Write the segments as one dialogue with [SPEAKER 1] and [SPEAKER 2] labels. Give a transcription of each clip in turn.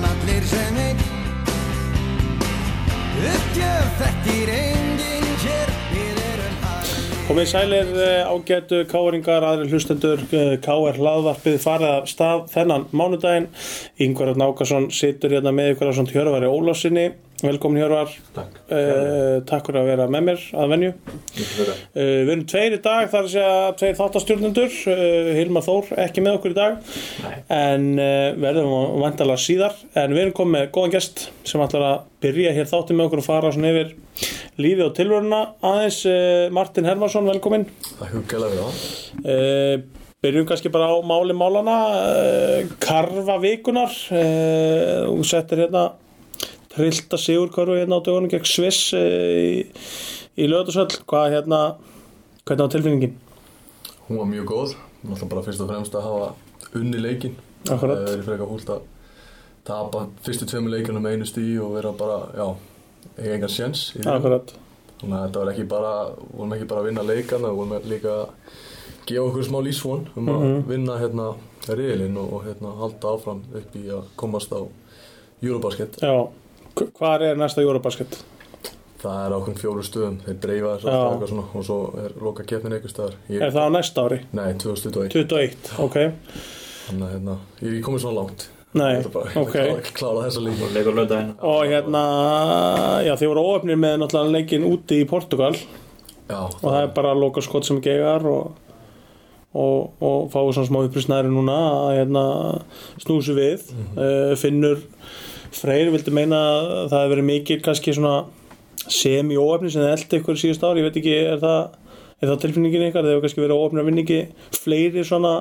[SPEAKER 1] sem einn Uppgjöf þekkir enginn hér Við erum harmi
[SPEAKER 2] Komið sælir eh, ágætu káringar, aðri hlustendur, eh, KR hlaðvarpið farið af stað þennan mánudaginn. Yngvar Örn Ákason situr hérna með ykkur á svona Hjörvari Ólásinni. Velkomin Hjörvar.
[SPEAKER 3] Takk.
[SPEAKER 2] Uh, takk fyrir að vera með mér að venju.
[SPEAKER 3] Kærlega.
[SPEAKER 2] Uh, við erum tveir í dag, þar að segja tveir þáttastjórnendur, uh, Hilmar Þór ekki með okkur í dag,
[SPEAKER 3] Nei.
[SPEAKER 2] en uh, verðum vandalega síðar, en við erum komið með góðan gest sem ætlar að byrja hér þáttið með okkur og fara svona yfir lífi og tilvöruna aðeins, uh, Martin Hermansson, velkomin.
[SPEAKER 3] Takk huggjala fyrir það.
[SPEAKER 2] Uh, byrjum kannski bara á máli málana, uh, karfa vikunar, uh, og settir hérna trillta sigurkörfu hérna á dögunum gegn Sviss uh, í, í lögðarsöll, hvað hérna, hvernig á tilfinningin?
[SPEAKER 3] Hún var mjög góð. Náttúrulega bara fyrst og fremst að hafa unni leikinn.
[SPEAKER 2] Akkurat.
[SPEAKER 3] Það er frekar húlt að tapa fyrstu tveimu leikinu með einu stíi og vera bara, já, eiga engan sjens. í því.
[SPEAKER 2] Akkurat,
[SPEAKER 3] Þannig að þetta var ekki bara, vorum ekki bara að vinna leikana, við vorum líka að gefa okkur smá lífsvon um að
[SPEAKER 2] Mhm.
[SPEAKER 3] vinna hérna reilinn og, og hérna halda áfram upp í að komast á Eurobasket.
[SPEAKER 2] já Hvar er næsta júrabasket?
[SPEAKER 3] Það er ákveðin fjóru stöðum, þeir dreifa þess
[SPEAKER 2] Já.
[SPEAKER 3] aftur eitthvað svona og svo er loka keppnin einhver staðar.
[SPEAKER 2] Er
[SPEAKER 3] Ég,
[SPEAKER 2] það á næsta ári?
[SPEAKER 3] nei, 2021.
[SPEAKER 2] 21, ok
[SPEAKER 3] Þannig að hérna, ég er ekki komið svona langt
[SPEAKER 2] Nei,
[SPEAKER 3] Ég ætla bara
[SPEAKER 2] ok.
[SPEAKER 3] að klára, klára þessa líka
[SPEAKER 4] Leikur lögdæðina
[SPEAKER 2] Og hérna, já þið voru óöfnir með náttúrulega leikin úti í Portugal og
[SPEAKER 3] Já,
[SPEAKER 2] það er bara að loka skot sem gegar og, og, og fáið svona smá upprýstnæri núna að hérna snúsu við uh, Finnur Freyr vildi meina að það hefur verið mikil kannski svona semi-óöfni sem þið eldi ykkur síðust ári, ég veit ekki er það, er það tilfinningin ykkar, þið hefur kannski verið óöfnir að vinna ekki fleiri svona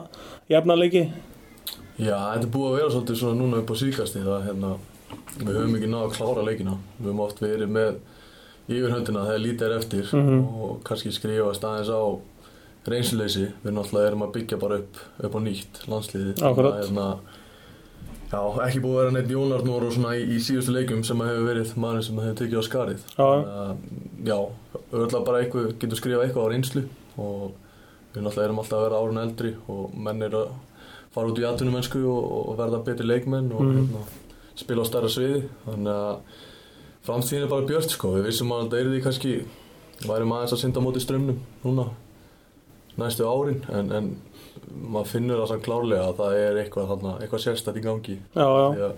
[SPEAKER 2] jafnaleiki
[SPEAKER 3] Já, þetta er búið að vera svolítið svona núna upp á síkasti það hérna, við höfum ekki náða að klára leikina við höfum oft verið með yfirhöndina þegar lítið er eftir
[SPEAKER 2] Mhm.
[SPEAKER 3] og kannski skrifast aðeins á reynsleysi, við náttúrulega erum að byggja bara upp upp á nýtt landsliði
[SPEAKER 2] Akkurat.
[SPEAKER 3] Þannig að, hérna, Já, ekki búið að vera neitt Jónarnór og svona í, í síðustu leikum sem að hefur verið maður sem hefur tekið á skarið
[SPEAKER 2] Já.
[SPEAKER 3] að, Já, öll bara eitthvað getur skrifað eitthvað á reynslu og við náttúrulega erum alltaf að vera árun eldri og menn eru að fara út í atvinnumennsku og, og verða betri leikmenn og
[SPEAKER 2] Mhm.
[SPEAKER 3] hérna, spila á stærra sviði þannig að framtíðin er bara björt sko, við vissum að þetta er því kannski væri maður aðeins að synda á móti strömmnum núna næstu árin en, en maður finnur það samt klárlega að það er eitthvað, þarna, eitthvað sérstætt í gangi
[SPEAKER 2] Já, já,
[SPEAKER 3] Já,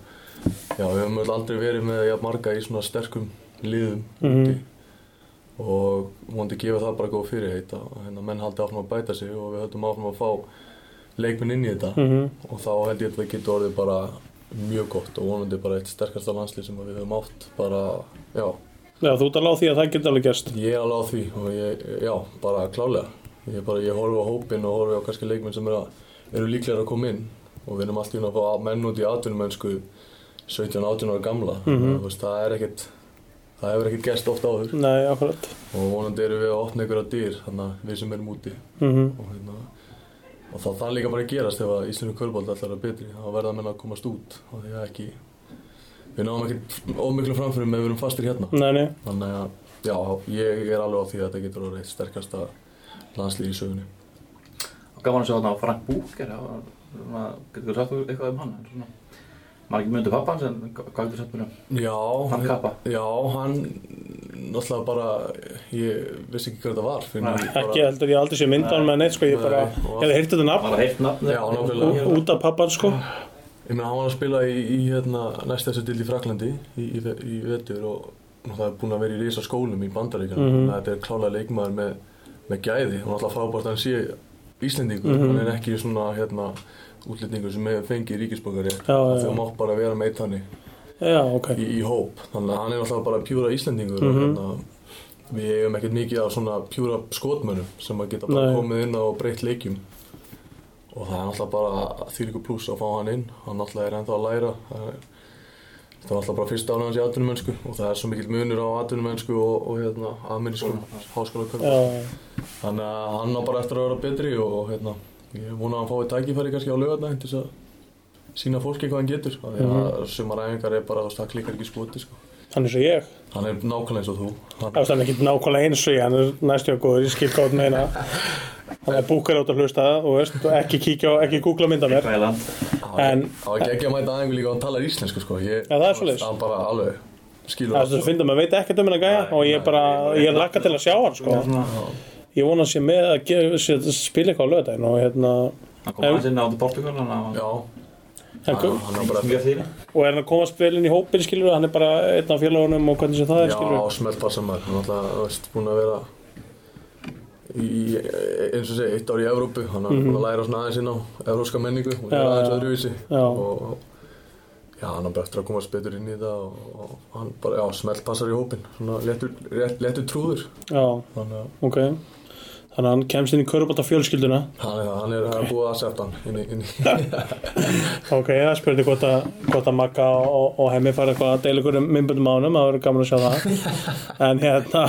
[SPEAKER 3] já, við höfum öll aldrei verið með jafn marga í svona sterkum liðum
[SPEAKER 2] Mhm.
[SPEAKER 3] úti og vondi gefa það bara góð fyrirheit að hérna, menn haldi áfram að bæta sig og við höldum áfram að fá leikminn inn í þetta
[SPEAKER 2] Mhm.
[SPEAKER 3] og þá held ég að það getur orðið bara mjög gott og vonandi bara eitt sterkasta landslið sem við höfum átt bara, já,
[SPEAKER 2] já þú ert alveg á því að það getur alveg gerst
[SPEAKER 3] ég er alveg á því og ég, já, bara klálega ég, bara, ég horfi á hópin og horfi á kannski leikmenn sem eru, eru líklega að koma inn og við erum alltaf að fá menn út í atvinnumennsku 17-18 ára gamla mm veist, það er ekkert það hefur ekkert gerst oft áður
[SPEAKER 2] Nei, akkurat
[SPEAKER 3] og vonandi erum við að opna einhverja dyr þannig að við sem erum úti
[SPEAKER 2] mm
[SPEAKER 3] og, hérna, og það þarf líka bara að gerast ef að Íslinu kvörbóld ætlar að betri þá verða menn að komast út og því að ekki við náum ekkert ómiklu framfyrir með við erum fastir hérna
[SPEAKER 2] Nei, nei,
[SPEAKER 3] Þannig að, já, ég er alveg á því að þetta getur orðið eitt sterkasta landslið í sögunni.
[SPEAKER 4] Og gaman að sjá þarna á Frank Búker það var svona, Getur þú sagt okkur eitthvað um hann? Hann er svona, maður ekki myndið pappa hans en hva- hvað getur þú sagt mér um?
[SPEAKER 3] Já,
[SPEAKER 4] Hann kappa?
[SPEAKER 3] Já, hann, náttúrulega bara, ég vissi ekki hvað þetta var. fyrir
[SPEAKER 4] Nei,
[SPEAKER 3] ég bara-
[SPEAKER 2] ekki heldur ég hef aldrei sé myndan með neitt sko, ég bara,
[SPEAKER 3] Nei, og-
[SPEAKER 2] ég hef heyrt þetta nafn
[SPEAKER 4] Bara heilt nafn
[SPEAKER 3] Já, nákvæmlega.
[SPEAKER 2] ú- út af pappan sko
[SPEAKER 3] Ég meina, hann var að spila í, í hérna, næst þessu dild í Fraklandi í, í, ve- í vetur og það er búin að vera í risa skólum í bandaríkjana.
[SPEAKER 2] Mhm.
[SPEAKER 3] Þannig að þetta er klálega leikmaður með, með gæði og náttúrulega frábært að hann sé Íslendingur.
[SPEAKER 2] Mhm.
[SPEAKER 3] Hann er ekki svona, hérna, útlendingur sem hefur fengið ríkisborgarétt.
[SPEAKER 2] Já, já, já.
[SPEAKER 3] Þú mátt bara vera með eitt þannig.
[SPEAKER 2] Já, ok,
[SPEAKER 3] í, í hóp þannig að hann er alltaf bara pjúra Íslendingur
[SPEAKER 2] Mhm.
[SPEAKER 3] og hérna, við eigum ekkert mikið af svona pjúra skotmönnum sem að geta bara
[SPEAKER 2] Nei.
[SPEAKER 3] komið inn á og breytt leikjum og það er alltaf bara þýrlíku pluss að fá hann inn hann alltaf er ennþá að læra það er- þetta var alltaf bara fyrsta ánum hans í atvinnumönsku og það er svo mikill munur á atvinnumönsku og, og hérna, amerískum
[SPEAKER 2] já,
[SPEAKER 3] háskóla þannig að hann á bara eftir að vera betri og hérna, ég vona að hann fái tækifæri kannski á lögarnæðin til þess að sína fólki hvað hann getur af því að mm
[SPEAKER 2] Mhm.
[SPEAKER 3] -hmm. sumar æfingar er bara, þú veist, það klikkar ekki í skoti sko.
[SPEAKER 2] hann er svo ég
[SPEAKER 3] Hann er nákvæmlega eins og þú
[SPEAKER 2] Það
[SPEAKER 3] hann,
[SPEAKER 2] er ekki nákvæmlega eins og ég, hann er næstjóð góður, ég skil góð meina Hann er búkar átt að hlusta og veist, og ekki kíkja á, ekki googla mynda mér
[SPEAKER 4] Þæland
[SPEAKER 3] á,
[SPEAKER 2] En
[SPEAKER 3] Það var ekki að mæta aðeins líka og tala íslensku sko ég,
[SPEAKER 2] Já, það er svoleiðis.
[SPEAKER 3] Hann bara alveg skilur
[SPEAKER 2] það er svo fyndum að veita ekkert um hennar gæja og ég bara, ég lakka til að sjá hann sko. Ég vona að sé með að gefa, sé, spila eitthvað á löðdæn og hérna
[SPEAKER 4] Hann kom aðeins inn á til Portugal hann að
[SPEAKER 3] Já,
[SPEAKER 2] hann,
[SPEAKER 3] hann, hann er bara
[SPEAKER 4] mjög þýri
[SPEAKER 2] og er hann að koma að spila inn í hópin skilur hann er bara einn af félagunum og hvernig sem það er
[SPEAKER 3] Já,
[SPEAKER 2] skilur
[SPEAKER 3] smelpa saman Hann er alltaf, þú veist, búin að vera í, eins og segja, eitt ár í Evrópu Hann er mm búin að læra svona aðeins inn á evróska menningu og
[SPEAKER 2] Mhm. Já,
[SPEAKER 3] er aðeins
[SPEAKER 2] já.
[SPEAKER 3] öðruvísi
[SPEAKER 2] Já.
[SPEAKER 3] og Já, hann er bara eftir að komast betur inn í það og, og hann bara, já, smeltpassar í hópinn, svona léttur, létt- léttur trúður.
[SPEAKER 2] Já,
[SPEAKER 3] Þannig að
[SPEAKER 2] ok Þannig að hann kemst inn í körubáta fjölskylduna
[SPEAKER 3] hann er, hann er hann er búið að setja hann inn í, inn í.
[SPEAKER 2] Ok, það spurði hvort að, hvort að Magga og, og Hemmi fara eitthvað að deila ykkur um myndbundum ánum, það verður gaman að sjá það En hérna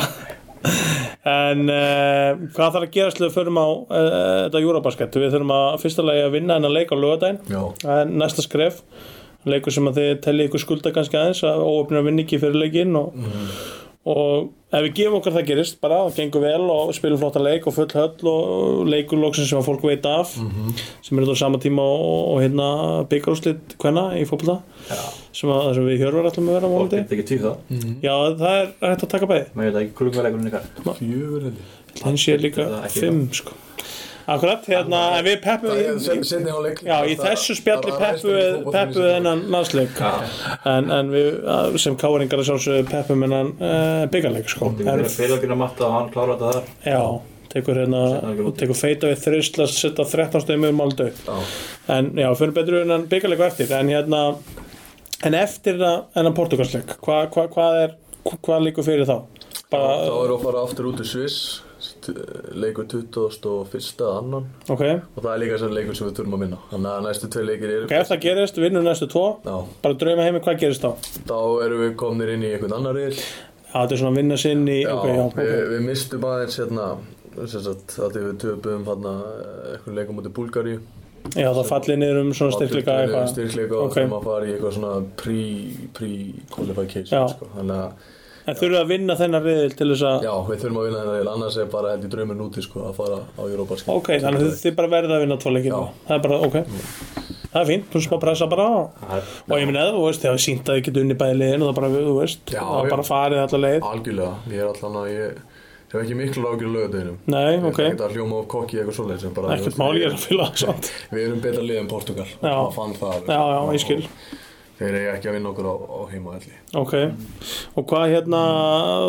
[SPEAKER 2] En uh, hvað þarf að gera slið förum á uh, þetta júrabasket Við þurfum að fyrsta lagi að vinna en að leika á lögadaginn
[SPEAKER 3] Já,
[SPEAKER 2] Það er næsta skref leikur sem að þið telli ykkur skulda kannski aðeins að óöfnir að vinna ekki fyrir leikinn og, og ef við gefum okkur það gerist bara, það gengur vel og spilum flotta leik og full höll og leikur loksin sem að fólk veit af sem er þetta á sama tíma og, og, hérna byggarúslit hvenna í fótbolta sem, að, sem við hjörvar allum að vera á
[SPEAKER 4] og
[SPEAKER 2] móti
[SPEAKER 4] gett ekki tíð það
[SPEAKER 3] Mm.
[SPEAKER 2] Já, það er hægt að taka bæði
[SPEAKER 4] maður veit ekki klukkuleikurinn ykkar
[SPEAKER 3] fjögur held ég.
[SPEAKER 2] hann sé líka
[SPEAKER 4] Það er ekki
[SPEAKER 2] fimm sko Akkurat, hérna, en við peppum
[SPEAKER 3] Það er se- seinni hálfleik.
[SPEAKER 2] Já, í
[SPEAKER 3] Það-
[SPEAKER 2] þessu spjalli
[SPEAKER 3] það- það er
[SPEAKER 2] peppu
[SPEAKER 3] aðeins í fótboltanum
[SPEAKER 2] peppu
[SPEAKER 3] sem-
[SPEAKER 2] þennan landsleik en, en við að- sem káringar sjálfsögðu peppum þennan uh, byggarleik sko.
[SPEAKER 4] það
[SPEAKER 2] en,
[SPEAKER 4] er félagin að matta að hann klára þetta þar
[SPEAKER 2] já, tekur
[SPEAKER 4] Seinna ekki
[SPEAKER 2] hérna
[SPEAKER 4] lokið.
[SPEAKER 2] tekur feita við þrisla að setja 13 stöðum um aldau
[SPEAKER 3] Já.
[SPEAKER 2] en já, fyrir betur en byggarleik og eftir en hérna en eftir enn portugalsleik hvað hva, hva er, hvað líkur fyrir þá?
[SPEAKER 3] Þá
[SPEAKER 2] bara,
[SPEAKER 3] erum við að fara aftur út í Sviss st- leikur 21. eða annan
[SPEAKER 2] ok,
[SPEAKER 3] og það er líka sem leikur sem við þurfum að vinna þannig að næstu tvei leikir eru
[SPEAKER 2] ok, ef það gerist vinnum næstu tvo,
[SPEAKER 3] Já,
[SPEAKER 2] bara drauma heimi hvað gerist þá?
[SPEAKER 3] þá erum við komnir inn í einhvern annar reyl
[SPEAKER 2] Já, þetta er svona að vinna sinn í,
[SPEAKER 3] Já,
[SPEAKER 2] ok, já,
[SPEAKER 3] við,
[SPEAKER 2] ok
[SPEAKER 3] við mistum aðeins hérna sem sagt, að því við töpum hérna einhvern leikum út í Búlgari
[SPEAKER 2] Já, það falli niður um svona styrkleika eitthvað
[SPEAKER 3] styrkleika og
[SPEAKER 2] Ok.
[SPEAKER 3] okay. að fara í eitthvað svona pre- pre-qualification
[SPEAKER 2] Já.
[SPEAKER 3] pre sko. þannig að
[SPEAKER 2] En þurfa að vinna þennan riðil til þess að
[SPEAKER 3] já, við þurfum að vinna þennan reyl annars er bara held í drauminn úti sko, að fara á Europa
[SPEAKER 2] Ok, þannig að þið, þið bara verða að vinna tvo leikir
[SPEAKER 3] Já.
[SPEAKER 2] Það er bara, ok Það er fínt, þú veist maður pressa bara á
[SPEAKER 4] Það er-
[SPEAKER 2] Og ég minna þú veist, það er sínt að þið getur unni bæði liðin og það bara, þú veist,
[SPEAKER 3] Já,
[SPEAKER 2] það er
[SPEAKER 3] já.
[SPEAKER 2] bara farið allar leið
[SPEAKER 3] Algjörlega, ég er allan að ég ég hef ekki miklu ágjur lögadeginum
[SPEAKER 2] Nei,
[SPEAKER 3] Ég
[SPEAKER 2] ok.
[SPEAKER 3] ætla ekki að hljóma of kokki eitthvað svoleiðis en bara-
[SPEAKER 2] Ekkert mál, ég er að fylga það samt
[SPEAKER 3] Við erum betra lið en Portugal
[SPEAKER 2] Já.
[SPEAKER 3] Það fann það
[SPEAKER 2] Já, já, ég skil
[SPEAKER 3] Þeir eiga ekki að vinna okkur á, á heima allir
[SPEAKER 2] Ok, og hvað hérna,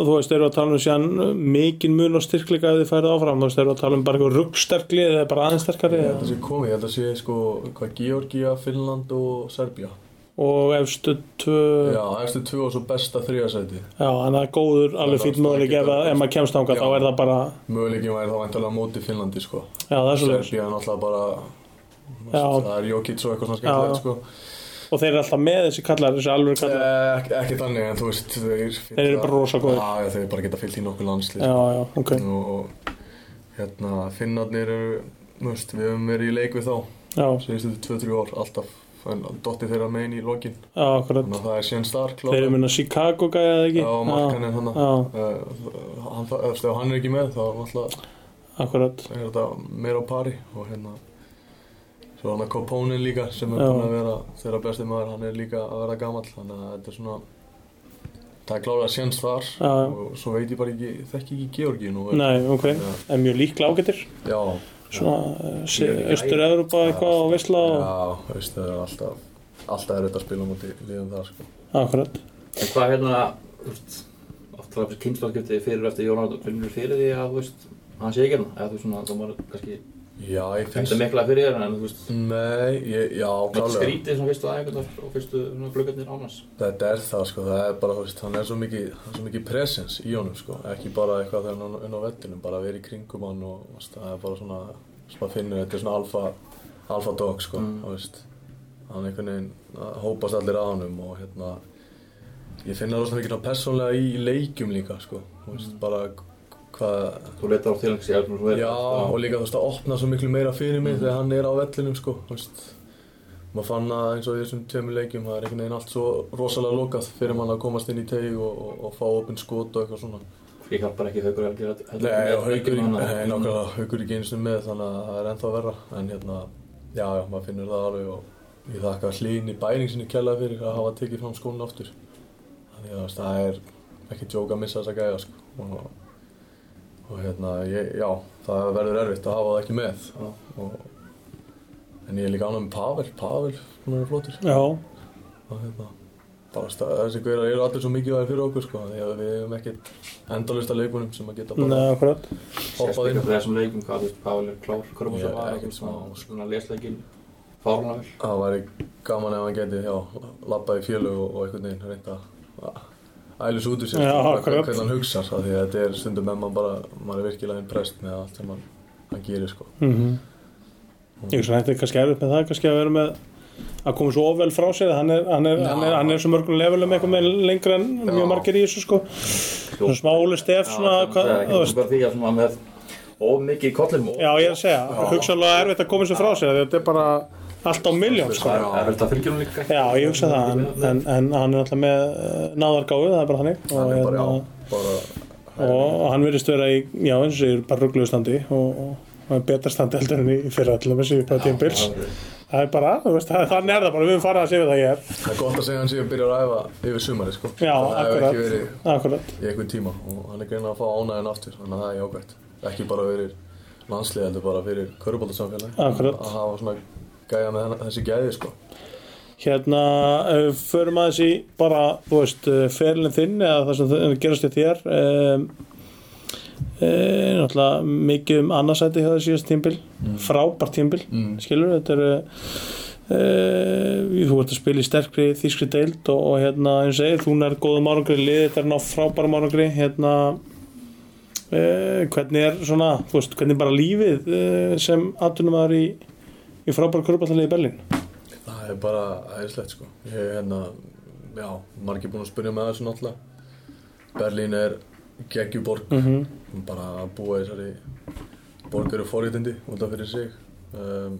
[SPEAKER 2] þú veist, eru að tala um síðan mikinn mun og styrkleika ef þið færið áfram, þú veist, eru að tala um bara eitthvað ruggsterkli eða bara aðeins sterkari
[SPEAKER 3] Ég held
[SPEAKER 2] eða-
[SPEAKER 3] að sé komið, ég held að sé sko hvað Georgia, Finnland og Serbia
[SPEAKER 2] og efstu tvö
[SPEAKER 3] Já, eftir tvö og svo besta þriðasæti
[SPEAKER 2] Já, en það er góður, alveg
[SPEAKER 3] er
[SPEAKER 2] fýtt
[SPEAKER 3] ástæða
[SPEAKER 2] möguleik ef,
[SPEAKER 3] ekki
[SPEAKER 2] að-
[SPEAKER 3] að-
[SPEAKER 2] ef maður kemst ánga,
[SPEAKER 3] Já.
[SPEAKER 2] þá er það bara
[SPEAKER 3] Möguleikin væri þá vantilega á móti Finnlandi sko
[SPEAKER 2] Já, það er svo leiðis
[SPEAKER 3] Serbia er náttúrulega bara
[SPEAKER 2] Já.
[SPEAKER 3] Það er Jokic og eitthvað svona
[SPEAKER 2] Já, já.
[SPEAKER 3] skemmtilegt sko
[SPEAKER 2] Og þeir eru alltaf með þessi kallar, þessi alveg kallar
[SPEAKER 3] Eh, Ekki ekki þannig en þú veist Þeir,
[SPEAKER 2] Þeir eru bara rosa góðir.
[SPEAKER 3] Já, já, þeir bara geta fyllt í nokkuð landslið
[SPEAKER 2] Já, já, ok
[SPEAKER 3] og, og hérna finnarnir eru þú veist, við höfum verið í leik við þá
[SPEAKER 2] Já,
[SPEAKER 3] síðustu 2-3 ár alltaf en dottið þeirra megin í lokin
[SPEAKER 2] já, akkurat
[SPEAKER 3] þannig að það er Sjön Stark
[SPEAKER 2] Þeir eru
[SPEAKER 3] klára.
[SPEAKER 2] minna Chicago gæja eða ekki
[SPEAKER 3] Já, markaninn hann
[SPEAKER 2] Já,
[SPEAKER 3] uh, hann, þa- ef ef hann er ekki með þá er alltaf
[SPEAKER 2] akkurat
[SPEAKER 3] er þetta meira á pari og hérna svo er hann að Koponin líka sem er
[SPEAKER 2] Já.
[SPEAKER 3] búin að vera þeirra besti maður hann er líka að vera gamall þannig að þetta er svona það er klárað Sjön þar
[SPEAKER 2] Já, já.
[SPEAKER 3] og svo veit ég bara ekki þekki ekki Georgi nú
[SPEAKER 2] Nei, ok,
[SPEAKER 3] Já.
[SPEAKER 2] en mjög líklega ágættir
[SPEAKER 3] já
[SPEAKER 2] Svona,
[SPEAKER 4] Já.
[SPEAKER 2] Östur-Európa eitthvað og Vesla og
[SPEAKER 3] Já, þú veist, það er alltaf alltaf er þetta að spila múti liðum það sko.
[SPEAKER 2] Akkurat
[SPEAKER 4] En hvað hérna, þú veist, oft var kynnslóðskipti fyrir og eftir Jón Árnótt, finnur fyrir því að, þú veist, hann sé ekki hérna, eða þú veist svona, það var kannski
[SPEAKER 3] Já, ég
[SPEAKER 4] þetta
[SPEAKER 3] finnst
[SPEAKER 4] mikla fyrir þér, en þú veist,
[SPEAKER 3] Nei, ég, já,
[SPEAKER 4] mitt
[SPEAKER 3] klálega
[SPEAKER 4] skrítið svona fyrstu aðeins og fyrstu svona glöggarnir ánars.
[SPEAKER 3] Þetta er það, sko, það er bara, þú veist, hann er svo mikið, hann er svo mikið presens í honum, sko ekki bara eitthvað þegar hann er inn á vettunum bara að vera í kringum hann og, þú veist, það er bara svona sem að finnur, þetta er svona alfa alfa dog, sko,
[SPEAKER 4] Mm.
[SPEAKER 3] þú veist hann einhvern veginn það hópast allir að honum og hérna ég finn það rosa mikið svona persónlega í leikjum líka, sko, þú veist, bara hvað,
[SPEAKER 4] Þú sko, letar á til hans í öllum svo verið.
[SPEAKER 3] Já, og líka þú veist að opna svo miklu meira fyrir mig þegar hann er á vellinum sko, þú veist maður fann að eins og í þessum tveimur leikjum það er einhvern veginn allt svo rosalega lokað fyrir mann að komast inn í teg og, og, og fá opinn skot og eitthvað svona
[SPEAKER 4] Ég hjálpar ekki haugur heldur heldur- heldur-
[SPEAKER 3] Nei, og haugur í,
[SPEAKER 4] heldur-
[SPEAKER 3] nei, nákvæmlega, haugur í geinsinu með þannig að það er ennþá verra en hérna, já, já, maður finnur það alveg og Ég þakka hlýni bæring sinni kjærlega fyrir að hafa tekið fram skónu aftur. Þannig að þú veist, það er ekki djók að missa þessa gæja sko. Og, og hérna, ég, já, það verður erfitt að hafa það ekki með. Og, en ég er líka ánægð með Pavel, Pavel, hún er flottur.
[SPEAKER 2] já,
[SPEAKER 3] Og hérna, bara stað, þessi gaurar eru allir svo mikilvægir fyrir okkur sko. Því að við hefum ekkert endalista leikunum sem að geta bara
[SPEAKER 2] neða, akkurat
[SPEAKER 3] hoppað
[SPEAKER 4] Sérstaklega
[SPEAKER 3] inn.
[SPEAKER 4] fyrir þessum leikum, hvað þú veist, Páli er
[SPEAKER 3] Ég
[SPEAKER 4] klár,
[SPEAKER 3] er
[SPEAKER 4] Krummarsson var,
[SPEAKER 3] ekkert
[SPEAKER 4] ekkert
[SPEAKER 3] smá,
[SPEAKER 4] svona, svona lesleikil, fárunarvel.
[SPEAKER 3] Það væri gaman ef hann geti, já, labbað í fjölu og, og einhvern veginn reynda að ælis út úr sér,
[SPEAKER 2] Já,
[SPEAKER 3] hvað-
[SPEAKER 2] akkurat.
[SPEAKER 3] hvernig hann hugsar, af því að þetta er stundum með mann bara, maður er virkilega einn prest með allt sem hann, hann gerir, sko.
[SPEAKER 2] mm ég veist að þetta er kannski erfitt með það kannski að vera með að koma svo ofvel frá sér hann er, hann er, hann er, hann er svo mörgum levelum eitthvað með lengra en mjög margir í þessu sko svona smá Óli Stef svona hvað,
[SPEAKER 4] það
[SPEAKER 2] þú
[SPEAKER 4] er
[SPEAKER 2] veist
[SPEAKER 4] bara því að svona með of mikið í kollinum og
[SPEAKER 2] já ég er að segja hugsanlega erfitt að koma þessu frá sér af því að þetta er bara allt á miljón sko
[SPEAKER 4] það er erfilt að fylgja hún líka.
[SPEAKER 2] já ég hugsa það en, en, en hann er alltaf með eh, náðargáfu það er bara hannig
[SPEAKER 3] Hann er bara,
[SPEAKER 2] hérna,
[SPEAKER 3] já, bara,
[SPEAKER 2] og hann virðist vera í, já eins og ég er bara ruggluðu standi og, og, og er betra standi heldur en í fyrra til að messi upp á tímpils það er bara, þú veist, það, þannig er það bara við höfum farið að segja það ég er
[SPEAKER 3] það er gott að segja hann sé að byrja að æfa yfir sumari, sko.
[SPEAKER 2] já,
[SPEAKER 3] það hefur
[SPEAKER 2] akkurat,
[SPEAKER 3] ekki verið
[SPEAKER 2] akkurat
[SPEAKER 3] í einhvern tíma og hann er greinlega að fá ánæðin aftur, þannig að það er jákvæmt. Ekki bara fyrir landslið, heldur bara fyrir körubóltasamfélagi.
[SPEAKER 2] Akkurat.
[SPEAKER 3] Að hafa svona gæja með henn- þessi gæði, sko.
[SPEAKER 2] hérna, ef við förum aðeins í bara, þú veist, ferlinn þinn eða það sem þ- gerast í þér um, e, náttúrulega mikið um annarsæti hjá það síðast tímpil frábært tímpil,
[SPEAKER 3] Mm.
[SPEAKER 2] skilur þetta eru Uh, þú ert að spila í sterkri þýskri deild og, og hérna eins og segir, þú nær góðum árangri í liði, þetta er ná frábærum árangri hérna uh, hvernig er svona, þú veist, hvernig er bara lífið uh, sem atvinnumæður í, í frábæra körpallalið í Berlín
[SPEAKER 3] Það er bara æðislegt sko. Ég er hérna, já, margir búin að spyrja með þessu náttúrulega. Berlín er geggjuborg,
[SPEAKER 2] mm -hmm.
[SPEAKER 3] bara að búa í þessari borg eru forréttindi út af fyrir sig. Um,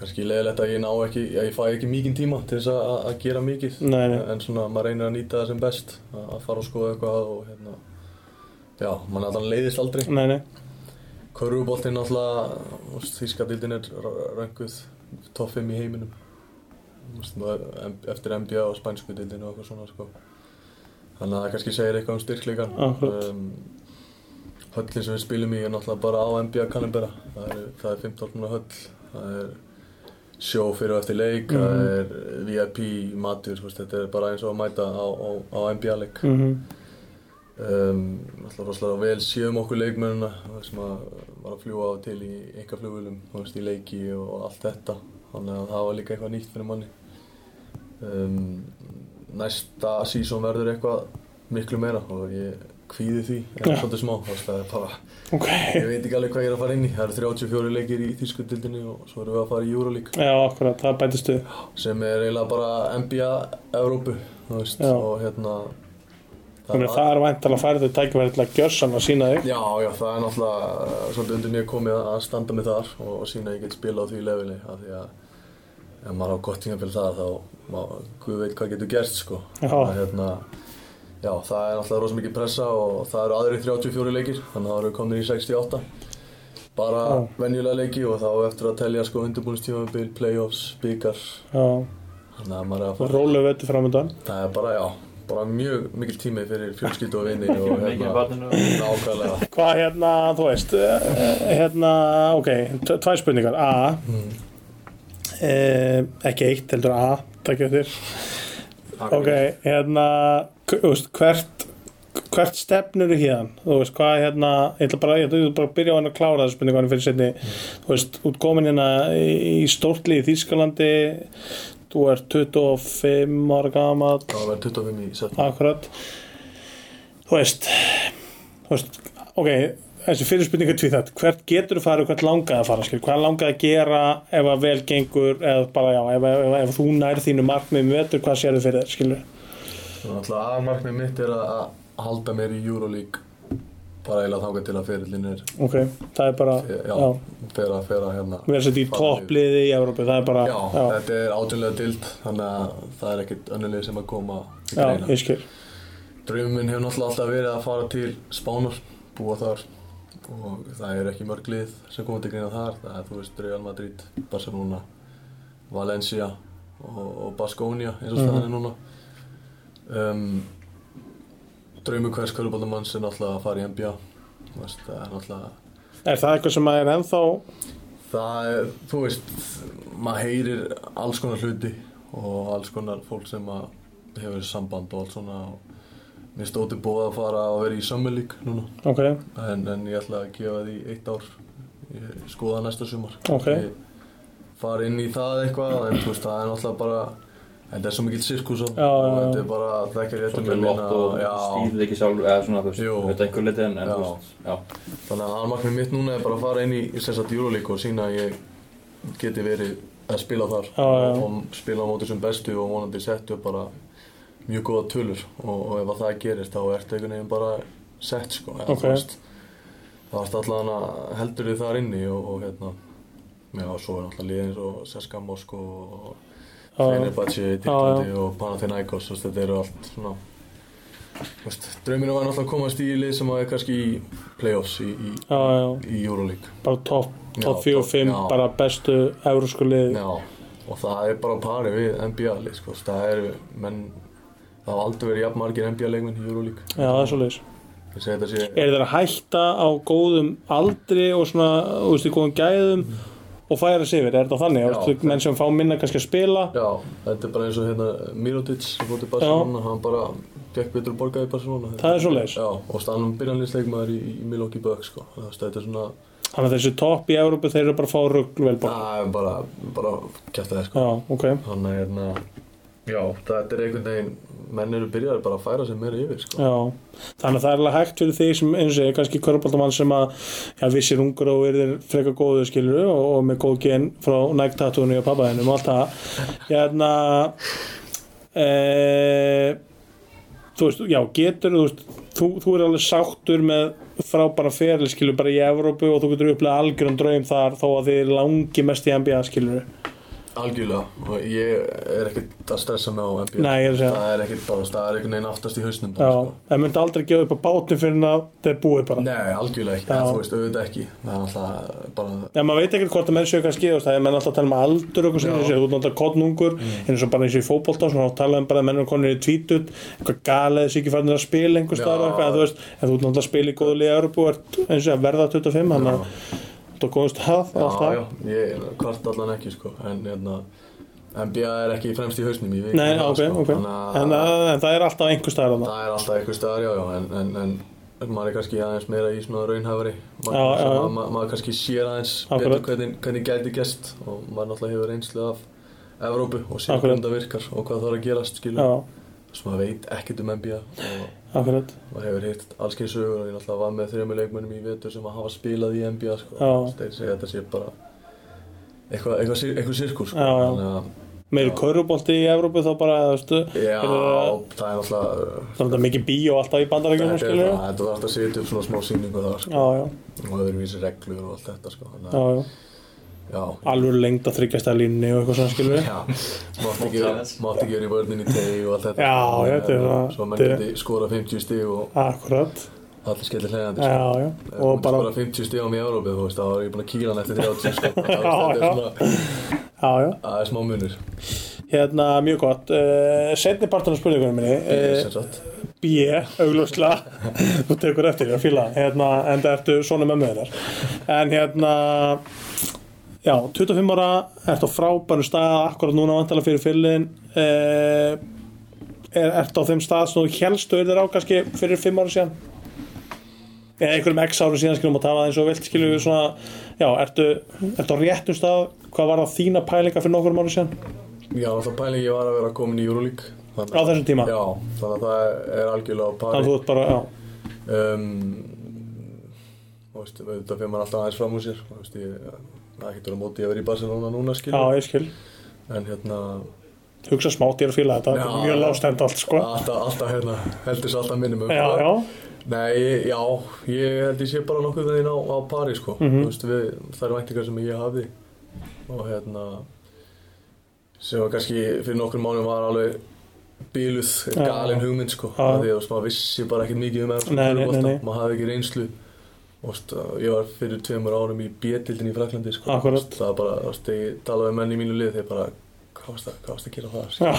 [SPEAKER 3] Kanski leiðilegt að ég ná ekki, að ég fæ ekki mikinn tíma til þess að, að gera mikið.
[SPEAKER 2] Nei, nei.
[SPEAKER 3] En svona, maður reynir að nýta það sem best, að, að fara og skoða eitthvað og hérna, já, mann allan leiðist aldrei.
[SPEAKER 2] Nei, nei,
[SPEAKER 3] Körfuboltinn náttúrulega, Þískadildin er rönguð topp 5 í heiminum Þú veist, maður- em- eftir NBA og spænsku dildin og eitthvað svona sko. þannig að það kannski segir eitthvað um styrkleikan
[SPEAKER 2] Akkúrat.
[SPEAKER 3] höllin sem við spilum í er náttúrulega bara á NBA Canberra það er, það er 15 manna höll það er sjó fyrir og eftir leik það er VIP matur þú veist, þetta er bara eins og að mæta á, á, á NBA leik
[SPEAKER 2] mm
[SPEAKER 3] um, alltaf rosalega vel séum okkur leikmennina eh, sem að var að fljúa til í einhver flugvölum, þú veist, í leiki og allt þetta þannig að það var líka eitthvað nýtt fyrir manni um, næsta sísón verður eitthvað miklu meira og ég kvíði því en
[SPEAKER 2] Já.
[SPEAKER 3] svolítið smá, þú veist, það er bara
[SPEAKER 2] ok
[SPEAKER 3] ég veit ekki alveg hvað ég er að fara inn í, það eru 34 leikir í þýskutildinni og svo erum við að fara í Euroleague
[SPEAKER 2] Já, akkurat, það bætist við
[SPEAKER 3] sem er eiginlega bara NBA Evrópu, þú veist,
[SPEAKER 2] Já.
[SPEAKER 3] og hérna
[SPEAKER 2] Þannig að það er vænt að færa þau tækifæri til að gjössan að sína þig
[SPEAKER 3] Já, já, það er náttúrulega uh, svolítið undir mér komið að að standa mig þar og, og sína að ég get spila á því leveli af því að ef maður á gott tímafél það þá má, guð veit hvað getur gerst sko
[SPEAKER 2] Já.
[SPEAKER 3] Að, hérna, já, það er náttúrulega rosa mikið pressa og það eru aðri 34 leikir þannig að það eru komin í 68 bara
[SPEAKER 2] Já.
[SPEAKER 3] venjulega leiki og þá á eftir að telja sko undirbúinstímabil, playoffs, byggar
[SPEAKER 2] Já,
[SPEAKER 3] þannig að maður er að
[SPEAKER 2] og
[SPEAKER 3] fara
[SPEAKER 2] rólega vettu framöndan
[SPEAKER 3] það er bara, já, bara mjög mikil tími fyrir fjölskyldu og vinni og
[SPEAKER 4] Mikið í
[SPEAKER 3] hérna,
[SPEAKER 4] barninu.
[SPEAKER 3] nákvæmlega
[SPEAKER 2] Hvað hérna, þú veist eh, eh, hérna, ok, t- tvær spurningar A e, ekki eitt, heldur A takk ég þér Ok, hérna, k- þú veist, hvert hvert stefnur hérna þú veist, hvað er hérna, ég ætla bara ég ætla bara að byrja á hann að klára þessu spurningu hann fyrir setni þú veist, út komin hérna í, í stórtli í Þýskalandi þú ert 25 ára gamall
[SPEAKER 3] Það var 25 í setna.
[SPEAKER 2] akkurat þú veist, þú veist ok, þessi fyrirspurningu tví það hvert getur þú farið og hvert langaði að fara skil? hvað langaði að gera ef að vel gengur eða bara já, ef, ef, ef, ef þú nær þínu markmiðum vetur, hvað sérðu fyrir þér skilur
[SPEAKER 3] Þannig að aðmarkmið mitt er að að halda mér í Euroleague bara eiginlega þáka til að ferillin er eh,
[SPEAKER 2] ok, það er bara
[SPEAKER 3] já,
[SPEAKER 2] já,
[SPEAKER 3] fer að fer að hérna
[SPEAKER 2] vera sett í
[SPEAKER 3] fara
[SPEAKER 2] toppliði í Európu, það er bara
[SPEAKER 3] Já,
[SPEAKER 2] já,
[SPEAKER 3] þetta er átjónlega dild þannig að það er ekkert önnulegi sem að koma í
[SPEAKER 2] já,
[SPEAKER 3] greina.
[SPEAKER 2] ég skil
[SPEAKER 3] Draumur minn hefur náttúrulega alltaf verið að fara til Spánar, búa þar og það er ekki mörg lið sem koma til greina þar það er, þú veist, Real Madrid, Barcelona Valencia og, og Baskonia eins og staðan er núna um, Draumur hvers köruboltamanns er náttúrulega að fara í NBA Þú veist, það er náttúrulega
[SPEAKER 2] Er það eitthvað sem að er ennþá
[SPEAKER 3] Það er, þú veist, maður heyrir alls konar hluti og alls konar fólk sem að hefur samband og allt svona og mér stóti bóða að fara að vera í sömmulík núna
[SPEAKER 2] Ok,
[SPEAKER 3] en, en ég ætla að gefa því eitt ár ég skoða næsta sumar
[SPEAKER 2] Ok.
[SPEAKER 3] ég fara inn í það eitthvað en þú veist, það er náttúrulega bara þetta er svo mikill sirkus og
[SPEAKER 2] Já, já,
[SPEAKER 3] og
[SPEAKER 2] já.
[SPEAKER 3] þetta er bara að þekkja réttum
[SPEAKER 4] Svolítið lott og
[SPEAKER 3] já,
[SPEAKER 4] stýrið ekki sjálf, eða svona, þú veist,
[SPEAKER 3] Jú.
[SPEAKER 4] þetta einhver liti en, en
[SPEAKER 3] Já.
[SPEAKER 4] þú veist, já.
[SPEAKER 3] Þannig að almarkmið mitt núna er bara að fara inn í sérstaklega júrólík og sína að ég geti verið að spila þar
[SPEAKER 2] Já, já.
[SPEAKER 3] og spila á móti sem bestu og vonandi settu upp bara mjög góða tölur og, og ef að það gerist þá ertu einhvern veginn bara sett sko eða,
[SPEAKER 2] Ok.
[SPEAKER 3] þú veist, það ertu allan að heldur þið þar inni og, og hérna já, svo er náttúrulega liðin eins og Seska Moskó og
[SPEAKER 2] Já, já.
[SPEAKER 3] Fenerbahce í Tyrklandi og Panathinaikos þú veist, þetta eru allt svona þú veist, drauminu var náttúrulega að komast í lið sem að er kannski í playoffs í, í,
[SPEAKER 2] já, já,
[SPEAKER 3] í Euroleague
[SPEAKER 2] bara topp
[SPEAKER 3] Já,
[SPEAKER 2] top 4 og
[SPEAKER 3] topp,
[SPEAKER 2] 5,
[SPEAKER 3] já.
[SPEAKER 2] bara bestu eurósku lið
[SPEAKER 3] Já, og það er bara á pari við NBA lið, sko, það eru menn, það hafa aldrei verið jafn margir NBA leikmenn í Euroleague
[SPEAKER 2] Já, það er svolítið
[SPEAKER 3] ég segi þetta sé,
[SPEAKER 2] Er þeir að hætta á góðum aldri og svona, þú veist, í góðum gæðum og færa sig yfir, er þetta þannig?
[SPEAKER 3] Já,
[SPEAKER 2] Já, veist, menn sem fá minna kannski að spila
[SPEAKER 3] já, þetta er bara eins og hérna Mirotic sem fótt í Barcelona, hann bara gekk betur borgað í Barcelona
[SPEAKER 2] Það er svoleiðis.
[SPEAKER 3] Já, og stannum byrjanlýsleikmaður í, í Milwaukee Bucks, sko, þú veist, þetta er svona
[SPEAKER 2] Þannig að þessi topp í Európu þeir eru bara að fá rugg vel bara
[SPEAKER 3] það er bara, bara kjæft að það, sko
[SPEAKER 2] Já, ok,
[SPEAKER 3] Þannig að hérna, já, þetta er einhvern veginn, menn eru byrjaðir bara að færa sig meira yfir, sko.
[SPEAKER 2] já Þannig að það er alveg hægt fyrir því sem, eins og segja, kannski körpaldamann sem að já, vissir ungur og er þeir freka góðu skilur og, og með góð gen frá nægtatúinu og pappaðinum og allt það Hérna e, Þú veist, já, getur þú veist, þú, þú er alveg sáttur með frábæra feril skilur bara í Evrópu og þú getur upplega algjörum draum þar þó að þið langi mest í NBA skilur
[SPEAKER 3] Algjörlega, og ég er ekkert að stressa mig á NBA.
[SPEAKER 2] Nei, ég er að segja.
[SPEAKER 3] Það er ekkert bara, það er einhvern veginn aftast í hausnum
[SPEAKER 2] Já,
[SPEAKER 3] bara, sko.
[SPEAKER 2] það myndi aldrei gefa upp á bátnum fyrir að það er búið bara
[SPEAKER 3] Nei, algjörlega ekki,
[SPEAKER 2] Já.
[SPEAKER 3] þú veist, auðvitað ekki. Það er alltaf bara,
[SPEAKER 2] Já, maður veit ekkert hvort að menn séu kannski, þú veist, það er menn alltaf að tala um aldur og eitthvað sem
[SPEAKER 3] Já. Mm.
[SPEAKER 2] þessi, þú ert náttúrulega kottnungur, eins og bara eins og í fótbolta, svona þá tala um bara að menn eru konir í tvítut, eitthvað galið þessi ekki farin að spila einhver
[SPEAKER 3] Já.
[SPEAKER 2] staðar og eitthvað, en þú veist, en þú ert náttúrulega að spila í góðu liða Európu og ert eins og að verða 25, þannig að þú ert á góðum stað og allt
[SPEAKER 3] já,
[SPEAKER 2] það.
[SPEAKER 3] já, ég kvart allan ekki, sko, en hérna, NBA er ekki fremst í hausnum, ég veit
[SPEAKER 2] Nei,
[SPEAKER 3] það, sko,
[SPEAKER 2] ok, ok, en,
[SPEAKER 3] Þannig að
[SPEAKER 2] að- en það er alltaf einhver staðar þarna.
[SPEAKER 3] það er alltaf eitthvað staðar, já, já, en, en, en en maður er kannski aðeins meira í svona raunhafari maður,
[SPEAKER 2] Já, já, já.
[SPEAKER 3] maður, maður, maður kannski sér aðeins betur
[SPEAKER 2] Akkurat.
[SPEAKER 3] hvernig, hvernig gæti gæst og maður náttúrulega hefur reynslu af Evrópu og sér
[SPEAKER 2] Akkurat.
[SPEAKER 3] hvernig það virkar og hvað það er að gerast skilur,
[SPEAKER 2] Já,
[SPEAKER 3] svo maður veit ekkert um NBA og
[SPEAKER 2] akkurat,
[SPEAKER 3] maður hefur heyrt alls kyns sögur og ég náttúrulega var með þrejum leikmönnum í vetur sem að hafa spilað í NBA sko,
[SPEAKER 2] Já.
[SPEAKER 3] þeir segja að þetta sé bara eitthvað eitthva, eitthva, eitthva sirkur sko.
[SPEAKER 2] Já, já.
[SPEAKER 3] Þannig að-
[SPEAKER 2] meður körubólti í Evrópu þá bara, þú veist,
[SPEAKER 3] já,
[SPEAKER 2] eru-
[SPEAKER 3] það er náttúrulega
[SPEAKER 2] það er alltaf mikið bíó alltaf í bandarækjum,
[SPEAKER 3] Þetta er
[SPEAKER 2] skilur
[SPEAKER 3] bara- þetta var alltaf að setja upp svona smá sýningu þar sko.
[SPEAKER 2] Já, já,
[SPEAKER 3] og öðruvísi reglur og allt þetta sko. Þannig,
[SPEAKER 2] já, já,
[SPEAKER 3] að- já,
[SPEAKER 2] alveg lengd að þryggjast að línni og eitthvað svona, skilur
[SPEAKER 3] já mátti ekki, mátti ekki verið í vörninni í tegi og allt þetta
[SPEAKER 2] Já, já,
[SPEAKER 3] Þannig
[SPEAKER 2] þetta er
[SPEAKER 3] að-
[SPEAKER 2] það-
[SPEAKER 3] svo að menn
[SPEAKER 2] þetta er-
[SPEAKER 3] geti skora 50 stig og
[SPEAKER 2] Akkurat,
[SPEAKER 3] allir skellir hlægandi sko.
[SPEAKER 2] já, já,
[SPEAKER 3] Ef
[SPEAKER 2] og
[SPEAKER 3] þú
[SPEAKER 2] bara,
[SPEAKER 3] skora 50 stig um í Európið þú veist, þá var ég búin að kýla hann eftir 30 sko. Það er-
[SPEAKER 2] Já, já.
[SPEAKER 3] þetta er svona,
[SPEAKER 2] já, já,
[SPEAKER 3] það er smá munur
[SPEAKER 2] hérna, mjög gott. Uh, Setni partan af spurningunum minni,
[SPEAKER 3] sem
[SPEAKER 2] uh,
[SPEAKER 3] sagt.
[SPEAKER 2] B, augljóslega, þú tekur eftir þér, fíla, það, hérna, en það ertu svona með með þér. En hérna, já, 25 ára, ertu á frábæru stað, akkurat núna vantala fyrir fyllin, uh, er, ertu á þeim stað sem þú helst auðir á kannski fyrir 5 ára síðan? Eða einhverjum x árum síðan skilum að tala það eins og vilt skilum við svona, já, ertu, ertu á réttum stað, hvað var það þína pælinga fyrir nokkrum árum síðan?
[SPEAKER 3] já, alltaf pælingi var að vera komin í Euroleague þannig,
[SPEAKER 2] á þessum tíma
[SPEAKER 3] já, þannig að það er algjörlega á pari
[SPEAKER 2] þannig að þú ert bara, já,
[SPEAKER 3] um, og veist, auðvitað fyrir maður alltaf aðeins fram úr sér og veist, ég, það er ekkert að móti að vera í Barcelona núna skil
[SPEAKER 2] já, ég skil
[SPEAKER 3] en hérna
[SPEAKER 2] hugsa smátt, ég er að fíla þetta, þetta
[SPEAKER 3] Já.
[SPEAKER 2] er mjög lástend allt sko,
[SPEAKER 3] alltaf, alltaf hérna, heldur svo alltaf minnum um
[SPEAKER 2] já, já,
[SPEAKER 3] Nei, ég- já, ég held ég sé bara nokkuð veginn á, á pari sko
[SPEAKER 2] Mhm.
[SPEAKER 3] Þú veist, við, það eru væntingar sem ég hafði og hérna sem var kannski fyrir nokkrum mánum var alveg bíluð,
[SPEAKER 2] Já.
[SPEAKER 3] galin hugmynd sko
[SPEAKER 2] Já.
[SPEAKER 3] af því að þú veist, maður vissi bara ekkert mikið um
[SPEAKER 2] Nei, nei, nei, nei.
[SPEAKER 3] maður hafði ekki reynslu Og veist, að ég var fyrir tveimur árum í B-dildin í Fraklandi sko.
[SPEAKER 2] Akkurat.
[SPEAKER 3] Veist, Það var bara, þú veist, ég talaði við menn í mínu lið þegar bara, hvað varst það, hvað varst að gera það?
[SPEAKER 2] Já,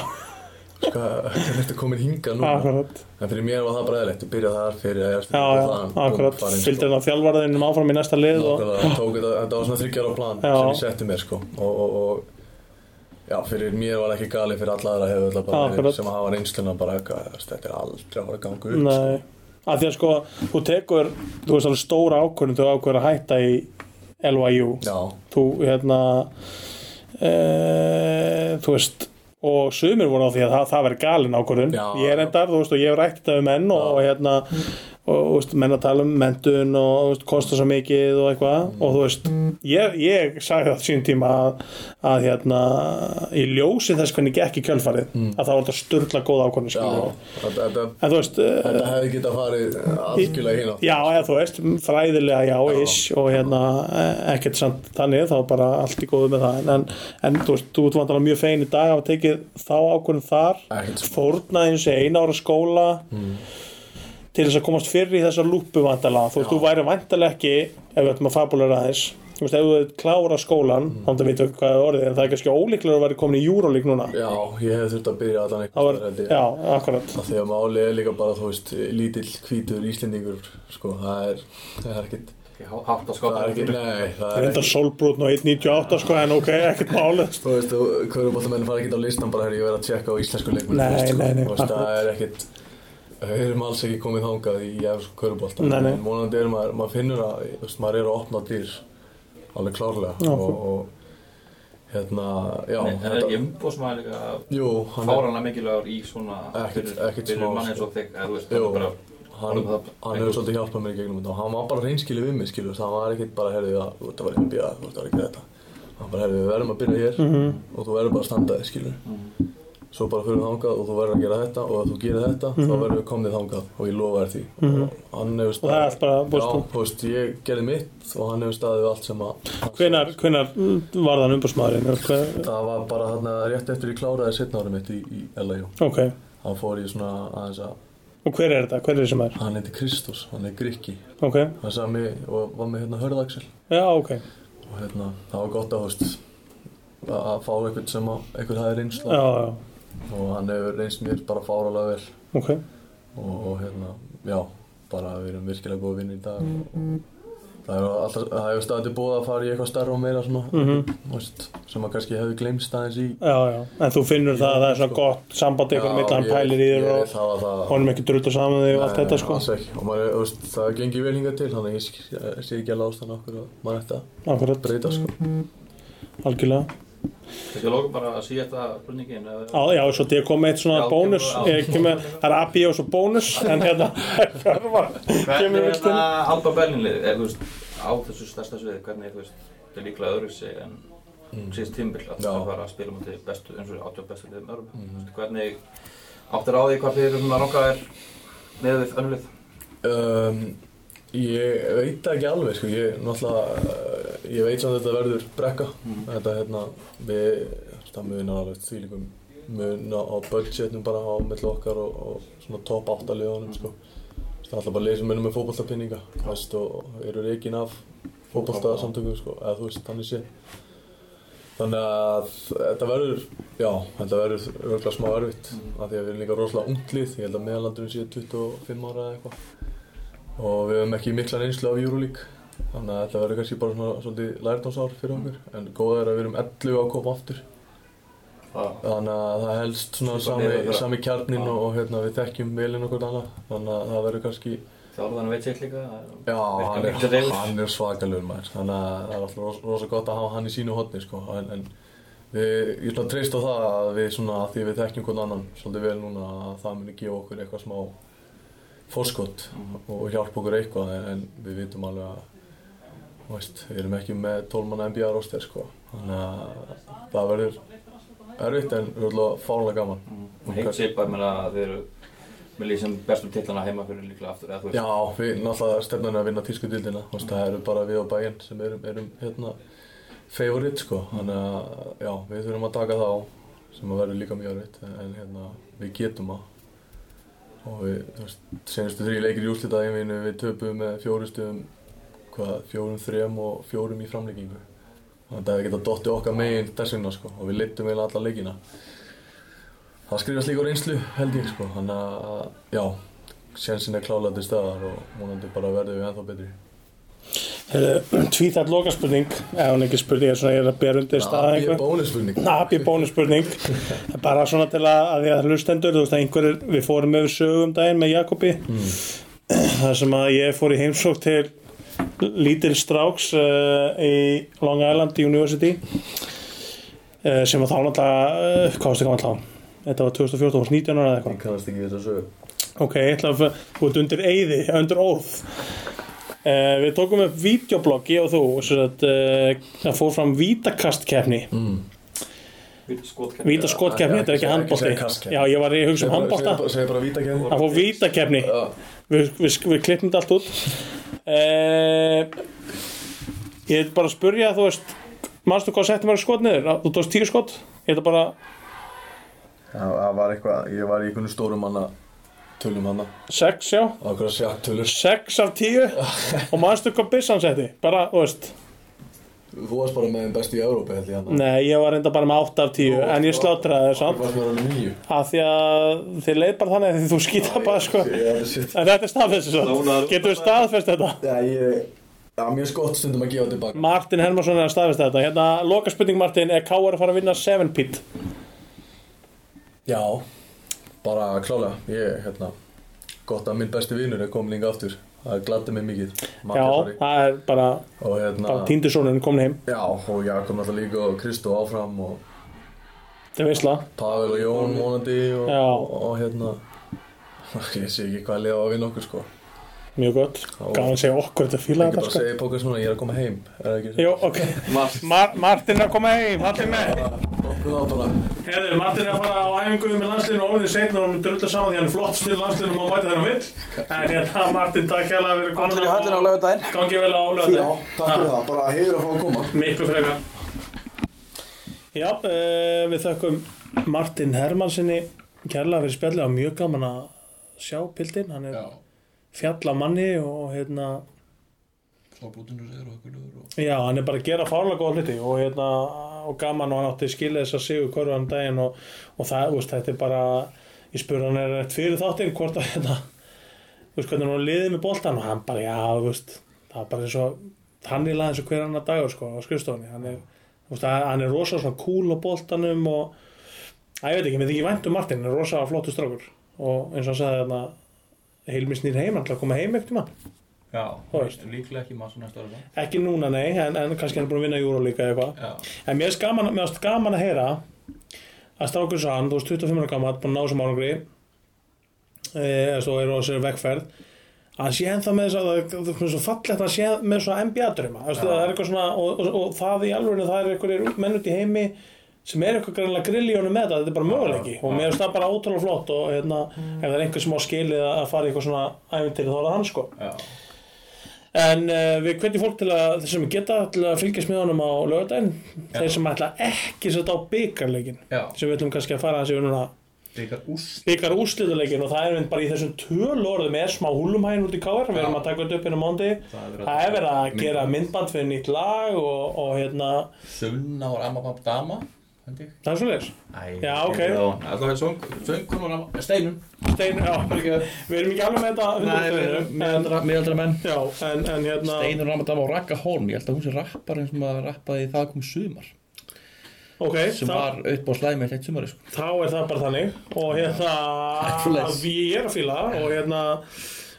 [SPEAKER 3] Sko, hvernig ertu komin hingað núna?
[SPEAKER 2] akkurat
[SPEAKER 3] En fyrir mér var það bara eðlilegt, byrja þar fyrir að sko,
[SPEAKER 2] Já, já, akkurat, fylgdi hann að þjálfvarðinum áfram í næsta lið og
[SPEAKER 3] Nákvæmlega, tók þetta, þetta var svona þryggjára plan
[SPEAKER 2] Já.
[SPEAKER 3] sem ég setti mér sko og, og, og já, fyrir mér var ekki gali fyrir alla aðra hefur öll bara
[SPEAKER 2] Akkurat.
[SPEAKER 3] sem hafa reynsluna bara eitthvað, þú veist, þetta er aldrei að fara að ganga upp sko.
[SPEAKER 2] Nei, af því að sko þú tekur, þú veist alveg stóra ákvörðin þú ákvörður að hætta í LYU
[SPEAKER 3] Já,
[SPEAKER 2] þú hérna e, þú veist og sumir voru á því að það, það verið galin ákvörðun
[SPEAKER 3] Já,
[SPEAKER 2] ég er
[SPEAKER 3] já.
[SPEAKER 2] endar, þú veist, og ég hef rætt þetta við menn og,
[SPEAKER 3] Já.
[SPEAKER 2] og hérna og þú veist, menn að tala um mentun og þú veist, kosta svo mikið og eitthvað
[SPEAKER 3] Mm.
[SPEAKER 2] og þú veist, ég, ég sagði það sín tíma að, að hérna í ljósi þess hvernig gekk í kjölfarið að það var þetta sturla góð ákvörðun
[SPEAKER 3] Mm. já,
[SPEAKER 2] skilurðu.
[SPEAKER 3] þetta, þetta,
[SPEAKER 2] en þú veist, eh,
[SPEAKER 3] þetta hefði getað farið algjörlega hín á
[SPEAKER 2] Já, eða þú veist, fræðilega já, ish og hérna eh, ekkert samt þannig, þá bara allt í góðu með það en, en þú veist, þú ert vantanlega mjög fegin í dag að hafa tekið þá ákvörðum þar
[SPEAKER 3] Ekkert Mm. smá.
[SPEAKER 2] fórnaði eins og eina ára skóla til þess að komast fyrir í þessa lúpu vantanlega, þú veist, þú væri vantanlega ekki ef við ætlum að fabulega aðeins þú veist, ef þú hefur klárað skólan mm. þannig að við veitum hvað er orðið, en það er kannski ólíklega að vera komin í júrólík núna
[SPEAKER 3] Já, ég hefði þurft að byrja allan
[SPEAKER 2] Það
[SPEAKER 3] eitthvað
[SPEAKER 2] var, já, akkurat
[SPEAKER 3] að því að máli er líka bara, þú veist, lítill, hvítur, íslendingur sko, það er, það er ekkit
[SPEAKER 4] Hátt að
[SPEAKER 3] það
[SPEAKER 4] skotta
[SPEAKER 3] er ekkit, nei, það er
[SPEAKER 2] Reyndar sólbrotn og 1.98 sko, en ok, ekkert málið
[SPEAKER 3] Þú veist, hverjuboltamenn fara ekkert á listan bara þegar ég verið að tjekka á íslensku leikmenn
[SPEAKER 2] Nei, nei, nei,
[SPEAKER 3] Þú veist, það
[SPEAKER 2] akkurat.
[SPEAKER 3] er ekkert Við erum alls ekki komið þangað í efsku hverjubolta
[SPEAKER 2] Nei, nei.
[SPEAKER 3] En vonandi er maður, maður finnur að, þú veist, maður er að opna dyr Alveg klárlega
[SPEAKER 2] Já.
[SPEAKER 3] og, og, hérna, já
[SPEAKER 4] En er ekki umbóðsmaður líka
[SPEAKER 3] Jú, hann er,
[SPEAKER 4] fáranlega mikilvægur í svona
[SPEAKER 3] Ekkert-
[SPEAKER 4] fyrir-
[SPEAKER 3] ekkert
[SPEAKER 4] fyrir
[SPEAKER 3] smá,
[SPEAKER 4] manni
[SPEAKER 3] sko.
[SPEAKER 4] eins og þig eða þú veist,
[SPEAKER 3] Jú.
[SPEAKER 4] það er bara
[SPEAKER 3] hann, hann hefur svolítið hjálpað mér í gegnum þetta og hann var bara reynskilið við mig, skilur það var ekkert bara, herðu, já, þú veist, það var NBA, þú veist, það var ekki þetta hann bara, herðu, við verðum að byrja hér
[SPEAKER 2] Mhm.
[SPEAKER 3] og þú verður bara að standa þig, skilur svo bara fyrir við þangað og þú verður að gera þetta og ef þú gerir þetta, þá verður við komnið þangað og ég lofa þér því og hann hefur
[SPEAKER 2] Mhm. og það er
[SPEAKER 3] staðið,
[SPEAKER 2] allt bara,
[SPEAKER 3] já,
[SPEAKER 2] bústu
[SPEAKER 3] þú veist, ég gerði mitt og hann hefur staðið við allt sem að
[SPEAKER 2] Hvenar, hvenar var þann umbúrsmaðurinn?
[SPEAKER 3] það var bara þarna rétt eftir ég kláraði setna árum mitt í, í LAU
[SPEAKER 2] Ok,
[SPEAKER 3] hann fór í svona aðeins að
[SPEAKER 2] og hver er þetta? Hver er þessi maður?
[SPEAKER 3] hann heiti Kristus, hann er grikki
[SPEAKER 2] Ok,
[SPEAKER 3] hann sami og var með hérna hörðaksel
[SPEAKER 2] já, ok,
[SPEAKER 3] og hérna, það var gott að húst að fá einhvern sem að, einhvern hafði reynsla
[SPEAKER 2] já, já,
[SPEAKER 3] og hann hefur reynst mér bara fáralega vel
[SPEAKER 2] ok
[SPEAKER 3] og, og hérna, já bara við erum virkilega góð vinn í dag og, og það hefur alltaf, það hefur staðið búið að fara í eitthvað starra og meira svona mm
[SPEAKER 2] Mhm.
[SPEAKER 3] veist, sem að kannski hefði gleymst aðeins í
[SPEAKER 2] Já, já, en þú finnur það að það er svona gott samband ykkur mitt, hann pælir í þér
[SPEAKER 3] ég,
[SPEAKER 2] og
[SPEAKER 3] það var það
[SPEAKER 2] honum ekki drullu saman þig og allt
[SPEAKER 3] Nei,
[SPEAKER 2] þetta sko
[SPEAKER 3] alls ekki. og maður, er, þú veist, það gengi vel hingað til þannig að ég sk- sé ekki alveg ástæðan okkur og maður ætti að
[SPEAKER 2] Akkurat,
[SPEAKER 3] breyta sko
[SPEAKER 2] algjörlega
[SPEAKER 4] Þetta er lókum bara að síða þetta spurningin
[SPEAKER 2] Á, Já, svo því að koma með eitt svona
[SPEAKER 4] Já,
[SPEAKER 2] bónus
[SPEAKER 4] kemur- já.
[SPEAKER 2] Ég kemur, það er AB og svo bónus en hérna, hver var kemur
[SPEAKER 4] Hvernig
[SPEAKER 2] við
[SPEAKER 4] er
[SPEAKER 2] stund
[SPEAKER 4] það Alba Berlinlið er, þú veist, á þessu stærsta sviði hvernig þú veist, þetta er líklega öðru sig en síðast tímbil að
[SPEAKER 3] Mm. Já.
[SPEAKER 4] það var að spila mútið bestu eins og áttu bestu liðum öðrum mm -hmm. hvernig áttir á því hvað fyrir svona ranga er með við önnulið
[SPEAKER 3] Um, ég veit það ekki alveg, sko, ég náttúrulega, uh, ég veit samt að þetta verður brekka, þetta hérna, við, það munar alveg þvílingum mun á budgetnum bara á mill okkar og, og svona top 8 liðunum, sko. Það er alltaf bara lið sem munum með fótboltapinninga, þú veist, og eru reikin af fótboltasamtökum, sko, eða þú veist, þannig sé. Þannig að þetta verður, já, þetta verður örgulega smá erfitt, af því að við erum líka rosalega ungt lið, ég held að meðalandurinn sé 25 ára eða eitthvað og við höfum ekki mikla reynslu af Euroleague þannig að þetta verður kannski bara svona svolítið lærdómsár fyrir
[SPEAKER 4] Mm.
[SPEAKER 3] okkur en góða er að við erum 11 að koma aftur þannig að það helst svona
[SPEAKER 4] Slípa niður
[SPEAKER 3] sami,
[SPEAKER 4] bara.
[SPEAKER 3] sami kjarnin og, og hérna, við þekkjum velin okkur annað þannig að það verður kannski
[SPEAKER 4] þjálfðan veit ég líka
[SPEAKER 3] já,
[SPEAKER 4] Virkar
[SPEAKER 3] hann
[SPEAKER 4] miklu
[SPEAKER 3] er,
[SPEAKER 4] reiður.
[SPEAKER 3] hann er svakalur maður þannig að það er alltaf rosa, rosa gott að hafa hann í sínu hotni sko. en, en við, ég ætla að treysta á það að við svona að því við þekkjum hvern annan svolítið vel núna að það muni gefa okkur eitthvað smá fórskott
[SPEAKER 4] Mm.
[SPEAKER 3] og hjálpa okkur eitthvað en, en við vitum alveg að þú veist, við erum ekki með 12 manna NBA roster sko. þannig að það verður erfitt en við erum fálega gaman
[SPEAKER 4] Mm. heit sipað með að þið eru með lísum bestu titlana heima fyrir líklega aftur eða þú veist
[SPEAKER 3] Já, við náttúrulega stefnum að vinna tísku dildina og það eru bara við og bæinn sem erum, erum hérna, favorite sko þannig að já, við þurfum að taka það á sem að verður líka mjög erfitt en hérna, við getum að og við, þú veist, senastu þrý leikir í úrslitaðinvinu við töpum með fjóru stöðum hvað, fjórum þrem og fjórum í framlíkingu þannig að það hefði getað dottið okkar megin þess vegna sko, og við litum eiginlega alla leikina það skrifast líka á reynslu held ég sko, þannig að já, sjensin er klálega til staðar og múnandi bara verðum við ennþá betri
[SPEAKER 2] Tvíþætt lokaspurning, eða hún er ekki spurning, ég er svona ég er að bera undir staða
[SPEAKER 3] ég
[SPEAKER 2] einhver.
[SPEAKER 3] er bónusspurning
[SPEAKER 2] Nabi bónusspurning bara svona til að, að því að hlustendur þú veist að einhverjir, við fórum yfir sögum daginn með Jakobi
[SPEAKER 3] Mm.
[SPEAKER 2] þar sem að ég fór í heimsók til lítil stráks uh, í Long Island University uh, sem að þá náttúrulega uh, hvað varstu gaman þá? Þetta var 2014, þú varst 19 ára eða eitthvað
[SPEAKER 3] ég kannast ekki við þess að sögu
[SPEAKER 2] Ok, ég ætla að út undir eyði, undir orð uh, Við tókum upp videobloggi og þú, sem sagt uh, það fór fram vítakastkeppni
[SPEAKER 3] Mm.
[SPEAKER 4] Vítaskotkerfi.
[SPEAKER 2] Víta skotkefni,
[SPEAKER 3] Já,
[SPEAKER 2] þetta er ekki
[SPEAKER 3] ekki segja
[SPEAKER 2] handbólti
[SPEAKER 3] kastkeppni.
[SPEAKER 2] Já, ég var í hugsa um handbólta
[SPEAKER 3] segir bara vítakefn
[SPEAKER 2] Það fór vítakefni Við, við, við klippum þetta allt út uh, Ég vil bara spyrja, þú veist Manstu hvað settum verið skot niður? Þú tókst tíu skot? Ég ætla bara
[SPEAKER 3] það það var eitthvað, ég var í einhvern stórum manna tölum hana
[SPEAKER 2] sex, já
[SPEAKER 3] á okkur að sjakt tölur
[SPEAKER 2] Sex af tíu Og manstu hvað byssan setti? Bara, þú veist
[SPEAKER 3] þú varst bara með þeim bestu í Európa held ég hann
[SPEAKER 2] Nei, ég var reynda bara með átta af tíu En ég slátraði þess
[SPEAKER 3] Þú varst með alveg nýju
[SPEAKER 2] að Því að þið leið bara þannig því þú skýta bara sko
[SPEAKER 3] Ég er alveg shit
[SPEAKER 2] En þetta er staðfest svo Getum við staðfest þetta?
[SPEAKER 3] Já, ég Það er mjög skott stundum að gefa tilbaka
[SPEAKER 2] Martin Hermansson er að staðfesta þetta hérna, loka spurning Martin, er K.R. að fara að vinna 7 pit?
[SPEAKER 3] Já Bara klálega Ég, hérna Gott að minn besti vinnur er komin líka aftur Það gladdi mig mikið
[SPEAKER 2] Já,
[SPEAKER 3] Matti Þorri.
[SPEAKER 2] það er bara,
[SPEAKER 3] Og hérna
[SPEAKER 2] bara tíndisónurinn komin heim
[SPEAKER 3] Já, og Jakob alltaf líka og Kristó áfram og
[SPEAKER 2] þetta er veisla,
[SPEAKER 3] Pavel og Jón vonandi og,
[SPEAKER 2] Já.
[SPEAKER 3] og, og hérna Ég sé ekki hvað liða á að vinna okkur sko
[SPEAKER 2] mjög gott gaman að segja okkur þetta
[SPEAKER 3] Ég
[SPEAKER 2] fílaði
[SPEAKER 3] get bara
[SPEAKER 2] þetta
[SPEAKER 3] að
[SPEAKER 2] sko
[SPEAKER 3] segja í pókast núna, ég er að koma heim Er það ekki
[SPEAKER 2] Jó, ok,
[SPEAKER 4] Mars.
[SPEAKER 2] Mar Martin er að koma heim, allir með
[SPEAKER 3] Okkur þá bara
[SPEAKER 2] Herðu, Martin er að fara á æfingu með landsliðinu og orðið seinna og hann drullar saman því hann er flott stil landsliðinu og má mæta þeirra vill En hérna, Martin, takk hérlega fyrir
[SPEAKER 5] Allir í höllinu á
[SPEAKER 2] komin
[SPEAKER 5] laugardaginn
[SPEAKER 2] Gangi vel á
[SPEAKER 3] Já,
[SPEAKER 2] lögðu
[SPEAKER 3] takk fyrir það, bara heiður að fá að koma
[SPEAKER 2] Miklu frekar Já, uh, við þökkum Martin Hermansinni kærlega fyrir spjallið og mjög gaman að sjá pildin, hann er
[SPEAKER 6] Já,
[SPEAKER 2] fjallamanni og hérna,
[SPEAKER 6] flábrotunur er okkur og
[SPEAKER 2] já, hann er bara að gera fárlega góða hluti og hérna, og gaman og hann átti skilja þess að sigur korfaðan daginn og, og það, þú veist, þetta er bara ég spurði hann er rétt fyrir þáttinn hvort að hérna, þú veist, hvernig hann liðið með boltan og hann bara, já, þú veist það var bara eins og, hann er laðið eins og hver annar dagur, sko, á skrifstofunni hann er, þú veist, hann- hann er rosa svona cool á boltanum og, að ég veit ekki, mér þykir vænt um Martin, hann er rosa flottu strákur og eins og hann sagði hérna Hilmi snýr heim, hann ætla að koma heim eftir maður
[SPEAKER 4] Já,
[SPEAKER 2] Þú veist.
[SPEAKER 4] líklega ekki Mars næsta ára.
[SPEAKER 2] ekki núna nei, en, en kannski hann er búin að vinna júró líka eða eitthvað,
[SPEAKER 4] Já.
[SPEAKER 2] en mér finnst gaman, mér finnst gaman að heyra að strákur svo hann, þú veist 25 ára gammal, búin að ná sem árangri eh, eða svo er á sér vegferð að hann sé ennþá með þess að það það er svo fallegt að hann sé með svo NBA-dröma það er eitthvað svona, og, og, og það í alveg það er einhverjir menn út í heimi sem er eitthvað greinlega grill í honum með þetta, þetta er bara möguleiki og mér finnst það bara ótrúlega flott og hérna, ef það er einhver sem á skilið að að fara í eitthvað svona æfintir þá er það hann sko
[SPEAKER 4] Já.
[SPEAKER 2] En uh, við hvetjum fólk til að þeir sem geta til að fylgjast með honum á lögadaginn þeir sem ætla ekki setja á byggarleikin
[SPEAKER 4] Já.
[SPEAKER 2] sem við ætlum kannski að fara þessi núna
[SPEAKER 4] Líkar úst.
[SPEAKER 2] byggar úslituleikin og það er bara í þessum töl orðum er smá húlumhæn út í káar við erum að taka þetta upp hérna móndi
[SPEAKER 4] Það er verið að-
[SPEAKER 2] það er verið að gera myndband fyrir nýtt lag og, og hérna,
[SPEAKER 4] Þunna og Ramabam Dama, held ég.
[SPEAKER 2] það er svo leiðis
[SPEAKER 4] Æ,
[SPEAKER 2] Já, ok.
[SPEAKER 4] Alltaf er söng, söngun og Ramabam, steinum.
[SPEAKER 2] Stein, já, við erum ekki alveg með þetta hundra
[SPEAKER 4] Miðaldra miðaldra menn.
[SPEAKER 2] Já, en, en hérna
[SPEAKER 4] Steinur Ramadama og Raka Holm, ég held að hún sé rappar sem að rappaði það kom sumar
[SPEAKER 2] ok,
[SPEAKER 4] sem
[SPEAKER 2] þá-
[SPEAKER 4] var upp á slæmi eitt sumari sko.
[SPEAKER 2] þá er það bara þannig og hérna
[SPEAKER 4] Svoleiðis.
[SPEAKER 2] við ég er að fíla það og hérna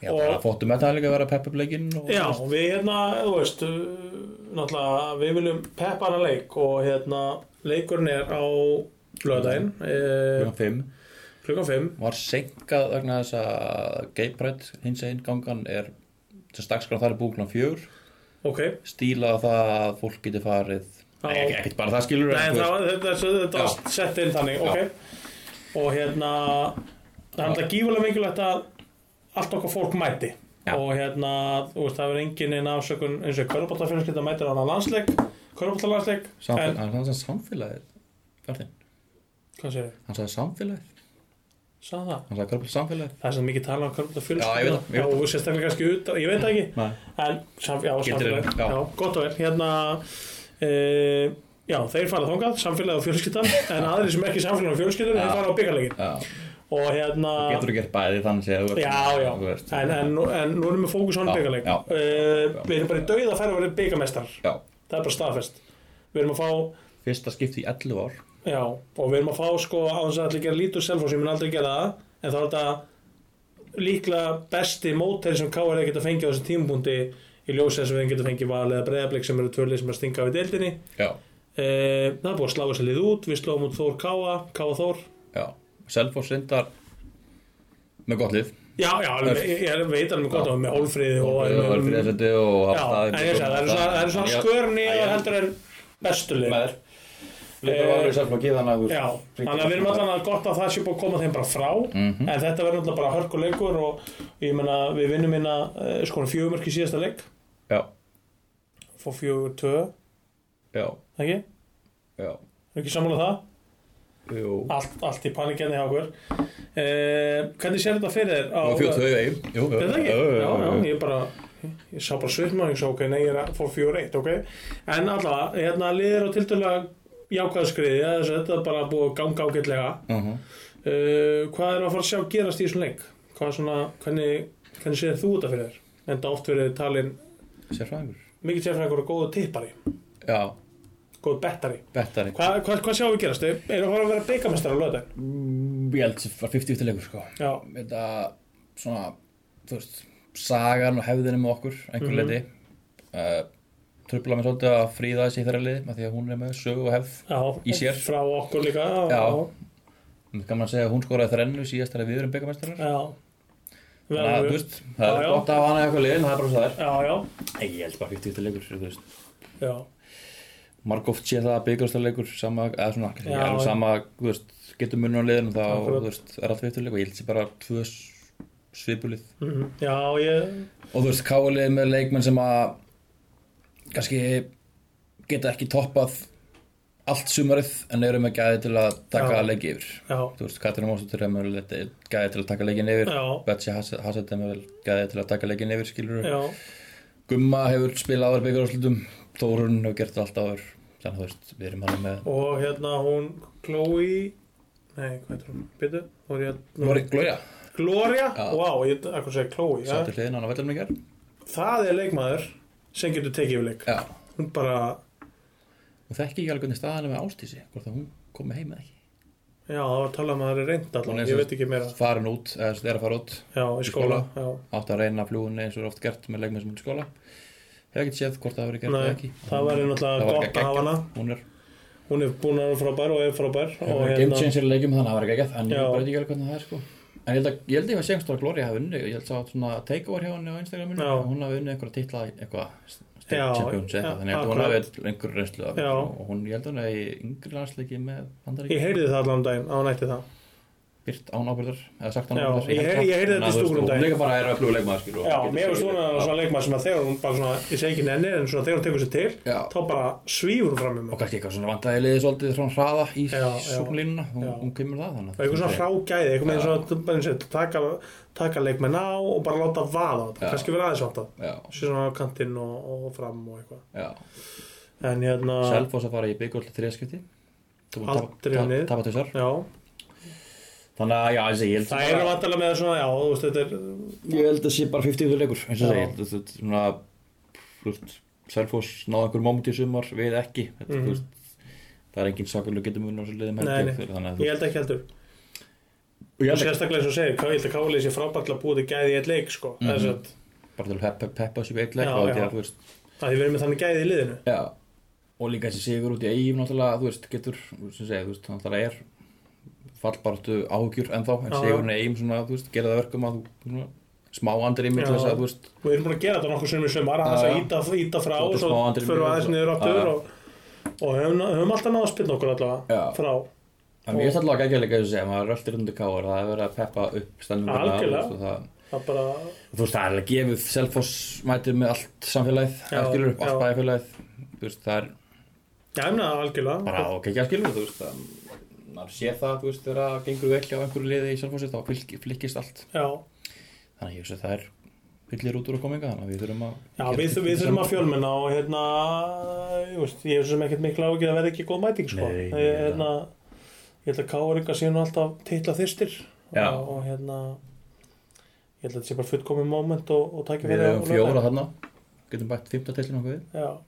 [SPEAKER 4] Já,
[SPEAKER 2] Og-
[SPEAKER 4] það fóttum með það líka að vera peppubleikinn og
[SPEAKER 2] já, við hérna, þú veist uh, náttúrulega, við viljum peppa hana leik og hérna, leikurinn er á lögdæn eh,
[SPEAKER 4] klukkan 5
[SPEAKER 2] klukkan 5
[SPEAKER 4] var senkað vegna þess að geiprætt hins einn gangan er sem stakskran þar er búið klukkan 4
[SPEAKER 2] ok,
[SPEAKER 4] stíla á það að fólk geti farið
[SPEAKER 2] Já.
[SPEAKER 4] Nei, ekki- ekkert bara það skilur
[SPEAKER 2] Nei, það var, þetta, þetta, þetta
[SPEAKER 4] Já.
[SPEAKER 2] var sett inn þannig,
[SPEAKER 4] Já.
[SPEAKER 2] ok og hérna það er alltaf gífulega mikilvægt að allt okkar fólk mæti
[SPEAKER 4] Já.
[SPEAKER 2] og hérna, þú veist, það verður engin einn afsökun eins og körbóttafjörnskylda mætir á hana landsleik körbóttalansleik,
[SPEAKER 4] Samfél, hann sagði samfélagið Bjarni,
[SPEAKER 2] hvað séu?
[SPEAKER 4] hann sagði samfélagið
[SPEAKER 2] sagði það
[SPEAKER 5] hann sagði körbólta samfélagið
[SPEAKER 2] það er sem mikið tala um körfbólta
[SPEAKER 5] Já, ég veit það, ég
[SPEAKER 2] já,
[SPEAKER 5] veit
[SPEAKER 2] og sérstaklega kannski út, ég veit það ekki
[SPEAKER 5] Nei.
[SPEAKER 2] en, sam, já,
[SPEAKER 5] Gildir
[SPEAKER 2] samfélag,
[SPEAKER 5] þeim,
[SPEAKER 2] já.
[SPEAKER 5] já.
[SPEAKER 2] gott og vel hérna e, já, þeir fara þangað, samfélagið og fjölskyldan en aðrir sem ekki samfélagið og fjölskyldan þeir
[SPEAKER 5] Já.
[SPEAKER 2] fara á byggarleikin
[SPEAKER 5] Já,
[SPEAKER 2] og hérna
[SPEAKER 5] getur þú gert bæði þannig séð þú ert-
[SPEAKER 2] Já, já,
[SPEAKER 5] þú veist.
[SPEAKER 2] en, en, nú- en nú erum við fókus á
[SPEAKER 5] Já,
[SPEAKER 2] byggarleik
[SPEAKER 5] já.
[SPEAKER 2] uh, Við erum bara í dauða að færa að vera byggamestrar
[SPEAKER 5] já,
[SPEAKER 2] Það er bara staðfest Við erum að fá
[SPEAKER 5] fyrsta skipti í 11 ár
[SPEAKER 2] Já, og við erum að fá sko á þess að allir gera lítur selfos, ég mun aldrei gera það en þá er þetta líklega besti mótæri sem K.R. geta fengið á þessum tímpunkti í ljósi þess að við geta fengið val eða breyðablik sem eru tvölið sem er að stinga við deildinni
[SPEAKER 5] já,
[SPEAKER 2] e, það er búið að slá þess að lið út við slóum út Þór K.A. K.A. Þór
[SPEAKER 5] já Selfoss reyndar með gott lið
[SPEAKER 2] Já, já, alveg, ég, ég veit alveg gott á með Hólfríði og,
[SPEAKER 5] og
[SPEAKER 2] og,
[SPEAKER 5] verið
[SPEAKER 2] og,
[SPEAKER 5] friðarsæti og
[SPEAKER 2] Já,
[SPEAKER 5] Hafnarfjarðar-
[SPEAKER 2] en ég sagði, það eru svona, það eru
[SPEAKER 5] Já,
[SPEAKER 2] svona skörni
[SPEAKER 5] já,
[SPEAKER 2] og
[SPEAKER 5] já.
[SPEAKER 2] heldur en bestu lið
[SPEAKER 5] með þér Lítur
[SPEAKER 2] Eh,
[SPEAKER 5] var alveg selflokki þannig að þú-
[SPEAKER 2] Já, þannig að við erum allan að gott að það sé búið að koma þeim bara frá
[SPEAKER 5] Mhm.
[SPEAKER 2] en þetta verður náttúrulega bara hörkuleikur og ég meina við vinnum hérna eh, sko fjögumörk í síðasta leik
[SPEAKER 5] Já,
[SPEAKER 2] fór fjögur tvö,
[SPEAKER 5] já,
[SPEAKER 2] ekki?
[SPEAKER 5] já
[SPEAKER 2] Er ekki sammála um það?
[SPEAKER 5] Jú
[SPEAKER 2] Allt, allt í panikenni hjá okkur eh, Hvernig sér þetta fyrir þér? á-
[SPEAKER 5] Og fjóð tvö í eigum Jú,
[SPEAKER 2] Er það ekki?
[SPEAKER 5] jú, jú,
[SPEAKER 2] Já, já,
[SPEAKER 5] jú.
[SPEAKER 2] ég bara ég sá bara svipma og ég sá ok, nei, ég er að fór fjögur eitt, ok en allavega, hérna liðir á tildulega jákvæðskriði, þess að þetta er bara búið að ganga ágætlega
[SPEAKER 5] Mhm.
[SPEAKER 2] Uh, hvað er að fara að sjá gerast í þessum leik? Hvað er svona, hvernig, hvernig séð þú þetta fyrir þér? Enda oft verið talin
[SPEAKER 5] Sérfræðingur
[SPEAKER 2] mikið sérfræðingur og góðu tippari,
[SPEAKER 5] Já,
[SPEAKER 2] góðu bettari.
[SPEAKER 5] bettari
[SPEAKER 2] Hvað hva, hva sjáum við gerast? Er það að fara að vera byggamestrar á löðan?
[SPEAKER 5] Mm, Ég held sem var 50-50 leikur sko
[SPEAKER 2] Já,
[SPEAKER 5] Þetta svona Þú veist Sagan og hefðinni með okkur Einhver
[SPEAKER 2] Mhm.
[SPEAKER 5] leiti uh, Trubla mér svolítið að fríða þessi í þeirra liði af Því að hún er með sögu og hefð
[SPEAKER 2] já.
[SPEAKER 5] Í sér.
[SPEAKER 2] Frá okkur líka.
[SPEAKER 5] Já. Mér kannan að segja að hún skoraði þrennu síðast þegar við erum byggamestrar
[SPEAKER 2] Já.
[SPEAKER 5] Þannig að þú
[SPEAKER 2] Vel,
[SPEAKER 5] veist Það
[SPEAKER 2] Já,
[SPEAKER 5] er
[SPEAKER 2] já.
[SPEAKER 5] gott að hafa hana í eitthvað liðin Það er bara svo það er
[SPEAKER 2] já, já,
[SPEAKER 5] Nei, Ég held bara 50-50 leikur Þú veist
[SPEAKER 2] já.
[SPEAKER 5] margóft sé það að byggjastarleikur sama, eða svona, kannski
[SPEAKER 2] Já,
[SPEAKER 5] ekki alveg
[SPEAKER 2] já.
[SPEAKER 5] sama þú veist, getur munur á liðinu þá
[SPEAKER 2] Akkurat.
[SPEAKER 5] þú veist, er alltaf eftirleik og ég held sér bara tvö svipulið
[SPEAKER 2] Mm, já, ég,
[SPEAKER 5] og þú veist, káalið með leikmenn sem að kannski geta ekki toppað allt sumarið en eru með gæði til að taka
[SPEAKER 2] Já.
[SPEAKER 5] leiki yfir
[SPEAKER 2] já,
[SPEAKER 5] þú veist, Katrin Mósdóttir er með gæði til að taka leikin yfir
[SPEAKER 2] já,
[SPEAKER 5] Betsy Hassett er með gæði til að taka leikin yfir skilur
[SPEAKER 2] já,
[SPEAKER 5] Gumma hefur spilað áður byggjarárslutum Þórun hefur gert allt áður þannig að þú veist, við erum hann með
[SPEAKER 2] og hérna hún Chloe, nei, hvað heitir hún? Býtu, hún er hérna.
[SPEAKER 5] Nú var ég glója
[SPEAKER 2] Gloria,
[SPEAKER 5] Já.
[SPEAKER 2] vá, ég er að segja Chloe, já.
[SPEAKER 5] Sattur hliðin hann á vellinum í gerð
[SPEAKER 2] það er leikmaður sem getur tekið yfir leik
[SPEAKER 5] Já
[SPEAKER 2] hún bara,
[SPEAKER 5] Og þekki ekki alveg hvernig staðan er með Ástísi Hvort að hún komi heim eða ekki
[SPEAKER 2] já það var að tala um að það er reynd
[SPEAKER 5] Hún er
[SPEAKER 2] allan, ég
[SPEAKER 5] sem-
[SPEAKER 2] veit ekki meira
[SPEAKER 5] Farin út, eða þess að er að fara út
[SPEAKER 2] já, í skóla, já,
[SPEAKER 5] Átt að reyna flúinni eins og er oft gert með leikmenn sem er í skóla Hefur ekki séð hvort það hefur verið gert eða
[SPEAKER 2] nei,
[SPEAKER 5] ekki
[SPEAKER 2] Hérna það væri
[SPEAKER 5] Það
[SPEAKER 2] náttúrulega
[SPEAKER 5] var
[SPEAKER 2] gott
[SPEAKER 5] ekki
[SPEAKER 2] að hafa hana
[SPEAKER 5] Hún er
[SPEAKER 2] hún er búin að vera frábær og er frábær og hérna-
[SPEAKER 5] Hún er game changer í leikjum þannig að það var ekki ekki En ég
[SPEAKER 2] Já.
[SPEAKER 5] veit bara ekki alveg hvernig það er sko En ég held að, ég held að ég var sengst að Gloria hafi unni Ég held sá svona takeover hjá henni á Instagraminu
[SPEAKER 2] Já.
[SPEAKER 5] og Hún hafi unni einhverja titla eitthvað state
[SPEAKER 2] Já,
[SPEAKER 5] champions
[SPEAKER 2] já,
[SPEAKER 5] eitthvað Þannig að hún hafi
[SPEAKER 2] akkurat.
[SPEAKER 5] einhverju reynslu af
[SPEAKER 2] Já.
[SPEAKER 5] þessu. Og hún, ég held að hún er í yngri landsleiki með Bandaríkjunum.
[SPEAKER 2] ég heyrði það allan daginn að hún ætti það
[SPEAKER 5] byrt án ábyrðar eða sagt án
[SPEAKER 2] Já,
[SPEAKER 5] ábyrðar
[SPEAKER 2] ég heyr- ég heyrði þetta í stúkunum
[SPEAKER 5] daginn
[SPEAKER 2] daginn.
[SPEAKER 5] hún líka bara er að fljóða leikmaður skilur
[SPEAKER 2] já, mér finnst hún að það er svona leikmaður sem að þegar hún bara svona, ég segi ekki nenni en svona þegar hún tekur sér til
[SPEAKER 5] Já.
[SPEAKER 2] þá bara svífur hún fram um
[SPEAKER 5] og kannski eitthvað svona vandaði liðið svolítið svona hraða í
[SPEAKER 2] Já, já.
[SPEAKER 5] sóknlínuna hún,
[SPEAKER 2] Já.
[SPEAKER 5] hún kemur það þannig að-
[SPEAKER 2] eitthvað svona frágæði, eitthvað með
[SPEAKER 5] Já.
[SPEAKER 2] svona, bara eins og þetta, taka, taka leikmenn á og bara láta vaða á þetta,
[SPEAKER 5] Já.
[SPEAKER 2] kannski vera aðeins vantað
[SPEAKER 5] já,
[SPEAKER 2] sér svona á kantinn og, og fram og eitthvað
[SPEAKER 5] já
[SPEAKER 2] en hérna
[SPEAKER 5] Selfoss að fara í byggjöld þriðskipti Þú
[SPEAKER 2] Aldrei
[SPEAKER 5] tap-
[SPEAKER 2] unnið.
[SPEAKER 5] tap- tapa tvisvar.
[SPEAKER 2] já,
[SPEAKER 5] þannig að já, þessi, ég held
[SPEAKER 2] það
[SPEAKER 5] bara-
[SPEAKER 2] er vantarlega með svona já, þú veist, þetta er
[SPEAKER 5] ég held að sé bara 50 leikur eins og
[SPEAKER 2] Já.
[SPEAKER 5] segi, ég held að þetta er svona þú veist, Selfoss náði einhver moment í sumar við ekki þetta,
[SPEAKER 2] Mhm.
[SPEAKER 5] þú veist, það er engin sakalega getum unna á þessu liðum
[SPEAKER 2] Nei, nei.
[SPEAKER 5] helgi þannig að
[SPEAKER 2] ég held ekki heldur,
[SPEAKER 5] þú
[SPEAKER 2] og sérstaklega eins og segir hvað ég held að kálið sé frábært til að búið til gæði í eitt leik sko,
[SPEAKER 5] Mhm.
[SPEAKER 2] þess að
[SPEAKER 5] bara til að peppa, peppa þessu veitleik
[SPEAKER 2] Já,
[SPEAKER 5] og því
[SPEAKER 2] já.
[SPEAKER 5] að þú veist
[SPEAKER 2] það þið verið með þannig gæði í liðinu
[SPEAKER 5] já. og líka þessi sigur út í eigum náttúrulega þú veist getur sem segja þú veist náttúrulega er fallbartu áhugjur ennþá en
[SPEAKER 2] Já, já.
[SPEAKER 5] sigurinn í eigum svona þú veist gera það verkum að þú svona, smá andri
[SPEAKER 2] Já.
[SPEAKER 5] ymmið til þess að þú veist
[SPEAKER 2] og við erum búin að gera þetta nokkur sem við sem var að þess
[SPEAKER 5] Já,
[SPEAKER 2] að
[SPEAKER 5] já.
[SPEAKER 2] íta, íta frá
[SPEAKER 5] Svolítið
[SPEAKER 2] og svo
[SPEAKER 5] smá andri
[SPEAKER 2] förum við
[SPEAKER 5] mínútur.
[SPEAKER 2] aðeins niður
[SPEAKER 5] sko. Já, já.
[SPEAKER 2] áttur og, og höfum, höfum alltaf náða að spilna okkur allavega
[SPEAKER 5] Já.
[SPEAKER 2] frá,
[SPEAKER 5] en mér er alltaf ekki að leika þessu segja maður röltir undir káar það er verið að peppa upp stemninguna,
[SPEAKER 2] Algjörlega.
[SPEAKER 5] þú veist, og það-
[SPEAKER 2] það bara
[SPEAKER 5] þú veist, það er alveg gefið Selfoss mætið með allt samfélagið
[SPEAKER 2] Já,
[SPEAKER 5] eða skilur,
[SPEAKER 2] já.
[SPEAKER 5] allt bæjarfélagið þú veist, það er
[SPEAKER 2] já, ég meina algjörlega
[SPEAKER 5] bara á kekja skilur þú veist, það-
[SPEAKER 4] maður sé það, þú veist, þegar það gengur vel hjá einhverju liði í sjálfhósið, þá fylg, flykkist allt
[SPEAKER 2] já,
[SPEAKER 4] þannig að ég hugsa að það er fyllir út úr að kominga, þannig að við þurfum að
[SPEAKER 2] já við, við þurfum að fjölmenna og hérna, ég veist, ég hef svo sem ekkert mikla ágjörð að verða ekki góð mæting sko.
[SPEAKER 4] Nei,
[SPEAKER 2] ég,
[SPEAKER 4] nei, nei.
[SPEAKER 2] hérna, ég held að káur ykkur síðan alltaf titla þyrstir
[SPEAKER 4] Já.
[SPEAKER 2] og, og hérna ég held að þetta sé bara fullkomið moment og, og takja
[SPEAKER 5] Við hefum fjóra þarna Getum bætt fymta tilin okkur við
[SPEAKER 2] já,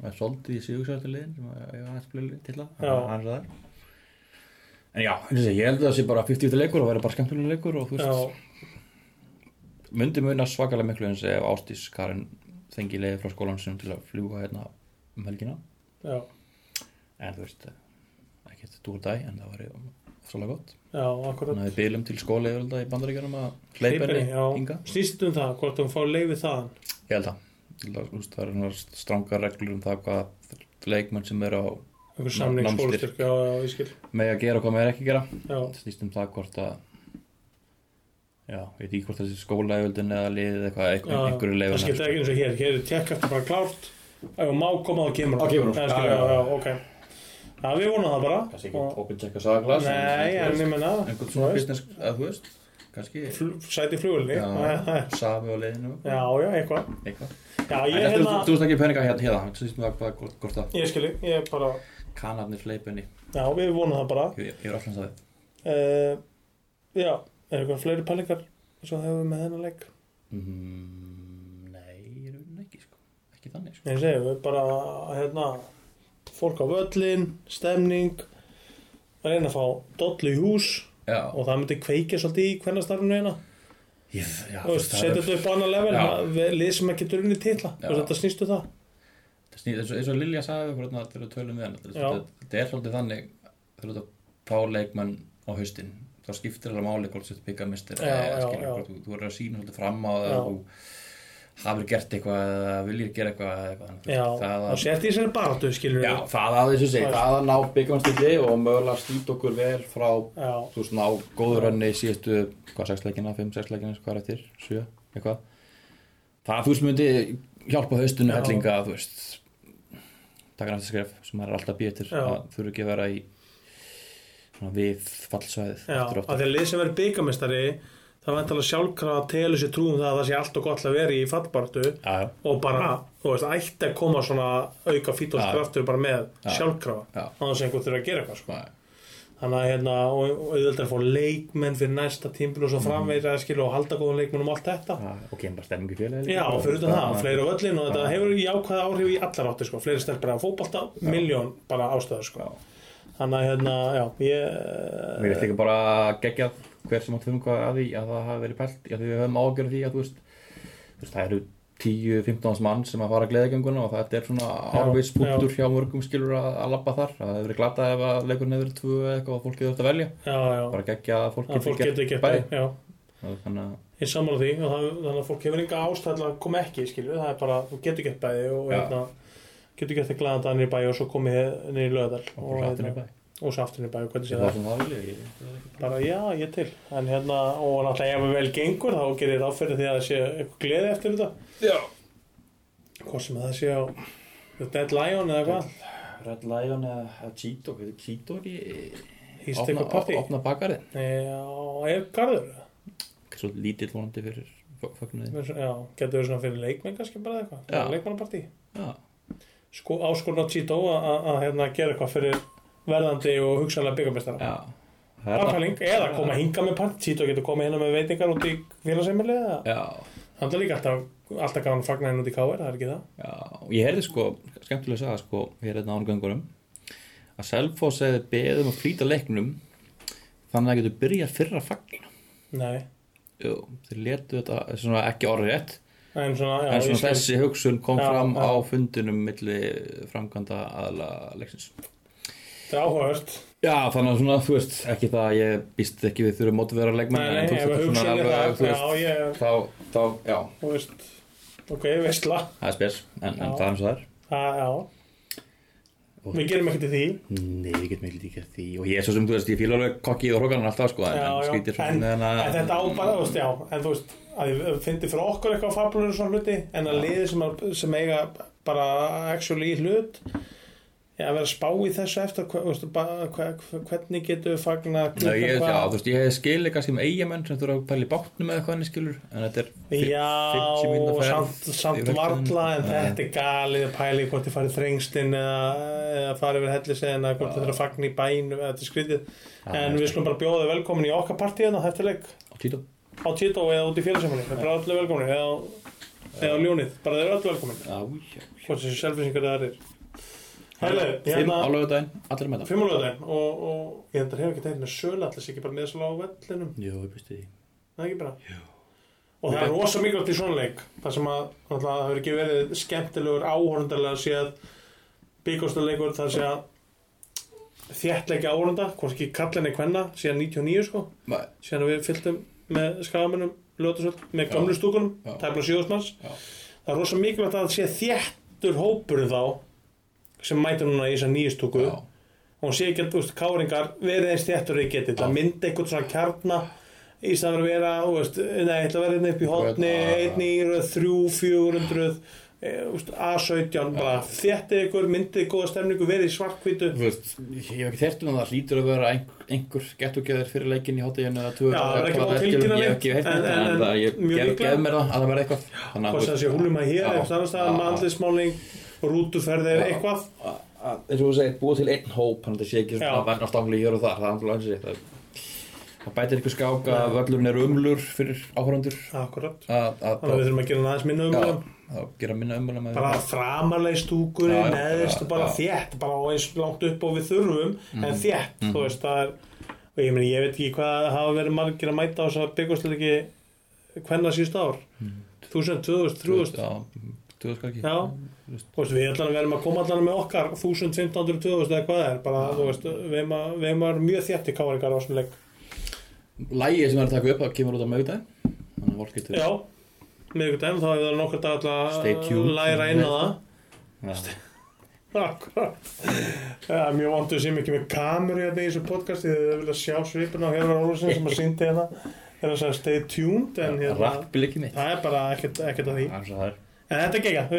[SPEAKER 5] Það er soldið í síðugsvæðarliðin sem að ég hans bleið til
[SPEAKER 2] Já.
[SPEAKER 5] það Hann er það En já, eins og segi, ég held að það sé bara 50 leikur og verður bara skemmtilega leikur og þú
[SPEAKER 2] já,
[SPEAKER 5] veist, myndi muna svakalega miklu eins ef Ástís Karin þengi leiði frá skólan sinum til að fljúga hérna um helgina
[SPEAKER 2] já,
[SPEAKER 5] en þú veist, ekki þetta dúr dæ en það væri ofsalega gott
[SPEAKER 2] já, akkurat
[SPEAKER 5] þannig að við bylum til skóla yfirölda í bandaríkjarum að hleypa
[SPEAKER 2] Hleypinni,
[SPEAKER 5] henni hinga
[SPEAKER 2] já, snýst um það, hvort hún fá leiði þaðan
[SPEAKER 5] Ég held að, ég held að þú veist, það er einhver strangar reglur um það hvað leikmenn sem eru á
[SPEAKER 2] einhver
[SPEAKER 5] Ná-
[SPEAKER 2] samningsskólastyrk, já, já, ég skil
[SPEAKER 5] með að gera og hvað með er ekki að gera
[SPEAKER 2] já,
[SPEAKER 5] Það snýst um það hvort að já, ég veit ekki hvort þessi skólaæfjöldin eða liðið eða eitthvað,
[SPEAKER 2] já,
[SPEAKER 5] einhver, einhverju
[SPEAKER 2] það
[SPEAKER 5] leifin
[SPEAKER 2] skil ekki eins og hér hér er tjekk eftir bara klárt ef hún má koma þá kemur
[SPEAKER 4] Þá kemur hún.
[SPEAKER 2] já, skil,
[SPEAKER 4] Já,
[SPEAKER 2] já,
[SPEAKER 4] já,
[SPEAKER 2] já, ok já, við vonum það bara
[SPEAKER 4] kannski
[SPEAKER 2] Og-
[SPEAKER 4] ekki open check að saga glas
[SPEAKER 2] nei, en ég menna
[SPEAKER 5] einhvern svona business, að þú veist kannski,
[SPEAKER 2] sæti flugulni
[SPEAKER 5] já,
[SPEAKER 2] já,
[SPEAKER 5] safi á liðinu
[SPEAKER 2] já, eitthvað
[SPEAKER 5] eitthvað,
[SPEAKER 2] já,
[SPEAKER 5] en
[SPEAKER 2] ég
[SPEAKER 5] þetta er- þú
[SPEAKER 2] hérna,
[SPEAKER 5] veist ekki peninga hérna, hérna, það snýst um það hvað- hvort- hvort að
[SPEAKER 2] ég skil ég bara,
[SPEAKER 5] kanarnir hleypunni,
[SPEAKER 2] já, við vonum það bara
[SPEAKER 5] ég ég er allans að það
[SPEAKER 2] uh, já, er eitthvað fleiri pælingar svo hefur við með þennan leik
[SPEAKER 5] mm, nei, ég er auðvitað ekki sko, ekki þannig sko
[SPEAKER 2] Ég segi, við bara, hérna, fólk á völlin, stemning, reyna að fá dollu í hús
[SPEAKER 5] já,
[SPEAKER 2] og það myndi kveikja svolítið í hvernig starfinu hérna.
[SPEAKER 5] ég, já,
[SPEAKER 2] Þú veist,
[SPEAKER 5] það
[SPEAKER 2] setja
[SPEAKER 5] er-
[SPEAKER 2] þetta upp á annar level,
[SPEAKER 5] Já.
[SPEAKER 2] það- við- lið sem að getur unni titla,
[SPEAKER 5] Já.
[SPEAKER 2] þú veist, þetta snýstu það.
[SPEAKER 5] Það snýr- eins og- eins og Lilja sagði okkur þarna þegar við tölum við hann
[SPEAKER 2] Já.
[SPEAKER 5] þetta er svolítið þannig þegar þú ert að fá leikmann á haustin þá skiptir alveg máli hvort þú ert byggja mistir
[SPEAKER 2] Já, já, já.
[SPEAKER 5] þú, þú verður að sína svolítið fram á
[SPEAKER 2] Já.
[SPEAKER 5] það og hafur gert eitthvað eða viljir gera eitthvað eða eitthvað þannig, þú
[SPEAKER 2] Já,
[SPEAKER 5] veist, það
[SPEAKER 2] og
[SPEAKER 5] að,
[SPEAKER 2] setja í sér baratu, skilur
[SPEAKER 5] já, það að þessu segi
[SPEAKER 2] Já.
[SPEAKER 5] það að ná byggjamastilli og mögulega stýta okkur vel frá
[SPEAKER 2] Já,
[SPEAKER 5] þú veist, ná góður önni síðustu, hvað, sex leikina, fimm, sex leikina, hvað er eftir, sjö, eitthvað. Það, þú veist, myndi hjálpa haustunni
[SPEAKER 2] Já.
[SPEAKER 5] hellinga, þú veist, taka næsta skref sem maður er alltaf býð til,
[SPEAKER 2] Já.
[SPEAKER 5] að þurfi ekki að vera í svona, við fallsvæðið
[SPEAKER 2] já,
[SPEAKER 5] aftur og
[SPEAKER 2] að
[SPEAKER 5] aftur.
[SPEAKER 2] því að lið sem verður byggamestari, það væntalega sjálfkrafa að telur sér trúum það að það sé allt og gott að vera í fallbaratu
[SPEAKER 5] Já, já,
[SPEAKER 2] og bara, þú veist, ætti að koma svona auka fítoskraftur bara með
[SPEAKER 5] Já.
[SPEAKER 2] sjálfkrafa,
[SPEAKER 5] Já.
[SPEAKER 2] á þess að einhver þurfa að gera eitthvað, sko.
[SPEAKER 5] Nei.
[SPEAKER 2] þannig að hérna og og auðvitað er að fá leikmenn fyrir næsta tímpil og
[SPEAKER 5] Mhm.
[SPEAKER 2] svo framvegir að skilja og halda góðan leikmenn um allt þetta
[SPEAKER 5] Já, og kemur bara stemmingu félagið.
[SPEAKER 2] já, og fyrir utan það, fleiri á völlin og þetta
[SPEAKER 5] Já.
[SPEAKER 2] hefur jákvæða áhrif í allar áttir sko. fleiri stelpar að fótbalta, miljón bara ástöður sko. þannig að hérna, já, ég
[SPEAKER 5] Mér veist líka bara geggjað hver sem átt þunga að því að það hafi verið pælt að því við höfum ágjörð því að þú veist, þú veist það eru 10-15 mann sem að fara að gleðagönguna og þetta er svona árveispunktur hjá mörgum skilur að, að labba þar að það hefur verið glatað ef að leikurinn hefur verið tvö eða eitthvað og fólkið þurft að velja
[SPEAKER 2] já, já,
[SPEAKER 5] bara geggja að fólk
[SPEAKER 2] að fólk
[SPEAKER 5] gert
[SPEAKER 2] getur gett
[SPEAKER 5] bæði.
[SPEAKER 2] það, já
[SPEAKER 5] Og þannig að
[SPEAKER 2] ég sammála því og það, þannig að fólk hefur enga ástæðla að koma ekki, skilju, það er bara þú getur gett bæði og
[SPEAKER 5] Já.
[SPEAKER 2] hérna getur gett það glæðan dag niður í bæ og svo komið niður í löðal
[SPEAKER 5] og fólk aftur í bæ
[SPEAKER 2] og svo aftur niður í bæ, hvernig sé
[SPEAKER 5] það
[SPEAKER 2] það
[SPEAKER 5] sem það vilja ég-
[SPEAKER 2] bara já, ég til en hérna, og náttúrulega ef við vel gengur þá gerir það áfyrir því að það sé eitthvað gleði eftir þetta
[SPEAKER 6] Já
[SPEAKER 2] hvort sem það sé á The Dead Lion eða hvað,
[SPEAKER 5] Red Lion eða Cheeto hefur Cheeto ekki
[SPEAKER 2] hýst
[SPEAKER 5] opna,
[SPEAKER 2] eitthvað partí
[SPEAKER 5] opna bakarið
[SPEAKER 2] já, ef garður
[SPEAKER 5] svo lítill vonandi fyrir fögnuði
[SPEAKER 2] já, getur verið svona fyrir leikmenn kannski bara eða
[SPEAKER 5] Já.
[SPEAKER 2] eitthvað, leikmannapartí
[SPEAKER 5] já
[SPEAKER 2] sko, áskorn á Tito að að, hérna, gera eitthvað fyrir verðandi og hugsanlega byggamestara
[SPEAKER 5] Já
[SPEAKER 2] Barfæling, eða koma hinga með partí Tito getur komið hérna með veitingar út í félagsheimili eða-
[SPEAKER 5] Já,
[SPEAKER 2] hann er líka alltaf, alltaf gaman að fagna hérna út í KR, það er ekki það
[SPEAKER 5] já, og ég heyrði sko skemmtilega að sagða sko, hér hérna árgöngunum að Selfoss hefði beðið um að flýta leiknum þannig að það getur byrjað fyrra fagna
[SPEAKER 2] nei,
[SPEAKER 5] Jú, þeir letu þetta þetta er svona ekki orðrétt
[SPEAKER 2] en svona, já,
[SPEAKER 5] en
[SPEAKER 2] ég
[SPEAKER 5] svona
[SPEAKER 2] skil.
[SPEAKER 5] þessi hugsun kom
[SPEAKER 2] Já,
[SPEAKER 5] fram
[SPEAKER 2] já.
[SPEAKER 5] á fundunum milli framkvæmda aðla leiksins
[SPEAKER 2] Það er áhugavert
[SPEAKER 5] Já, þannig að svona, þú veist, ekki það að ég býst ekki við þurfum mótið vera leikmenn
[SPEAKER 2] Nei, nei,
[SPEAKER 5] en þú
[SPEAKER 2] ef að
[SPEAKER 5] veist, þetta er
[SPEAKER 2] hugsa
[SPEAKER 5] svona
[SPEAKER 2] ég
[SPEAKER 5] alveg,
[SPEAKER 2] það
[SPEAKER 5] þú
[SPEAKER 2] Já,
[SPEAKER 5] veist,
[SPEAKER 2] ég,
[SPEAKER 5] þá, þá, já,
[SPEAKER 2] þú veist Ok, veistla
[SPEAKER 5] það er spes, en, en
[SPEAKER 2] Já.
[SPEAKER 5] það er eins og það er
[SPEAKER 2] Já, já Við gerum ekkert í því
[SPEAKER 5] Nei, við getum ekki líka því og ég er svo sem þú veist, ég fíla alveg kokkið og hrókanan alltaf sko, en,
[SPEAKER 2] Já,
[SPEAKER 5] en
[SPEAKER 2] já.
[SPEAKER 5] skrítir
[SPEAKER 2] En-
[SPEAKER 5] svona en,
[SPEAKER 2] En þetta á bara, þú veist, já En þú veist, að ég fyndi fyrir okkur eitthvað fabulur og svona hluti En að liði sem, að- sem eiga bara actually í hlut Já, að vera að spá í þessu eftir hva, veistu, ba, hva, hva, hvernig getur við fagna
[SPEAKER 5] Nei, ég, já, þú veist, ég hefði skilið kannski með eigamenn sem þú eru að pæla í bátnum eða hvað hann skilur en þetta er fimm-
[SPEAKER 2] Já,
[SPEAKER 5] 50 mínútna ferð
[SPEAKER 2] samt, samt
[SPEAKER 5] yfir
[SPEAKER 2] varla en
[SPEAKER 5] völlinn.
[SPEAKER 2] þetta er galið að pæla í hvort þið farið þrengstinn eða, eða farið yfir hellisegin eða hvort þið þurfa að fagna í bænum eða þetta er skrítið en við slum bara bjóða þau velkomin í okkar partíðan á þetta leik
[SPEAKER 5] Nei, Tito.
[SPEAKER 2] á Tito eða út í félagsefni þau eru allir velkomin eða, á- eða á ljónið, bara þau eru allir velkomin
[SPEAKER 5] Já, já.
[SPEAKER 2] hvort þessu selfisingar það er Hælega,
[SPEAKER 5] Fimm á laugardaginn, allir með það
[SPEAKER 2] Fimm á laugardaginn hérna og, og ég endur hefur ekki tegna sölu allir ekki bara neðsala á vellinum
[SPEAKER 5] Jú, ég býst í því
[SPEAKER 2] Nei, ekki bara Jú. og það er rosa mikilvægt í svona leik þar sem að náttúrulega, það hefur ekki verið skemmtilegur áhorundarlega sé að byggostuleikur þar sé að þjættleiki áhorunda hvorki kallinni kvenna síðan 99 sko
[SPEAKER 5] Ma-
[SPEAKER 2] síðan við fylltum með skagamennum ljótasöld, með gamlu
[SPEAKER 5] Já.
[SPEAKER 2] stúkunum tæmla sjóðsmanns
[SPEAKER 5] Já.
[SPEAKER 2] það er rosa mikilvægt að það sé þjættur hópur þá sem mæta núna í þessa nýju stúku
[SPEAKER 5] Já.
[SPEAKER 2] og hún sé ekki að þú veist, káringar verið eins þjættur og ég geti það myndi einhvern svona kjarna í staðan að vera, þú veist, nei, ég ætla að vera einn upp í hotni,
[SPEAKER 5] Hérna, já, já.
[SPEAKER 2] einn í röð, þrjú, fjögur hundruð eh, A17, bara þjættið ykkur, myndið góða stemningu, verið í svartkvítu
[SPEAKER 5] Þú veist, ég hef ekki þert um það, það hlýtur að vera einhver, einhver gettugjæðir fyrir leikinn í hátíðinu eða tvö
[SPEAKER 2] Já, það er ekki búið að tilkynna
[SPEAKER 5] Ég hef ekki
[SPEAKER 2] neitt,
[SPEAKER 5] heyrt neitt,
[SPEAKER 2] en- en-
[SPEAKER 5] en það- ég
[SPEAKER 2] mjög
[SPEAKER 5] gef-
[SPEAKER 2] líklega.
[SPEAKER 5] gef mér það að það verði eitthvað Þannig að
[SPEAKER 2] hvort
[SPEAKER 5] þú
[SPEAKER 2] sem
[SPEAKER 5] veist,
[SPEAKER 2] sé húlum að hér
[SPEAKER 5] Já.
[SPEAKER 2] eftir annars staðar með
[SPEAKER 5] Já.
[SPEAKER 2] andlismáling rútuferðir,
[SPEAKER 5] Já.
[SPEAKER 2] eitthvað
[SPEAKER 5] að- að- eins og þú segir, búið til einn hóp þannig að það sé ekki svona
[SPEAKER 2] Já.
[SPEAKER 5] að verðast áfengilega hér og þar það er alveg eins og það það bætir ykkur skák að völlurinn er umlur fyrir áhverjandur
[SPEAKER 2] akkurat,
[SPEAKER 5] að að-
[SPEAKER 2] þannig að við þurfum að gera hann aðeins minna um
[SPEAKER 5] Já,
[SPEAKER 2] það
[SPEAKER 5] að gera minna umlum
[SPEAKER 2] bara framarlega í stúkunni,
[SPEAKER 5] Já, já,
[SPEAKER 2] neðist
[SPEAKER 5] já,
[SPEAKER 2] og bara
[SPEAKER 5] já. Mm.
[SPEAKER 2] þétt, bara á eins langt upp og við þurfum en þétt, þú veist, það er og ég meni, ég veit ekki hvað hafa verið margir að mæta á þess að byggjast ekki hvenna síðust ár
[SPEAKER 5] Mm.
[SPEAKER 2] 1000, 2000, 3000
[SPEAKER 5] já, tvöðust kannski
[SPEAKER 2] Já. Þú veist, við allan verðum að koma allan með okkar 1000, 1500, 2000 eða hvað það er bara, þú veist, við erum að- við erum að vera mjög þétt í káringar á þessum leik
[SPEAKER 5] lægið sem er að taka upp, það kemur út á mögudaginn þannig að fólk getur
[SPEAKER 2] Já, miðvikudaginn þá hefur það nokkur dag
[SPEAKER 5] Stay
[SPEAKER 2] alltaf að
[SPEAKER 5] tuned.
[SPEAKER 2] læra inn á það
[SPEAKER 5] Já.
[SPEAKER 2] Akkurat Það er mjög vandu sem ekki með kameru hérna í þessu podcasti þegar þið vilja sjá svipuna á Hjörvar Ólafsson sem að sýndi hérna þegar það sagði stay tuned en hérna,
[SPEAKER 5] rapp vil ekki mitt
[SPEAKER 2] það er bara ekkert, ekkert að því
[SPEAKER 5] Þannig að það er-
[SPEAKER 2] En þetta gekk að,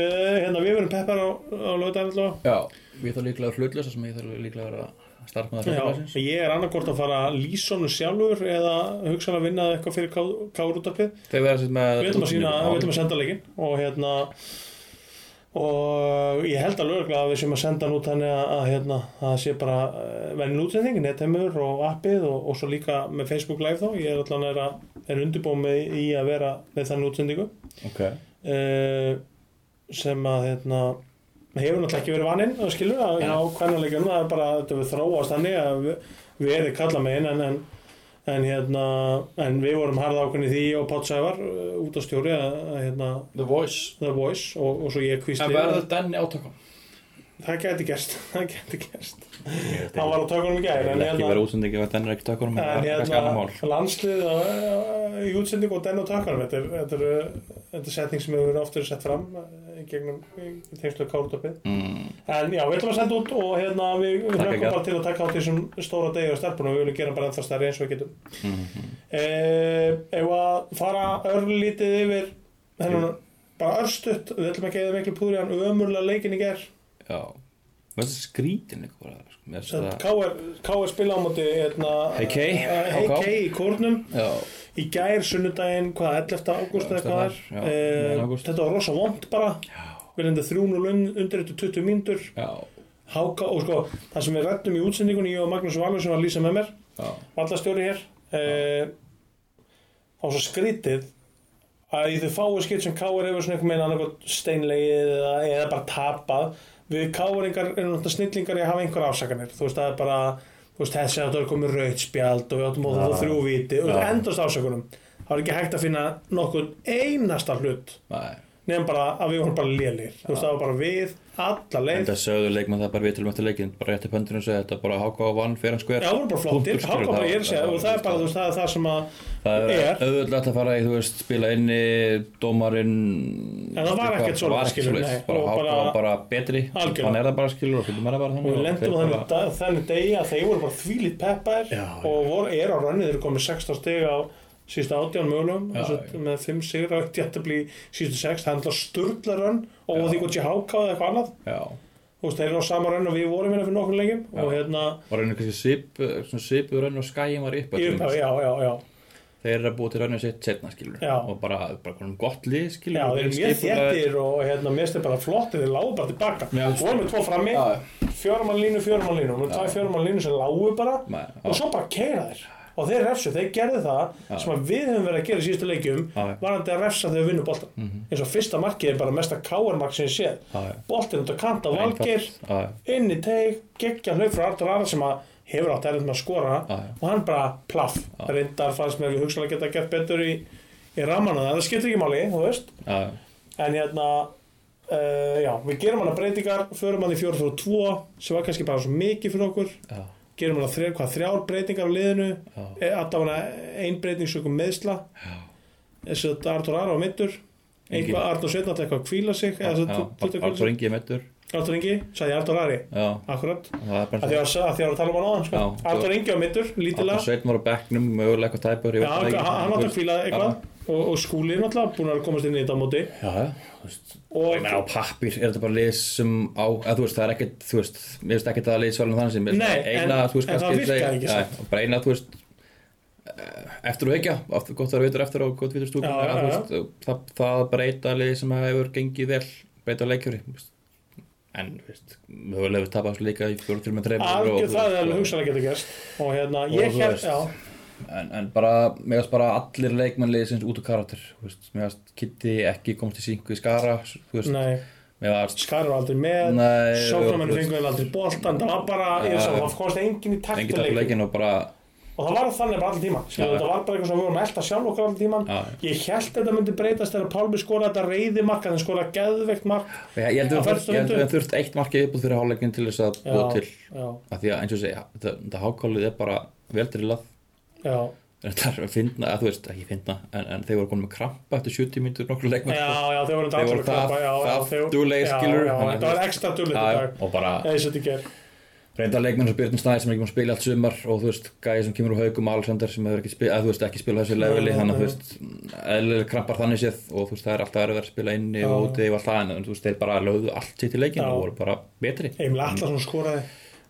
[SPEAKER 2] hérna við verum peppar á, á lögdæðan allavega
[SPEAKER 5] já, við þarfum líklega að hlutlösa sem ég þarf líklega að vera starfmaður
[SPEAKER 2] Já,
[SPEAKER 5] hlutlösins
[SPEAKER 2] ég er annarkort að fara að lýsa honum sjálfur eða hugsan að vinna eitthvað fyrir kárútapið
[SPEAKER 5] þeir verða sér með
[SPEAKER 2] við ætlum að sína, við ætlum að senda leikinn og hérna og ég held alveg örugglega að við séum að senda hann út þannig að, að hérna, að það sé bara vennin útsending, netheimur og appið og, og svo líka með Facebook Live þá ég er allan er, að, er undirbúið með í að vera með þannig útsendingu
[SPEAKER 5] ok
[SPEAKER 2] uh, sem að hérna hefur náttúrulega ekki verið vaninn að skilur að á kvennarleikunum það er bara þetta við þróast þannig að við, við erum kalla megin en, en, en hérna en við vorum harða ákveðin í því og Pátsævar uh, út á stjóri að, að hérna
[SPEAKER 5] The Voice
[SPEAKER 2] The Voice og, og svo ég kvísli
[SPEAKER 5] en verður Danni átökum
[SPEAKER 2] það gæti gerst það gæti gerst hann var á tökunum í
[SPEAKER 5] Það
[SPEAKER 2] gæri
[SPEAKER 5] er
[SPEAKER 2] en
[SPEAKER 5] ekki
[SPEAKER 2] hérna
[SPEAKER 5] verið útsendingi ef Danni er ekki tökum það
[SPEAKER 2] En
[SPEAKER 5] er kannski annar
[SPEAKER 2] hérna,
[SPEAKER 5] mál
[SPEAKER 2] landslið uh, í útsendingu og den og takkanum þetta er, þetta, er, uh, þetta er setning sem hefur oft verið sett fram uh, í gegnum í tengslu kárutopið
[SPEAKER 5] Mm,
[SPEAKER 2] en já, við ætlum að senda út og hérna við við
[SPEAKER 5] Takk,
[SPEAKER 2] hlökkum
[SPEAKER 5] Egil.
[SPEAKER 2] bara til að taka á þessum stóra degi og stelpunum og við viljum gera bara ennþá stærri eins og við getum
[SPEAKER 5] Mhm.
[SPEAKER 2] eh, ef að fara örlítið yfir hennan, bara örstutt, við ætlum ekki að eða miklu púri hann ömurlega leikin í ger
[SPEAKER 5] já Mér finnst það skrítin eitthvað bara, sko. Mér finnst það
[SPEAKER 2] K.R. KR spila á móti hérna,
[SPEAKER 5] HK,
[SPEAKER 2] eh,
[SPEAKER 5] HK.
[SPEAKER 2] HK í kórnum
[SPEAKER 5] Já,
[SPEAKER 2] í gær sunnudaginn, hvað, 11. ágúst eða hvað er
[SPEAKER 5] Já,
[SPEAKER 2] Eh,
[SPEAKER 5] 11. ágúst.
[SPEAKER 2] þetta var rosa vond bara við lendið 3-0 undir þetta 20 mínútur
[SPEAKER 5] já,
[SPEAKER 2] háka og sko, það sem við rættum í útsendingunni ég og Magnús Valur sem var að lýsa með mér
[SPEAKER 5] já
[SPEAKER 2] vallastjóri hér eh, á svo skrítið að í þau fáu skipt sem Káur hefur svona einhvern veginn annarkot steinlegið eða, eða bara tapað við Káuringar eru náttúrulega snillingar í að hafa einhver afsakanir þú veist það er bara þú veist þessi að það er komið rautt spjald og við áttum að það þrjú viti og það endast afsakunum það er ekki hægt að finna nokkuð einasta hlut
[SPEAKER 5] Nei,
[SPEAKER 2] nefn bara að við vorum bara lélir þú veist það var bara við alla leið
[SPEAKER 5] enda sögðu leikmann það bara við tilum eftir leikin bara rétti pöndinu og segja þetta bara háká og vann fyrir hans hver
[SPEAKER 2] Já, það voru bara flottir,
[SPEAKER 5] Punktur,
[SPEAKER 2] háka
[SPEAKER 5] skilur,
[SPEAKER 2] bara ég er að segja og það er bara, þú veist, það er það sem að
[SPEAKER 5] það
[SPEAKER 2] er-
[SPEAKER 5] er auðvitað að fara í, þú veist, spila inni dómarinn
[SPEAKER 2] En það var ekkert
[SPEAKER 5] það
[SPEAKER 2] svoleiðis,
[SPEAKER 5] var
[SPEAKER 2] skilur,
[SPEAKER 5] svoleiðis,
[SPEAKER 2] nei,
[SPEAKER 5] bara
[SPEAKER 2] og
[SPEAKER 5] háká
[SPEAKER 2] bara-
[SPEAKER 5] var bara betri
[SPEAKER 2] Algjörlega.
[SPEAKER 5] hann er það bara skilur og fyrir mér bara
[SPEAKER 2] og
[SPEAKER 5] þannig
[SPEAKER 2] við lendum á
[SPEAKER 5] þeir
[SPEAKER 2] þenni, dag, þenni degi að þeir voru bara þvílít peppaðir
[SPEAKER 5] Já, já.
[SPEAKER 2] og voru, er á rannið, þeir eru komið 16 stig á síðustu 18 mögulegum
[SPEAKER 5] Já,
[SPEAKER 2] þess að
[SPEAKER 5] já.
[SPEAKER 2] með 5 sigra og jættabli síðustu 6 það er alltaf sturla rann og því hvort ég hákáði eitthvað annað
[SPEAKER 5] já,
[SPEAKER 2] þú veist, þeir eru á sama raun og við vorum hérna fyrir nokkur leikjum
[SPEAKER 5] Já.
[SPEAKER 2] og hérna,
[SPEAKER 5] Var raunin kannski svip, eh, svona svipuð raun og skæjum var upp
[SPEAKER 2] í upphafi, já, já, já
[SPEAKER 5] Þeir eru að búa til rauninu sitt setna skilur
[SPEAKER 2] Já.
[SPEAKER 5] Og bara, bara konum gott lið skilur
[SPEAKER 2] Já, þeir eru mjög þéttir og hérna, mér stið bara flott þeir lágu bara tilbaka
[SPEAKER 5] Já.
[SPEAKER 2] og vorum við tvo frammi, fjörumann línu, fjörumann línu og nú tvær fjörumann línu sem lágu bara og
[SPEAKER 5] Nei,
[SPEAKER 2] svo bara keira þeir og þeir refsu, þeir gerðu það
[SPEAKER 5] Já.
[SPEAKER 2] sem að við höfum verið að gera í síðustu leikjum
[SPEAKER 5] Já, já. Mhm.
[SPEAKER 2] varandi að refsa þegar við vinnum boltan eins og fyrsta markið er bara mesta káarmark sem ég séð
[SPEAKER 5] Já, já.
[SPEAKER 2] boltin út að kanta valgir
[SPEAKER 5] Já, já.
[SPEAKER 2] inn í teig, geggja hlaup frá Artur Ara sem að hefur átt erfitt með að skora
[SPEAKER 5] Já, já.
[SPEAKER 2] og hann bara plaff reyndar fannst mér ekki hugsanlega geta gett betur í, í ramana það, það skiptir ekki máli, þú veist
[SPEAKER 5] já, já.
[SPEAKER 2] en hérna uh, já, við gerum hana breytingar förum hana í 4-3-2 sem var kannski bara svo mikið fyrir okkur
[SPEAKER 5] Já.
[SPEAKER 2] gerum hana þrjár, hvað, þrjár breytingar á liðinu
[SPEAKER 5] Já.
[SPEAKER 2] Eh, alltaf hana ein breyting sögum meðsla þess að Artur Ara á mittur
[SPEAKER 5] Ingi.
[SPEAKER 2] einhvað Artur Sveitn alltaf eitthvað að hvíla sig eða
[SPEAKER 5] Já,
[SPEAKER 2] þess að tuttu
[SPEAKER 5] Bara
[SPEAKER 2] kvölds
[SPEAKER 5] ringið meittur
[SPEAKER 2] Artur Ingi, sagði ég Artur Ari
[SPEAKER 5] Já,
[SPEAKER 2] akkurat,
[SPEAKER 5] það er
[SPEAKER 2] að
[SPEAKER 5] bara
[SPEAKER 2] því að að því að voru að tala um hann áðan sko.
[SPEAKER 5] Já.
[SPEAKER 2] Artur Ingi á mittur, lítilega
[SPEAKER 5] Alltaf sveitin var á bekknum, mögulega eitthvað tæpur ég
[SPEAKER 2] Já,
[SPEAKER 5] veit
[SPEAKER 2] hann
[SPEAKER 5] það ekki.
[SPEAKER 2] hann átti að hvíla eitthvað og, og skúlið náttúrulega búin að komast inn í þetta á móti
[SPEAKER 5] Já, já, þú veist Ég
[SPEAKER 2] og
[SPEAKER 5] meina á pappir er þetta bara lið sem á að þú veist það er ekkert þú veist mér veist ekkert að lið svalum þannig sem mér finnst
[SPEAKER 2] Nei,
[SPEAKER 5] það eina,
[SPEAKER 2] en-
[SPEAKER 5] þú veist,
[SPEAKER 2] en það
[SPEAKER 5] kannski
[SPEAKER 2] virkaði
[SPEAKER 5] segja-
[SPEAKER 2] ekki
[SPEAKER 5] Já,
[SPEAKER 2] samt.
[SPEAKER 5] og bara eina þú veist eh, eftir og hekja oft gott það er vitur eftir og gott vitur stúkum
[SPEAKER 2] Já, já,
[SPEAKER 5] þú veist það, það breyta lið sem hefur gengið vel breyta leikjöri en þú veist mögulega við tapast líka í fjóru fyrir með þreim
[SPEAKER 2] algjör það er alveg hugsanlega geta gerst og hérna, ég
[SPEAKER 5] sko. þú
[SPEAKER 2] hér,
[SPEAKER 5] veist,
[SPEAKER 2] já
[SPEAKER 5] en, en bara, mér finnst bara allir leikmenn liðsins út úr karakter þú veist, mér finnst Kitty ekki komst í syngu í skara þú veist,
[SPEAKER 2] Nei,
[SPEAKER 5] mér finnst
[SPEAKER 2] Skar var aldrei með
[SPEAKER 5] Nei,
[SPEAKER 2] Sóknarmenn
[SPEAKER 5] þú veist,
[SPEAKER 2] fengur aldrei boltan Það var bara, ég
[SPEAKER 5] Ja.
[SPEAKER 2] sá, það komst engin í
[SPEAKER 5] engin takt á
[SPEAKER 2] taktuleik
[SPEAKER 5] leikin og bara
[SPEAKER 2] Og það var þannig bara allir tíma Skilu,
[SPEAKER 5] Ja.
[SPEAKER 2] Það var bara eitthvað sem við vorum að elta sjálf okkar allir tíman
[SPEAKER 5] Já.
[SPEAKER 2] Ég held þetta myndi breytast þegar Pálmi skoraði þetta reyði mark Þannig skoraði geðveikt mark
[SPEAKER 5] ég, ég heldur
[SPEAKER 2] Á
[SPEAKER 5] að
[SPEAKER 2] fyrstu
[SPEAKER 5] ég heldur
[SPEAKER 2] mínútu.
[SPEAKER 5] að þurft eitt markið viðbúð fyrir hálfleikin til þess að búa til
[SPEAKER 2] já,
[SPEAKER 5] að því að eins og segja, þetta, þetta hákálið er bara vel drillað
[SPEAKER 2] já,
[SPEAKER 5] þetta er að finna, að þú veist, ekki finna en, en þeir voru konum með krampa eftir 70 mínútur nokkru
[SPEAKER 2] já,
[SPEAKER 5] leikmenn sko.
[SPEAKER 2] já, þeir voru
[SPEAKER 5] Þeir voru það- það duglegir, skilur, þannig að
[SPEAKER 2] Þetta
[SPEAKER 5] þú
[SPEAKER 2] var
[SPEAKER 5] veist-
[SPEAKER 2] ekstra
[SPEAKER 5] Já,
[SPEAKER 2] dúlega
[SPEAKER 5] já,
[SPEAKER 2] þetta dag
[SPEAKER 5] og bara
[SPEAKER 2] Eða þess að þetta ger
[SPEAKER 5] reynda leikmenn sem Björn Snæði sem er ekki búin að spila allt sumar og þú veist, gæði sem kemur úr haugum Alexander sem hefur ekki spila, að þú veist, ekki spila á þessu leveli
[SPEAKER 2] Nei, nei.
[SPEAKER 5] þannig að þú veist, eðlilega krampar þannig séð og þú veist, það er alltaf erfið að spila inni
[SPEAKER 2] Já.
[SPEAKER 5] og úti og allt það en þú veist, þeir bara lögðu allt sitt í leikin
[SPEAKER 2] Já.
[SPEAKER 5] og voru bara betri
[SPEAKER 2] Emil Atlason skoraði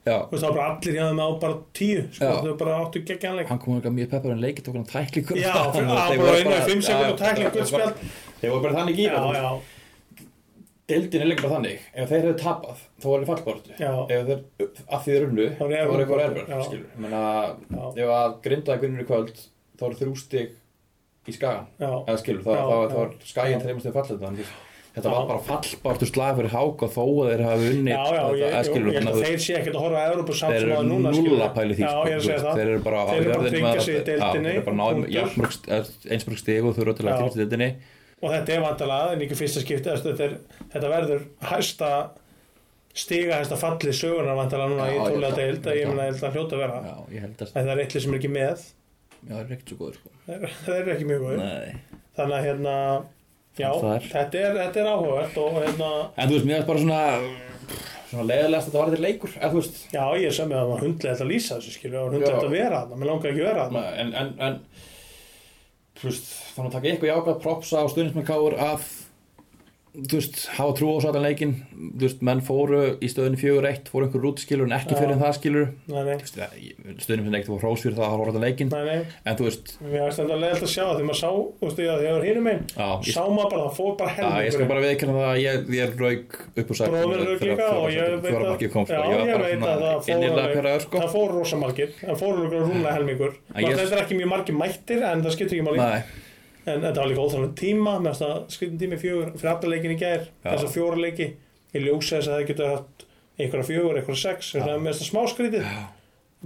[SPEAKER 5] Já,
[SPEAKER 2] Þú veist, Það var bara allir hjá þeim á bara tíu sko,
[SPEAKER 5] Já.
[SPEAKER 2] Þau bara áttu geggjanleik
[SPEAKER 5] hann kom eitthvað mjög peppar en leikið tók hann tæklingur
[SPEAKER 2] Já,
[SPEAKER 5] Þannig
[SPEAKER 2] fyrir-
[SPEAKER 5] að
[SPEAKER 2] hann
[SPEAKER 5] þeir
[SPEAKER 2] bara
[SPEAKER 5] voru
[SPEAKER 2] inn í fimm sekúndur
[SPEAKER 5] já,
[SPEAKER 2] sko. og
[SPEAKER 5] já,
[SPEAKER 2] tæklingu,
[SPEAKER 5] þeir
[SPEAKER 2] gult
[SPEAKER 5] voru- Þeir voru bara þannig í
[SPEAKER 2] Já, já,
[SPEAKER 5] Deildin er líka bara þannig, ef þeir hefðu tapað þá var það fallbortu
[SPEAKER 2] Já.
[SPEAKER 5] ef þeir, að því þeir unnu, þá
[SPEAKER 2] voru
[SPEAKER 5] var
[SPEAKER 2] erfiður
[SPEAKER 5] eitthvað
[SPEAKER 2] baráttu,
[SPEAKER 5] erfur
[SPEAKER 2] já.
[SPEAKER 5] skilur, ég meina
[SPEAKER 2] Já.
[SPEAKER 5] ef að grindaði vinnur í kvöld þá eru þrjú stig í skagan
[SPEAKER 2] já,
[SPEAKER 5] eða skilur, þá,
[SPEAKER 2] Já,
[SPEAKER 5] þá,
[SPEAKER 2] já.
[SPEAKER 5] þá er skaginn þreymast þegar fallið þannig þetta var
[SPEAKER 2] Já.
[SPEAKER 5] bara fallbortu slag fyrir háka þó að þeir hafi unni
[SPEAKER 2] já, já, ég, ég, ég, ég, ég, þeir sé ekkert að horfa að Európa samt
[SPEAKER 5] þeir
[SPEAKER 2] sem
[SPEAKER 5] eru
[SPEAKER 2] að núna skilur.
[SPEAKER 5] nulla pæli því
[SPEAKER 2] já,
[SPEAKER 5] sko,
[SPEAKER 2] ég er að
[SPEAKER 5] þú
[SPEAKER 2] segja
[SPEAKER 5] veist,
[SPEAKER 2] það
[SPEAKER 5] þeir eru bara á
[SPEAKER 2] Þeir eru bara að
[SPEAKER 5] jörðinni
[SPEAKER 2] tryggja
[SPEAKER 5] með
[SPEAKER 2] sig í
[SPEAKER 5] að-
[SPEAKER 2] deildinni,
[SPEAKER 5] já, þeir eru bara náðum
[SPEAKER 2] punktur.
[SPEAKER 5] einsmörg stig og þú eru
[SPEAKER 2] Já.
[SPEAKER 5] öttilega aktivist í deildinni
[SPEAKER 2] og þetta er vantalað en ekki fyrsta skipti þess að þetta, er, þetta verður hæsta stiga hæsta falli sögunar vantalað núna
[SPEAKER 5] Já,
[SPEAKER 2] í
[SPEAKER 5] ég
[SPEAKER 2] tólega
[SPEAKER 5] held að-
[SPEAKER 2] deild að
[SPEAKER 5] ég
[SPEAKER 2] ég
[SPEAKER 5] held
[SPEAKER 2] meina ég held að hljóta að vera
[SPEAKER 5] já, ég held að
[SPEAKER 2] en það er eitthvað sem er ekki með
[SPEAKER 5] já, það er ekkert svo góður sko.
[SPEAKER 2] það er ekki mjög góð
[SPEAKER 5] Nei.
[SPEAKER 2] þannig að hérna já,
[SPEAKER 5] Það er-
[SPEAKER 2] þetta er, þetta er áhugavert og hérna
[SPEAKER 5] en þú veist, mér er bara svona svona leiðilegast að þetta var þetta leikur eða þú veist
[SPEAKER 2] já, ég sem með að það var hundlega að lýsa þessu skilur og
[SPEAKER 5] Já.
[SPEAKER 2] hundlega að vera þarna, mér langar ekki að vera þarna
[SPEAKER 5] Nei, en, en, en þú veist, þannig að taka eitthvað jákvæð propsa og stundismenn káur af þú veist, hafa trú á satan leikin þú veist, menn fóru í stöðunni fjögur eitt fóru einhver rút skilur en ekki
[SPEAKER 2] Já.
[SPEAKER 5] fyrir en það skilur
[SPEAKER 2] nei, nei,
[SPEAKER 5] stundismenn ekkert var hrós fyrir það að hafa orðan leikin
[SPEAKER 2] nei, nei
[SPEAKER 5] en þú veist,
[SPEAKER 2] Mér finnst þetta leiðilegt að sjá það þegar maður sá, þú veist, þegar ég var hinum einn
[SPEAKER 5] já, ég,
[SPEAKER 2] sá maður bara, það fór bara
[SPEAKER 5] já, ég
[SPEAKER 2] helmingur
[SPEAKER 5] skal bara viðkynna það að ég, ég rauk upp úr sætum
[SPEAKER 2] Bróðir rauk líka og ég veit
[SPEAKER 5] þú var
[SPEAKER 2] að-
[SPEAKER 5] ekki kom sko.
[SPEAKER 2] Já,
[SPEAKER 5] ég
[SPEAKER 2] ég
[SPEAKER 5] var
[SPEAKER 2] veit að
[SPEAKER 5] bara
[SPEAKER 2] það fór
[SPEAKER 5] svona innilega
[SPEAKER 2] alveg-
[SPEAKER 5] pyrraður sko
[SPEAKER 2] það fór rosa margir, það fór okkur rúmlega helmingur
[SPEAKER 5] En ég-
[SPEAKER 2] yes. þetta er ekki mjög margir mættir en það skiptir ekki máli
[SPEAKER 5] Nei,
[SPEAKER 2] en þetta var líka óþálega tíma með þess að skritin tími fjögur fyrir alla leikin í gær
[SPEAKER 5] Já.
[SPEAKER 2] þess að fjóra leiki ég ljósa þess að það getur haft einhverja fjögur, einhverja sex en það er með þess að smá skrítið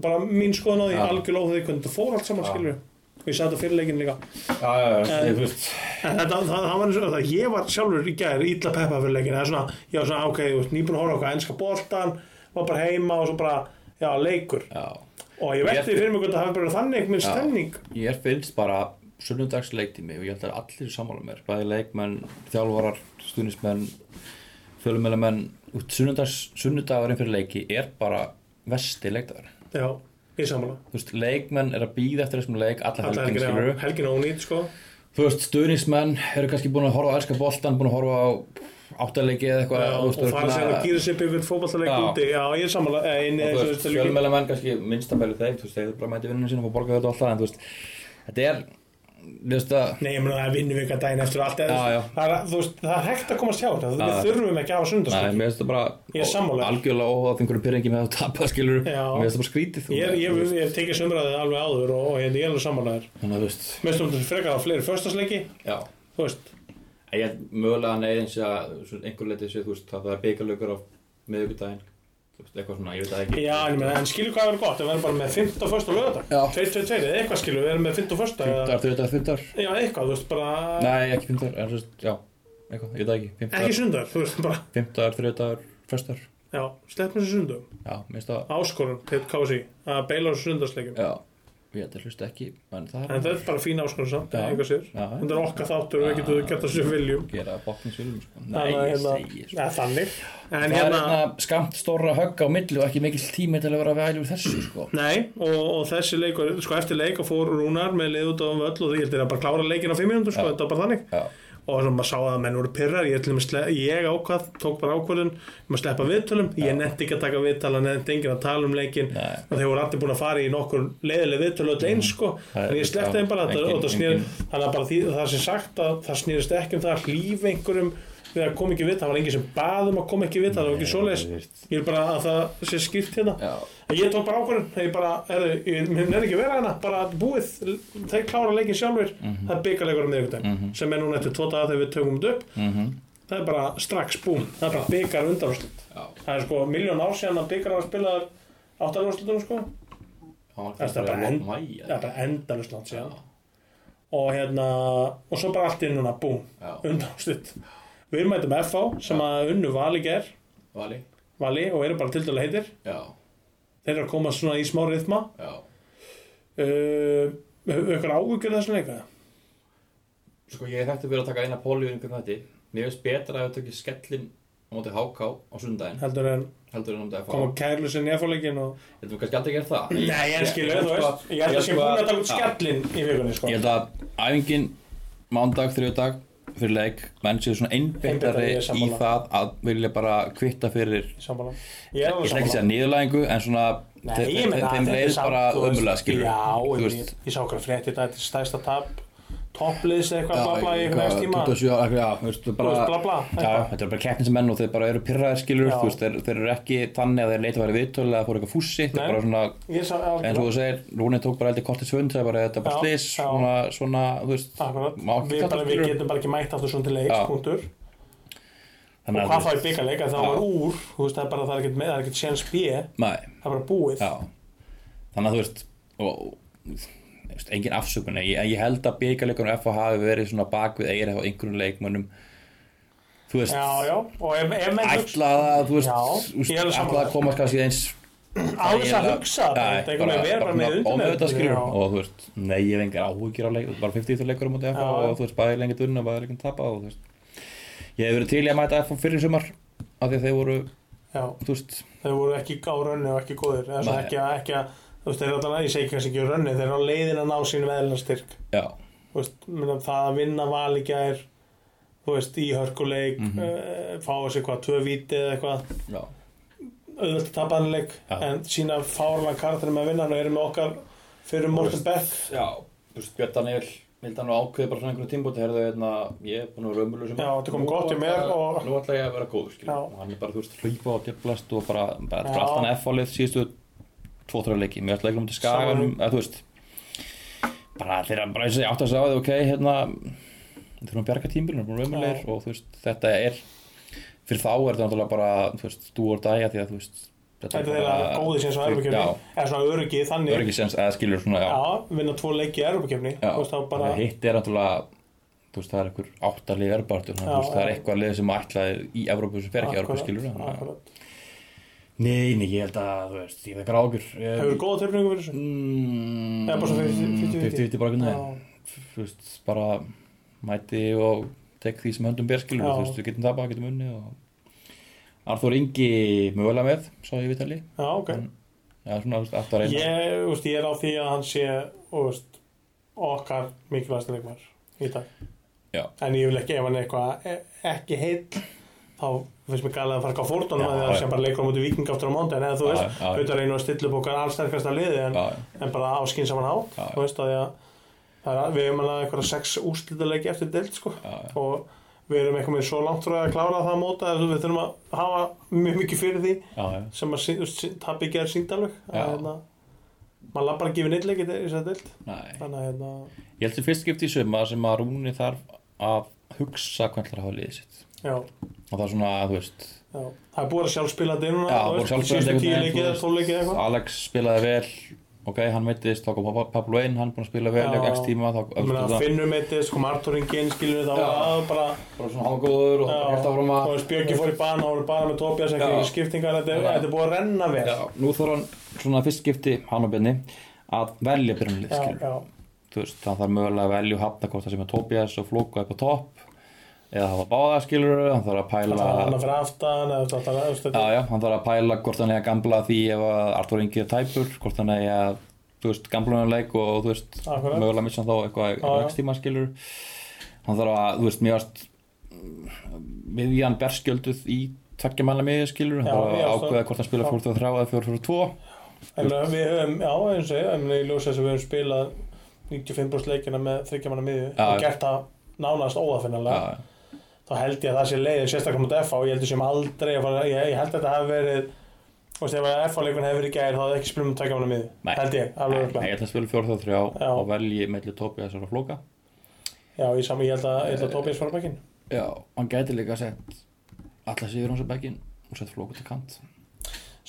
[SPEAKER 2] bara mín skoðan á því,
[SPEAKER 5] Já.
[SPEAKER 2] algjörlega óþálega hvernig þetta fór allt saman skilur og ég sagði þetta fyrir leikin líka
[SPEAKER 5] já, já, já,
[SPEAKER 2] En-
[SPEAKER 5] ég veist
[SPEAKER 2] En þetta, það, það var eins og það, ég var sjálfur í gær ítla peppa fyrir leikinu, það er svona, ég var svona, "Ah, ok, þú veist, nýbúin að horfa okkar enska boltan, var bara heima og svo bara, já, leikur.
[SPEAKER 5] Já,
[SPEAKER 2] Og ég velti
[SPEAKER 5] Ég-
[SPEAKER 2] fyrir mig hvort það hafi bara þannig minn
[SPEAKER 5] Já.
[SPEAKER 2] stemning.
[SPEAKER 5] Ég finnst bara sunnundags leiktími og ég held að allir sammála mér, bæði leikmenn, þjálfarar, stuðnismenn, fjölumælamenn, út sunnundags, sunnundagurinn fyrir leiki er bara vesti leikdagur.
[SPEAKER 2] Já, ég sammála.
[SPEAKER 5] Þú veist, leikmenn er að býða eftir þessum leik alla
[SPEAKER 2] Alltaf helgin,
[SPEAKER 5] helgin, skilur
[SPEAKER 2] já, helgin ónýtt, sko.
[SPEAKER 5] Þú veist, stuðnismenn eru kannski búin að horfa á elska boltan, búin að horfa á áttaleiki eða eitthvað þú
[SPEAKER 2] og
[SPEAKER 5] veist,
[SPEAKER 2] það er að segja að
[SPEAKER 5] svona-
[SPEAKER 2] gýra sér upp yfir fótballleik
[SPEAKER 5] Já.
[SPEAKER 2] úti já, ég er sammála eh, inn-
[SPEAKER 5] og
[SPEAKER 2] eins
[SPEAKER 5] þú
[SPEAKER 2] og
[SPEAKER 5] veist,
[SPEAKER 2] þetta líka-
[SPEAKER 5] fjölmjöla menn kannski minnstamælu þeir þú veist, þeir bara mæti vinnunum sín og fá borga þetta og alltaf en þú veist, þetta er þú veist að
[SPEAKER 2] Nei, ég meina það er vinnuvika daginn eftir og allt eða,
[SPEAKER 5] Já, já.
[SPEAKER 2] Það, er, þú veist, það er hægt að komast hjá þetta
[SPEAKER 5] Já, já.
[SPEAKER 2] Við þurfum ekki að hafa sko.
[SPEAKER 5] Nei,
[SPEAKER 2] sundarskók
[SPEAKER 5] mér finnst það
[SPEAKER 2] Ég er sammála.
[SPEAKER 5] bara algjörlega óháð einhverju pyrringi með að tapa skilur mér
[SPEAKER 2] Já.
[SPEAKER 5] finnst það bara skrítið þú-
[SPEAKER 2] Ég,
[SPEAKER 5] þú
[SPEAKER 2] ég,
[SPEAKER 5] veist.
[SPEAKER 2] ég hef tekið sömræðið alveg áður og, og hérna, ég er alveg sammálaður
[SPEAKER 5] Þannig að þú veist
[SPEAKER 2] Mér stóðum frekar að fleiri förstasleiki
[SPEAKER 5] Já
[SPEAKER 2] Þú veist,
[SPEAKER 5] Ég held mögulega að neyðin sé að svona einhver leitið sé þú veist að það er byggalögur á miðvikudaginn Þú veist, eitthvað svona, ég veit það ekki
[SPEAKER 2] já, en, ég meina, en skilur hvað verður gott Við erum bara með 15 og första lögadag
[SPEAKER 5] Já.
[SPEAKER 2] 22, eða eitthvað skilur, við erum með 15 og första eða-
[SPEAKER 5] Fymtar, þrjóðar, fymtar
[SPEAKER 2] Já, eitthvað, þú veist, bara
[SPEAKER 5] Nei, ekki fymtar, en þú veist, já Eitthvað, ég veit það ekki
[SPEAKER 2] Ekki
[SPEAKER 5] Fymtar,
[SPEAKER 2] sundar, þú veist, bara
[SPEAKER 5] fymtar, þrjóðar, föstar
[SPEAKER 2] Já, slepp með þessu sundum
[SPEAKER 5] Já, minnst það
[SPEAKER 2] Áskorun, til KSI Að beila á þessu sundarsleikum
[SPEAKER 5] Já, ég held að hlusta ekki En það
[SPEAKER 2] En þetta er bara fín áskorun samt,
[SPEAKER 5] Já.
[SPEAKER 2] einhver sér
[SPEAKER 5] Já.
[SPEAKER 2] Þetta er okkar þáttur og við
[SPEAKER 5] Já.
[SPEAKER 2] getum gert það sem við viljum
[SPEAKER 5] gera bókningsfilm sko. Nei,
[SPEAKER 2] Þannig að
[SPEAKER 5] ég
[SPEAKER 2] hérna-
[SPEAKER 5] segi sko.
[SPEAKER 2] Ja, þannig En
[SPEAKER 5] Það er
[SPEAKER 2] hérna,
[SPEAKER 5] hérna skamt stóra högg á milli og ekki mikill tími til að vera að væla úr þessu sko.
[SPEAKER 2] nei, og, og þessi leikur sko eftir leika fór Rúnar með lið út á um völl og því heldur að bara klára leikin á 5 minútur sko,
[SPEAKER 5] Já.
[SPEAKER 2] þetta var bara þannig
[SPEAKER 5] Já,
[SPEAKER 2] og sem maður sá að menn voru pyrrar ég, til dæmis sle- ég ákvað, tók bara ákvörðun maður sleppa viðtölum, ég nefndi ekki að taka viðtala nefndi enginn að tala um leikin
[SPEAKER 5] Nei. Mm.
[SPEAKER 2] og þeir voru allir búin að fara í nokkur leiðileg viðtölu öll eins sko,
[SPEAKER 5] Það er-
[SPEAKER 2] en ég sleppti þeim bara þetta,
[SPEAKER 5] engin-
[SPEAKER 2] og það snýr,
[SPEAKER 5] engin-
[SPEAKER 2] þannig að bara því, það sem sagt að það snýrist ekki um það að hlýfa einhverjum við að koma ekki viðtala, það var enginn sem baðum að koma ekki viðtala, það var ekki
[SPEAKER 5] þú
[SPEAKER 2] svoleiðis
[SPEAKER 5] veist.
[SPEAKER 2] ég er bara að það sé skýrt hérna
[SPEAKER 5] já,
[SPEAKER 2] En Ég tók bara ákvörðun, ég bara, er, ég nefnir ekki að vera hérna, bara búið, þeir klára leikin sjálfur,
[SPEAKER 5] Mhm.
[SPEAKER 2] það er byggarleikur á miðvikudag, sem er núna eftir tvo daga þegar við tökum þetta upp,
[SPEAKER 5] Mhm.
[SPEAKER 2] það er bara strax búm, það er bara byggar undanúrslit.
[SPEAKER 5] já
[SPEAKER 2] Það er sko miljón ár síðan að byggar hafa spilað áttanúrslitunum sko, Þetta er bara enn- það er bara endalust langt síðan. Og hérna, og svo bara allt í einu núna, búm,
[SPEAKER 5] enn
[SPEAKER 2] undanúrslit. Við mætum FH sem að unnu vali ger,
[SPEAKER 5] Vali,
[SPEAKER 2] vali og eru bara tildurlega heitir,
[SPEAKER 5] já,
[SPEAKER 2] þeir eru að koma svona í smá rithma.
[SPEAKER 5] já
[SPEAKER 2] uh, aukar áhugjur þessum leika
[SPEAKER 5] Sko ég þekkti fyrir að taka eina póli í einhvern þetta Mér finnst betra að þau tökja skellin á móti HK á sundaginn
[SPEAKER 2] heldur en
[SPEAKER 5] heldur en á móti FH
[SPEAKER 2] koma kærlusin í efáleikin og
[SPEAKER 5] Ég held að við kannski aldrei gera það
[SPEAKER 2] Nei, ég skilur,
[SPEAKER 5] held
[SPEAKER 2] þú
[SPEAKER 5] sko
[SPEAKER 2] veist Ég held að sé
[SPEAKER 5] sko
[SPEAKER 2] búin að taka út skellin í vikunni sko.
[SPEAKER 5] Ég held að æfingin mándag, þriðdag fyrir leik, menn séu svona
[SPEAKER 2] Einbeittari,
[SPEAKER 5] einbeittari
[SPEAKER 2] ég er
[SPEAKER 5] í
[SPEAKER 2] sammála.
[SPEAKER 5] það að vilja bara kvitta fyrir
[SPEAKER 2] Sammála Ég er
[SPEAKER 5] Ég
[SPEAKER 2] alveg
[SPEAKER 5] ætla
[SPEAKER 2] sammála
[SPEAKER 5] ekki að segja niðurlæðingu en svona
[SPEAKER 2] Nei,
[SPEAKER 5] þe-
[SPEAKER 2] ég
[SPEAKER 5] þe-
[SPEAKER 2] meina þetta
[SPEAKER 5] þeim
[SPEAKER 2] er
[SPEAKER 5] leiðist
[SPEAKER 2] samt,
[SPEAKER 5] bara
[SPEAKER 2] þú veist,
[SPEAKER 5] ömulega skilur
[SPEAKER 2] Já,
[SPEAKER 5] þú
[SPEAKER 2] en ég,
[SPEAKER 5] veist
[SPEAKER 2] ég sá okkur frétt í dag Þetta er stæsta tap Toppliðs eða
[SPEAKER 5] Já,
[SPEAKER 2] eitthvað blabla í einhvern
[SPEAKER 5] eitthvað,
[SPEAKER 2] veist tíma
[SPEAKER 5] 27 ára, já, þú veist, bara,
[SPEAKER 2] Þú veist, bla, bla,
[SPEAKER 5] já,
[SPEAKER 2] eitthvað.
[SPEAKER 5] þetta er bara keppnismenn og þeir bara eru pyrraðir skilur,
[SPEAKER 2] Já.
[SPEAKER 5] þú veist, þeir, þeir eru ekki þannig að þeir leita að vera viðtöl eða fóru eitthvað fússi, þetta
[SPEAKER 2] Nei.
[SPEAKER 5] er bara svona,
[SPEAKER 2] Ég sá
[SPEAKER 5] eins og þú segir, Rúni tók bara heldur kortið svönd, það er bara, þetta er
[SPEAKER 2] Já,
[SPEAKER 5] bara slis,
[SPEAKER 2] já.
[SPEAKER 5] svona, svona, þú veist,
[SPEAKER 2] Akkurat,
[SPEAKER 5] má ekki
[SPEAKER 2] við,
[SPEAKER 5] kalla
[SPEAKER 2] bara, við
[SPEAKER 5] fyrir-
[SPEAKER 2] getum bara ekki mætt aftur svona til leiks,
[SPEAKER 5] Já.
[SPEAKER 2] punktur
[SPEAKER 5] þannig
[SPEAKER 2] Og
[SPEAKER 5] að,
[SPEAKER 2] hvað þá
[SPEAKER 5] þú
[SPEAKER 2] í byggarleika, þá
[SPEAKER 5] Já.
[SPEAKER 2] var úr Þú veist, það er bara, það er ekkert með, það er ekkert séns B Það
[SPEAKER 5] veist, nei,
[SPEAKER 2] er bara búið
[SPEAKER 5] já, þannig að þú veist, og, þú veist, engin afsökun, ég, ég held að byggarleikunum FH hafi verið svona bak við eigir á einhverjum leikmönnum, þú veist,
[SPEAKER 2] Já, já, og ef, ef menn hugsa-
[SPEAKER 5] ætla að þú
[SPEAKER 2] Já,
[SPEAKER 5] veist,
[SPEAKER 2] ég er alveg
[SPEAKER 5] ætla
[SPEAKER 2] sammála.
[SPEAKER 5] að komast kannski eins
[SPEAKER 2] á þess að hugsa
[SPEAKER 5] Nei,
[SPEAKER 2] þetta eitthvað með vera bara með
[SPEAKER 5] ómöðuð að
[SPEAKER 2] undirmeðvitundinni,
[SPEAKER 5] skilur
[SPEAKER 2] já.
[SPEAKER 5] og þú veist, nei ég hef engar áhugir á leik bara 50 leikur á móti FH
[SPEAKER 2] Já.
[SPEAKER 5] og þú veist, bæði lengið unna, bæði lengið tapa og þú veist ég hef verið til í að mæta FH fyrir sumar af því að þeir voru,
[SPEAKER 2] Já,
[SPEAKER 5] þú veist
[SPEAKER 2] þeir voru ekki á rönni og ekki góðir eða svona
[SPEAKER 5] Nei.
[SPEAKER 2] ekki, að- ekki að, þú veist, þeir eru alltaf ég segi kannski ekki á rönni, þeir eru á leiðin að ná sínum eðlunarstyrk,
[SPEAKER 5] já,
[SPEAKER 2] þú veist menna, það að vinna val í gær þú veist, í hörkuleik
[SPEAKER 5] Mhm.
[SPEAKER 2] mm fá þessi hvað, tvö víti eða eitthvað
[SPEAKER 5] já,
[SPEAKER 2] auðvöld að tapa hann leik
[SPEAKER 5] Já.
[SPEAKER 2] en sína fárlega karakterum að vinna hann og eru með okkar fyrir Morten Beck
[SPEAKER 5] já þú veist, Björn Daniel Mildan og ákveði bara svona einhverjum tímbúti herðu hérna, ég er búin að vera ömurlegur sem
[SPEAKER 2] Já, þetta kom gott hjá mér og-
[SPEAKER 5] Nú ætla ég að vera góður, skilur
[SPEAKER 2] Já.
[SPEAKER 5] Og hann er bara, þú veist, hlaupa og djöflast og bara, bara
[SPEAKER 2] Já.
[SPEAKER 5] þetta er allt hann F-álið síðustu tvo, þrjá leiki Mér ætla leikum til skaganum, eða þú veist Bara þeirra, bara eins og ég átt að segja á því, ok, hérna Við þurfum að bjarga tímbilinu, búin að vera ömurlegir Og þú veist, þetta er, fyrir þá er þetta náttúrulega bara, þú veist, dú og dæja Því að þú veist,
[SPEAKER 2] þetta er þeirra góði sem svo erfugjöfni
[SPEAKER 5] Já,
[SPEAKER 2] eða svona öryggi þannig
[SPEAKER 5] öryggisens, eða skilur svona, já,
[SPEAKER 2] Já, vinna tvo leiki í Európa-kefni
[SPEAKER 5] Já,
[SPEAKER 2] bara...
[SPEAKER 5] þannig að hitt er náttúrulega þú veist, það er einhver áttalið erbartur
[SPEAKER 2] Já,
[SPEAKER 5] það er
[SPEAKER 2] já.
[SPEAKER 5] eitthvað lið sem ætlaði í Evrópu sem fer ekki í Evrópu
[SPEAKER 2] Akkurat,
[SPEAKER 5] skilur við, þannig að-
[SPEAKER 2] akkurat.
[SPEAKER 5] Nei, nei, ég held að, þú veist, ég vekkar ágjur
[SPEAKER 2] Hefur þú góða tilfinningu fyrir þessu?
[SPEAKER 5] Mm,
[SPEAKER 2] Eða bara svo 50-50?
[SPEAKER 5] 50-50 bara einhvern veginn
[SPEAKER 2] Já,
[SPEAKER 5] Þú veist, bara mæti og tek því sem höndum ber skilur við,
[SPEAKER 2] Já.
[SPEAKER 5] þú veist, við getum tapað, getum unni og Arþór Ingi mögulega með, sá ég vitali
[SPEAKER 2] já, ok.
[SPEAKER 5] En- Já, svona, þú veist, alltaf að reyna
[SPEAKER 2] Ég, úst, ég er á því að hann sé úst, okkar mikilvægsta leikmar í dag.
[SPEAKER 5] Já.
[SPEAKER 2] En ég vil ekki ef hann er eitthvað e- ekki heill þá finnst mér gælega að fara að fórtunum
[SPEAKER 5] Já,
[SPEAKER 2] að það
[SPEAKER 5] já.
[SPEAKER 2] sé bara leikur á móti viking aftur á mánda en eða þú
[SPEAKER 5] Já,
[SPEAKER 2] veist,
[SPEAKER 5] já, já.
[SPEAKER 2] auðvitað reynum að stilla upp okkar allsterkasta liði en,
[SPEAKER 5] já,
[SPEAKER 2] en bara á skynsaman hátt
[SPEAKER 5] Já, já.
[SPEAKER 2] þú veist að, því að það er að við erum alveg einhverja sex úrslítalegi eftir deild sko
[SPEAKER 5] já, já.
[SPEAKER 2] og við erum eitthvað með svo langt frá að klára það móta að við þurfum að hafa mjög mikið fyrir því
[SPEAKER 5] já, já.
[SPEAKER 2] sem að sí- þú veist, sí- tapi ekki er sínd alveg
[SPEAKER 5] Já.
[SPEAKER 2] að hérna maður lappar ekki við neitt leik í þessari deild
[SPEAKER 5] Nei.
[SPEAKER 2] þannig að hérna
[SPEAKER 5] Ég held að fyrst skipti í söma sem að Rúni þarf að hugsa hvernig það hafa liðið sitt
[SPEAKER 2] já,
[SPEAKER 5] og það er svona, þú veist,
[SPEAKER 2] já. það er búið að sjálfspila þetta núna
[SPEAKER 5] Já,
[SPEAKER 2] þú
[SPEAKER 5] voru
[SPEAKER 2] veist,
[SPEAKER 5] sjálfspilandi
[SPEAKER 2] síðustu tíu
[SPEAKER 5] einhvern veginn,
[SPEAKER 2] leikið eða
[SPEAKER 5] þú
[SPEAKER 2] tólf leikið eitthvað
[SPEAKER 5] Alex spilaði vel ok, hann meittist, þá kom Pa- Pablo einn hann er búin að spila vel,
[SPEAKER 2] Já.
[SPEAKER 5] ekki x tíma þá
[SPEAKER 2] Ég meina,
[SPEAKER 5] það
[SPEAKER 2] Finnum eitthvað, sko, Martoringin, skiljum við þá
[SPEAKER 5] Já.
[SPEAKER 2] að bara,
[SPEAKER 5] bara svona hangóður og
[SPEAKER 2] Já.
[SPEAKER 5] hægt áfram
[SPEAKER 2] þú
[SPEAKER 5] að
[SPEAKER 2] veist, Björki fór í bana og voru bara með Tobias ekki
[SPEAKER 5] Já.
[SPEAKER 2] í skiptingar, þetta er-
[SPEAKER 5] Já.
[SPEAKER 2] þetta er búið að renna vel
[SPEAKER 5] Já, nú þarf hann svona fyrst skipti hann og Benni að velja byrjunlið,
[SPEAKER 2] já,
[SPEAKER 5] skilur
[SPEAKER 2] já,
[SPEAKER 5] þú veist, hann þarf mögulega að velja og hafna hvort það sem er Tobias og Flóka upp á topp eða hafa báða skilur hann þarf að
[SPEAKER 2] það
[SPEAKER 5] pæla
[SPEAKER 2] er hann fyrir aftan eða þetta, þetta, þetta,
[SPEAKER 5] já, já, hann þarf að pæla hvort hann er að gambla því ef að Artur Ingi er tæpur hvort hann er að, þú veist, gambla hann leik og þú veist,
[SPEAKER 2] Akkurat.
[SPEAKER 5] mögulega missa hann þá eitthvað
[SPEAKER 2] já.
[SPEAKER 5] rekstíma skilur hann þarf að, þú veist, mjög að miðjan berskjölduð í tveggja manna miðja skilur hann
[SPEAKER 2] Já,
[SPEAKER 5] þarf
[SPEAKER 2] já,
[SPEAKER 5] að
[SPEAKER 2] svo-
[SPEAKER 5] ákveða hvort hann
[SPEAKER 2] já.
[SPEAKER 5] spila 4-3 eða 4-4-2
[SPEAKER 2] en uh, við höfum, já, eins og ég, en ég ljósa þess að við höfum spilað 95% leikina með þryggjamanna miðju
[SPEAKER 5] Já,
[SPEAKER 2] og
[SPEAKER 5] já.
[SPEAKER 2] gert það nánast
[SPEAKER 5] Já,
[SPEAKER 2] óafinnalega,
[SPEAKER 5] já,
[SPEAKER 2] þá held ég að það sé leiðin sérstaklega mot FH, ég held ég sem aldrei að fara- ég, ég held að þetta hafi verið þú veist, ef að FH-leikun hefði verið í gær þá hefði ekki spilum um tveggjamanna miðju,
[SPEAKER 5] Nei.
[SPEAKER 2] held ég, alveg
[SPEAKER 5] Nei,
[SPEAKER 2] örugglega.
[SPEAKER 5] nei, ég ætla að spila 4-3
[SPEAKER 2] Já.
[SPEAKER 5] og velji melli Tobias og Flóka
[SPEAKER 2] Já, ég, saman, ég held að, ég held að Tobias fara bekkinn
[SPEAKER 5] já, hann gæti líka sett alla sigur hans á bekkin og sett Flóka til kant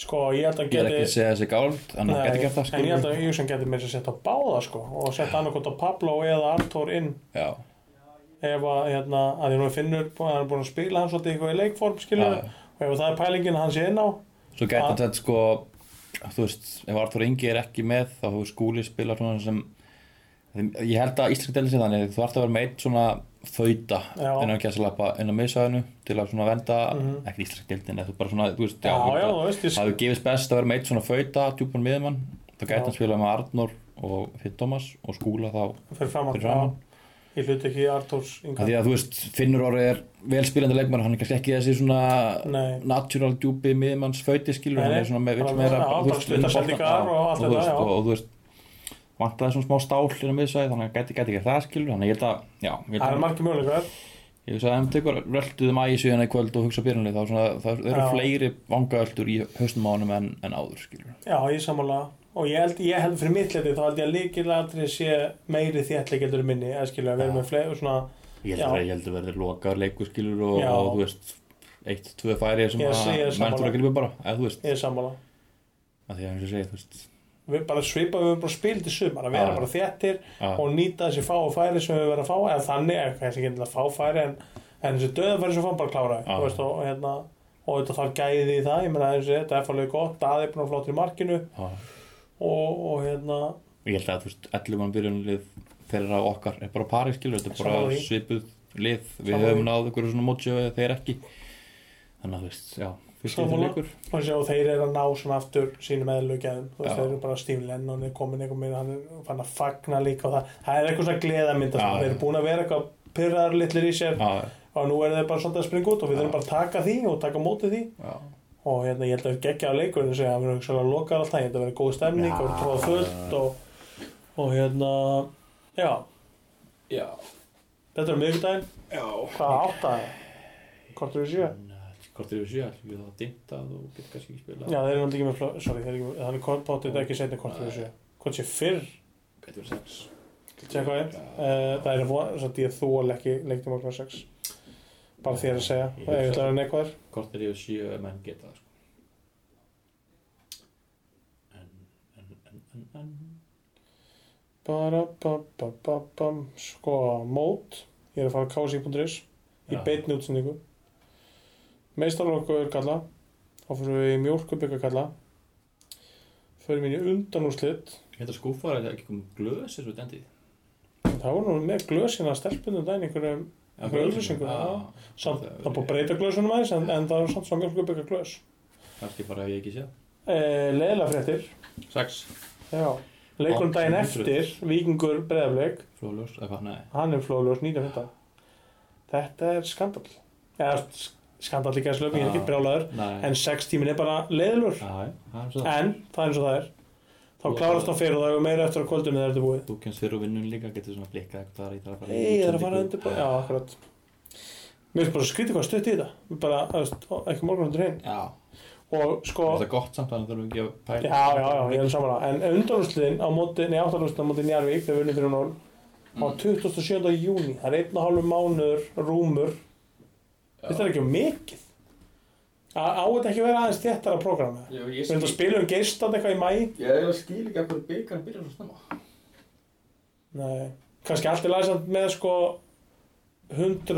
[SPEAKER 2] Sko, ég held að hann
[SPEAKER 5] ég er ekki
[SPEAKER 2] geti
[SPEAKER 5] að segja þessi gáld en hann
[SPEAKER 2] Nei,
[SPEAKER 5] gæti gert það sko.
[SPEAKER 2] En ég held
[SPEAKER 5] skilur
[SPEAKER 2] að ég hugsa hann geti meira að setja á báða sko og setja annarkot á Pablo eða Artur inn
[SPEAKER 5] já,
[SPEAKER 2] ef að, hérna, að ég nú finnur að hann er búin að spila hann svolítið eitthvað í leikform skilur
[SPEAKER 5] Já.
[SPEAKER 2] og ef það er pælingin að hann sé inn á
[SPEAKER 5] svo gæti hann sett sko þú veist, ef Artur Ingi er ekki með þá hefur skúli spila svona sem ég held að íslensk delið sér þannig þú ert að vera með eitt svona þauta
[SPEAKER 2] Já. Mhm.
[SPEAKER 5] innan gæsalappa innan miðsæðinu til að svona venda, ekki íslensk deildin eða þú bara svona, þú veist
[SPEAKER 2] Já,
[SPEAKER 5] þú
[SPEAKER 2] já,
[SPEAKER 5] veist að-
[SPEAKER 2] þú veist, ég
[SPEAKER 5] Það hefur gefist best að vera með eitt svona fauta djúpan miðjumann, þá
[SPEAKER 2] Já.
[SPEAKER 5] gæti hann spilað með Arnór og Finn Thomas og skúla þá
[SPEAKER 2] fyrir framann
[SPEAKER 5] fyrir framann
[SPEAKER 2] Já, Ég hluti ekki Arturs
[SPEAKER 5] af
[SPEAKER 2] yngan
[SPEAKER 5] því að þú veist, Finnur orðið er velspilandi leikmann, hann er kannski ekki þessi svona
[SPEAKER 2] Nei.
[SPEAKER 5] natural djúpi miðjumanns fauti
[SPEAKER 2] Nei,
[SPEAKER 5] skilur,
[SPEAKER 2] nei.
[SPEAKER 5] hann er svona með vill
[SPEAKER 2] Bara-
[SPEAKER 5] meira
[SPEAKER 2] já,
[SPEAKER 5] þú
[SPEAKER 2] bara
[SPEAKER 5] veist,
[SPEAKER 2] stutta
[SPEAKER 5] vinna boltann,
[SPEAKER 2] sendingar
[SPEAKER 5] já,
[SPEAKER 2] og allt
[SPEAKER 5] þú
[SPEAKER 2] þetta,
[SPEAKER 5] veist,
[SPEAKER 2] já.
[SPEAKER 5] og, og þú veist vantaði svona smá stál inn á miðsvæði þannig að gæti gæti ekki það skilur þannig að ég held að, já, ég held
[SPEAKER 2] Það er
[SPEAKER 5] að
[SPEAKER 2] margir möguleikar
[SPEAKER 5] ég hugsa að ef tekur rölduðum ægisvíðan í kvöld og hugsa byrjanlega þá svona, það eru
[SPEAKER 2] Já.
[SPEAKER 5] fleiri vangaöldur í höstum ánum en, en áður skilur
[SPEAKER 2] Já, ég sammála og ég held, ég held fyrir mitt leti þá held ég að líkilatri sé meiri þéttleikeldur minni eða skilur að vera með fleiri svona
[SPEAKER 5] Ég
[SPEAKER 2] Já.
[SPEAKER 5] held, að, ég held að verði lokaður leikurskilur og,
[SPEAKER 2] Já.
[SPEAKER 5] og þú veist, eitt, tvö færi sem
[SPEAKER 2] Ég
[SPEAKER 5] að
[SPEAKER 2] sé- ég er
[SPEAKER 5] menn
[SPEAKER 2] sammála.
[SPEAKER 5] þurfa að gripa bara, eða þú veist
[SPEAKER 2] ég er sammála
[SPEAKER 5] að því að eins og segja, þú veist
[SPEAKER 2] Við bara svipa, við höfum bara spilt í sumar að vera
[SPEAKER 5] Já.
[SPEAKER 2] bara þéttir
[SPEAKER 5] að,
[SPEAKER 2] og nýta þessi fá og færi sem við verðum að fá eða þannig, eða kannski ekki að fá færi en, en þessi döðafæri sem við fáum bara að klára
[SPEAKER 5] Já.
[SPEAKER 2] þú veist, og, hérna, og þetta þarf gæði í það ég meina þessi, þetta er fólkið gott, Daði er búin að flottir í markinu
[SPEAKER 5] að,
[SPEAKER 2] og, og hérna,
[SPEAKER 5] ég held að þú veist, 11 mann byrjunlið þeirra okkar er bara pari skilur, þetta er
[SPEAKER 2] Sammála
[SPEAKER 5] bara
[SPEAKER 2] því.
[SPEAKER 5] svipuð lið, við
[SPEAKER 2] Sammála því.
[SPEAKER 5] höfum náð ykkur svona mótsjö eða þeir ekki þannig að þú veist, já, fyrst í
[SPEAKER 2] Sammála.
[SPEAKER 5] þeir leikur
[SPEAKER 2] og, þessi, og þeir eru að ná svona aftur sínum eðlugjaðum, þú veist,
[SPEAKER 5] Já.
[SPEAKER 2] þeir eru bara Steve Lennon er komin eitthvað meira, hann er fann að fagna líka og það, það er eitthvað svona gleðamynd
[SPEAKER 5] Já.
[SPEAKER 2] þeir eru búin að vera eitthvað pyrraðar litlir í sér
[SPEAKER 5] að,
[SPEAKER 2] og nú eru þeir bara svolítið að springa út og við
[SPEAKER 5] Já.
[SPEAKER 2] þurfum bara að taka því og taka á móti því
[SPEAKER 5] já,
[SPEAKER 2] og hérna, ég held að geggja á leikurinn og segja að verður hugsaðlega lokar alltaf, ég held að verður góð stemning og verður tróða fullt og, og hérna, já
[SPEAKER 5] já,
[SPEAKER 2] þetta er miðvikudaginn,
[SPEAKER 5] já
[SPEAKER 2] hvað áttaði hvort eru sjö?
[SPEAKER 5] hvort er við eh, sjö, ætlum við það dimtað og getur kannski ekki spilað
[SPEAKER 2] Já, þeir eru náttúrulega ekki með fló, sorry, þeir eru ekki, þannig hvort bótið er ekki setni hvort eru sjö hvort sé fyrr,
[SPEAKER 5] getur við sex
[SPEAKER 2] sé hvað er uh, það er von, svo að ég þól ekki leiknum okkur 6 bara þér að segja,
[SPEAKER 5] Ég
[SPEAKER 2] ef ég ætla að vera neikvæður
[SPEAKER 5] Hvort er yfir sjö ef menn geta það sko. En, en, en, en, en
[SPEAKER 2] bara, ba, ba, ba, ba, sko, mót ég er að fara á kc.is í
[SPEAKER 5] Já.
[SPEAKER 2] beinni útsendingu meistarlokkur kalla þá fyrir við í mjólkubyggar kalla fyrir minni undanúrslit
[SPEAKER 5] Þetta skúfar er ekki komið glöðs þessu dendið
[SPEAKER 2] þá var nú með glösina stelpunum dæn einhverjum, Einhverja auglýsingu, samt, það er búið að breyta glösunum aðeins en, en það er samt svo mjólkubyggar glös
[SPEAKER 5] Kanski bara hef ég ekki séð
[SPEAKER 2] e, leðilega fréttir
[SPEAKER 5] Sex
[SPEAKER 2] já. leikunum dæn
[SPEAKER 5] 800.
[SPEAKER 2] eftir vikingur breðafleik
[SPEAKER 5] Flóðljós, eða hvað, nei
[SPEAKER 2] hann er flóðljós 1915 þetta er skandal eða skandall í gæðslöfum, ég er ekki
[SPEAKER 5] Já.
[SPEAKER 2] brjálaður
[SPEAKER 5] Nei.
[SPEAKER 2] en sex tímin er bara leiðilur
[SPEAKER 5] Já, já, það er svo það.
[SPEAKER 2] en það er eins og það er þá klárast það fyrir og það er meira eftir að kvöldum þegar þetta er búið
[SPEAKER 5] Þú kemst fyrir og vinnun líka, getur svona blikkað eitthvað þar í það að fara í
[SPEAKER 2] Nei, það er að fara að
[SPEAKER 5] útlendingu.
[SPEAKER 2] undirbúið Já, akkurat Mér finnst bara skrítið hvað stutt í þetta bara, þú veist, ekki morgun undir hinn
[SPEAKER 5] Já,
[SPEAKER 2] og sko,
[SPEAKER 5] það er gott samt þannig að þurfum ekki að
[SPEAKER 2] já,
[SPEAKER 5] pæla
[SPEAKER 2] já, já, ég er saman en undanúsliðin á móti, nei, áttanúsliðin á móti Njarvík, þegar við unnið fyrir nól á
[SPEAKER 4] Mm.
[SPEAKER 2] 27. júni, það er einn og hálfur mánuður rúmur finnst það ekki um mikið Á á þetta ekki að vera aðeins þéttara prógrama
[SPEAKER 4] Já,
[SPEAKER 2] Við
[SPEAKER 4] ég
[SPEAKER 2] erum að
[SPEAKER 4] skil,
[SPEAKER 2] spila um geistan eitthvað í mæ
[SPEAKER 4] ég, ég skil ekki að hverju byggarn byrjar svo snemma.
[SPEAKER 2] Nei, kannski allt er læsand með sko 100,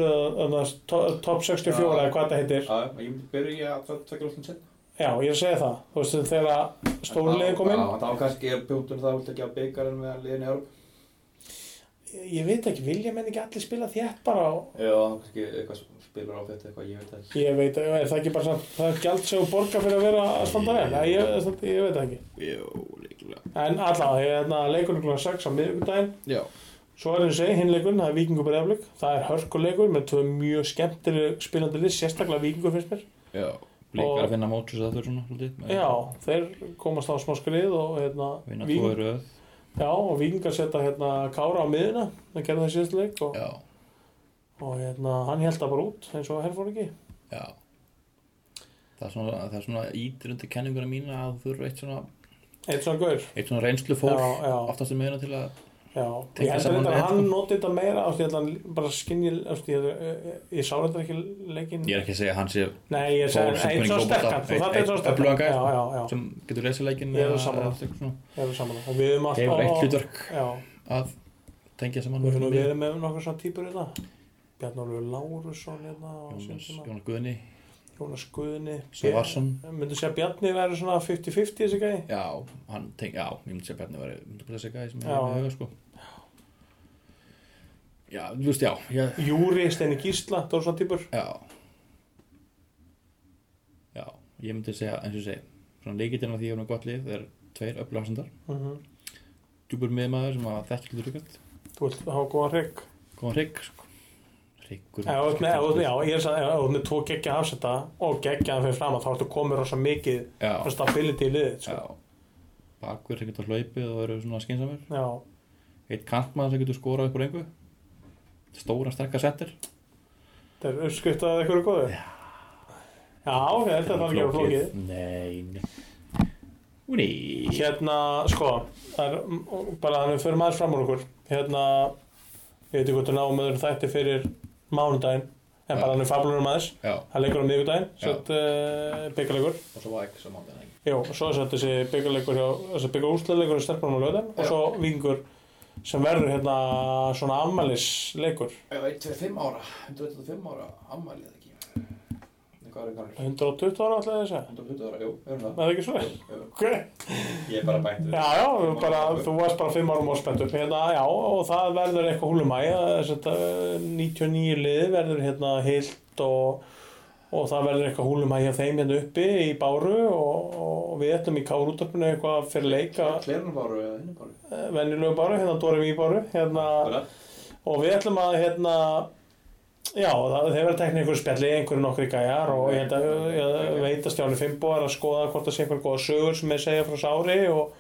[SPEAKER 2] annars, to- top 64
[SPEAKER 4] Já.
[SPEAKER 2] eða hvað þetta heitir
[SPEAKER 4] Já, ég myndi byrja að það tekja lóttum setna.
[SPEAKER 2] Já, ég er að segja það. Þú veist, þegar stórliðin kom inn,
[SPEAKER 4] Já, það var kannski punktur það vilt ekki að byggarn með liðin í Európa.
[SPEAKER 2] ég, ég veit ekki, vilja menn ekki allir spila þétt bara og
[SPEAKER 4] Já, kannski eitthvað spilur á þetta eitthvað, ég veit ekki.
[SPEAKER 2] ég veit, er það ekki bara samt, það er gjald sem þú borgar fyrir að vera að standa vel? Nei, ég, ég, ég veit það ekki.
[SPEAKER 5] Jú, líklega
[SPEAKER 2] En allavega, ég hérna, er þarna leikunum kl. 6 á miðvikudaginn.
[SPEAKER 5] Já,
[SPEAKER 2] Svo er eins og hinn leikurinn, það er Víkingur Breflik. Það er hörkuleikur með tvö mjög skemmtileg spilandi lið, sérstaklega Víkingur finnst mér.
[SPEAKER 5] já Blikkar að finna mótus að þurfa svona svolítið með-
[SPEAKER 2] Já, þeir komast á smá skrið og hérna,
[SPEAKER 5] Mm. Vinna tvo
[SPEAKER 2] Víking,
[SPEAKER 5] í röð
[SPEAKER 2] já, og Víkingar setja hérna Kára á miðuna, það gerði það síðast leik og,
[SPEAKER 5] Já,
[SPEAKER 2] og hérna, hann held það bara út eins og herfóringi.
[SPEAKER 5] já Það er svona, það er svona ítirundi kenninguna mína að þú þurfa eitt svona,
[SPEAKER 2] Eitt svona gaur
[SPEAKER 5] eitt svona reynslu
[SPEAKER 2] Já, já.
[SPEAKER 5] oftast um meðina til að
[SPEAKER 2] Já,
[SPEAKER 5] Tengt
[SPEAKER 2] ég held
[SPEAKER 5] saman
[SPEAKER 2] að þetta
[SPEAKER 5] við
[SPEAKER 2] hann
[SPEAKER 5] þetta.
[SPEAKER 2] noti þetta meira ástu, ég held að hann bara skinni ástu, ég, ég, eh, ég sá þetta ekki leikinn
[SPEAKER 5] Ég er ekki að segja að hann sé
[SPEAKER 2] Nei, ég sagði
[SPEAKER 5] Þór sem
[SPEAKER 2] eins og
[SPEAKER 5] kunni glóbal
[SPEAKER 2] sterkan
[SPEAKER 5] tap.
[SPEAKER 2] þú
[SPEAKER 5] Einn-
[SPEAKER 2] þarft eins og
[SPEAKER 5] einn
[SPEAKER 2] sterkan
[SPEAKER 5] öflugan gæ.
[SPEAKER 2] Já, já, já,
[SPEAKER 5] sem getur lesið leikin
[SPEAKER 2] Ég er sammála.
[SPEAKER 5] Hefur
[SPEAKER 2] ég er saman og við höfum allt
[SPEAKER 5] eitt hlutverk
[SPEAKER 2] Já,
[SPEAKER 5] að tengja saman
[SPEAKER 2] við höfum
[SPEAKER 5] við
[SPEAKER 2] verið með nokkur svona típur þetta Bjarnólfur Lárusson hérna á sínum
[SPEAKER 5] Jónas,
[SPEAKER 2] tíma.
[SPEAKER 5] Jónas Guðni
[SPEAKER 2] Jónas Guðni
[SPEAKER 5] Svarsson
[SPEAKER 2] Myndu segja að Bjarni væri svona 50-50 þessi gæði
[SPEAKER 5] Já, hann teng, já, ég myndi segja Bjarni var myndi bara segja gæði sem
[SPEAKER 2] Já.
[SPEAKER 5] hefur með huga sko Já, þú veist, já ég,
[SPEAKER 2] Júri, Steini Gísla, það voru svona típur
[SPEAKER 5] Já Já, ég myndi segja eins og ég segi, svona leikitinn á því að hún er gott lið er tveir öflugarsandar
[SPEAKER 2] Mhm.
[SPEAKER 5] djúpur miðmaður sem að þekkja hlutur ykkur
[SPEAKER 2] Þú vilt hafa góðan hrygg
[SPEAKER 5] góðan hrygg sko Hryggur
[SPEAKER 2] Já, ef þú ert með- ef þú ert með- já, ég er sann, ef þú ert með tvo geggja hafsetta og geggjaðan fyrir fram þá ertu komið rosa mikið
[SPEAKER 5] Já,
[SPEAKER 2] og stability í liðið sko.
[SPEAKER 5] já Bakverð sem getur hlaupið og eru svona skynsamir
[SPEAKER 2] já,
[SPEAKER 5] Eitt kantmaður sem getur skorað upp úr engu Stóra, sterka settir
[SPEAKER 2] það er uppskrift að eitthvað er góðu já, ok, þetta er það ekki að flókið
[SPEAKER 5] Nei, nei Úni
[SPEAKER 2] hérna, sko það er mm, bara þannig að fyrir maður fram úr okkur hérna, ég veit ekki hvort þú náum öðru þætti fyrir mánudaginn en bara
[SPEAKER 5] Já.
[SPEAKER 2] þannig fablurum aðeins
[SPEAKER 5] Já,
[SPEAKER 2] það leikur á miðvikudaginn,
[SPEAKER 5] Já.
[SPEAKER 2] sett uh, byggarleikur
[SPEAKER 5] og svo var ekki svo mándan
[SPEAKER 2] Jó, og svo er þetta þessi byggarleikur hjá, þessi byggar úrslöðleikur í stelpunum á löðan og
[SPEAKER 5] Já.
[SPEAKER 2] svo vingur sem verður hérna svona afmælisleikur
[SPEAKER 4] Eða 125 ára, 125 ára ammælið eða ekki. Nei, Hvað er það gamlega?
[SPEAKER 2] 120 ára alltaf þessi,
[SPEAKER 4] 120 ára, jú, erum
[SPEAKER 2] er
[SPEAKER 4] það.
[SPEAKER 2] það ekki svo?
[SPEAKER 4] Jú,
[SPEAKER 2] Okay.
[SPEAKER 4] Ég er bara bænt við.
[SPEAKER 2] Já, já, við bara, þú varst bara 5 árum áspenntur hérna, já, og það verður eitthvað húlumæ, þetta 99 lið verður hérna heilt og, og það verður eitthvað húlumæ hjá þeim hérna uppi í Báru og, og við ætlum í Kárútarpinu eitthvað fyrir leika
[SPEAKER 4] Klerunum báru eða hinnum báru.
[SPEAKER 2] venjulegu Báru, hérna Dóri Mí Báru hérna,
[SPEAKER 4] Bara,
[SPEAKER 2] og við ætlum að hérna já, það hefur verið teknir einhverju spjalli einhverju nokkri gæjar og ég, held að- ég veit að Stjáni Fimbo er að skoða hvort það sé einhverju góða sögur sem þeir segja frá sári og,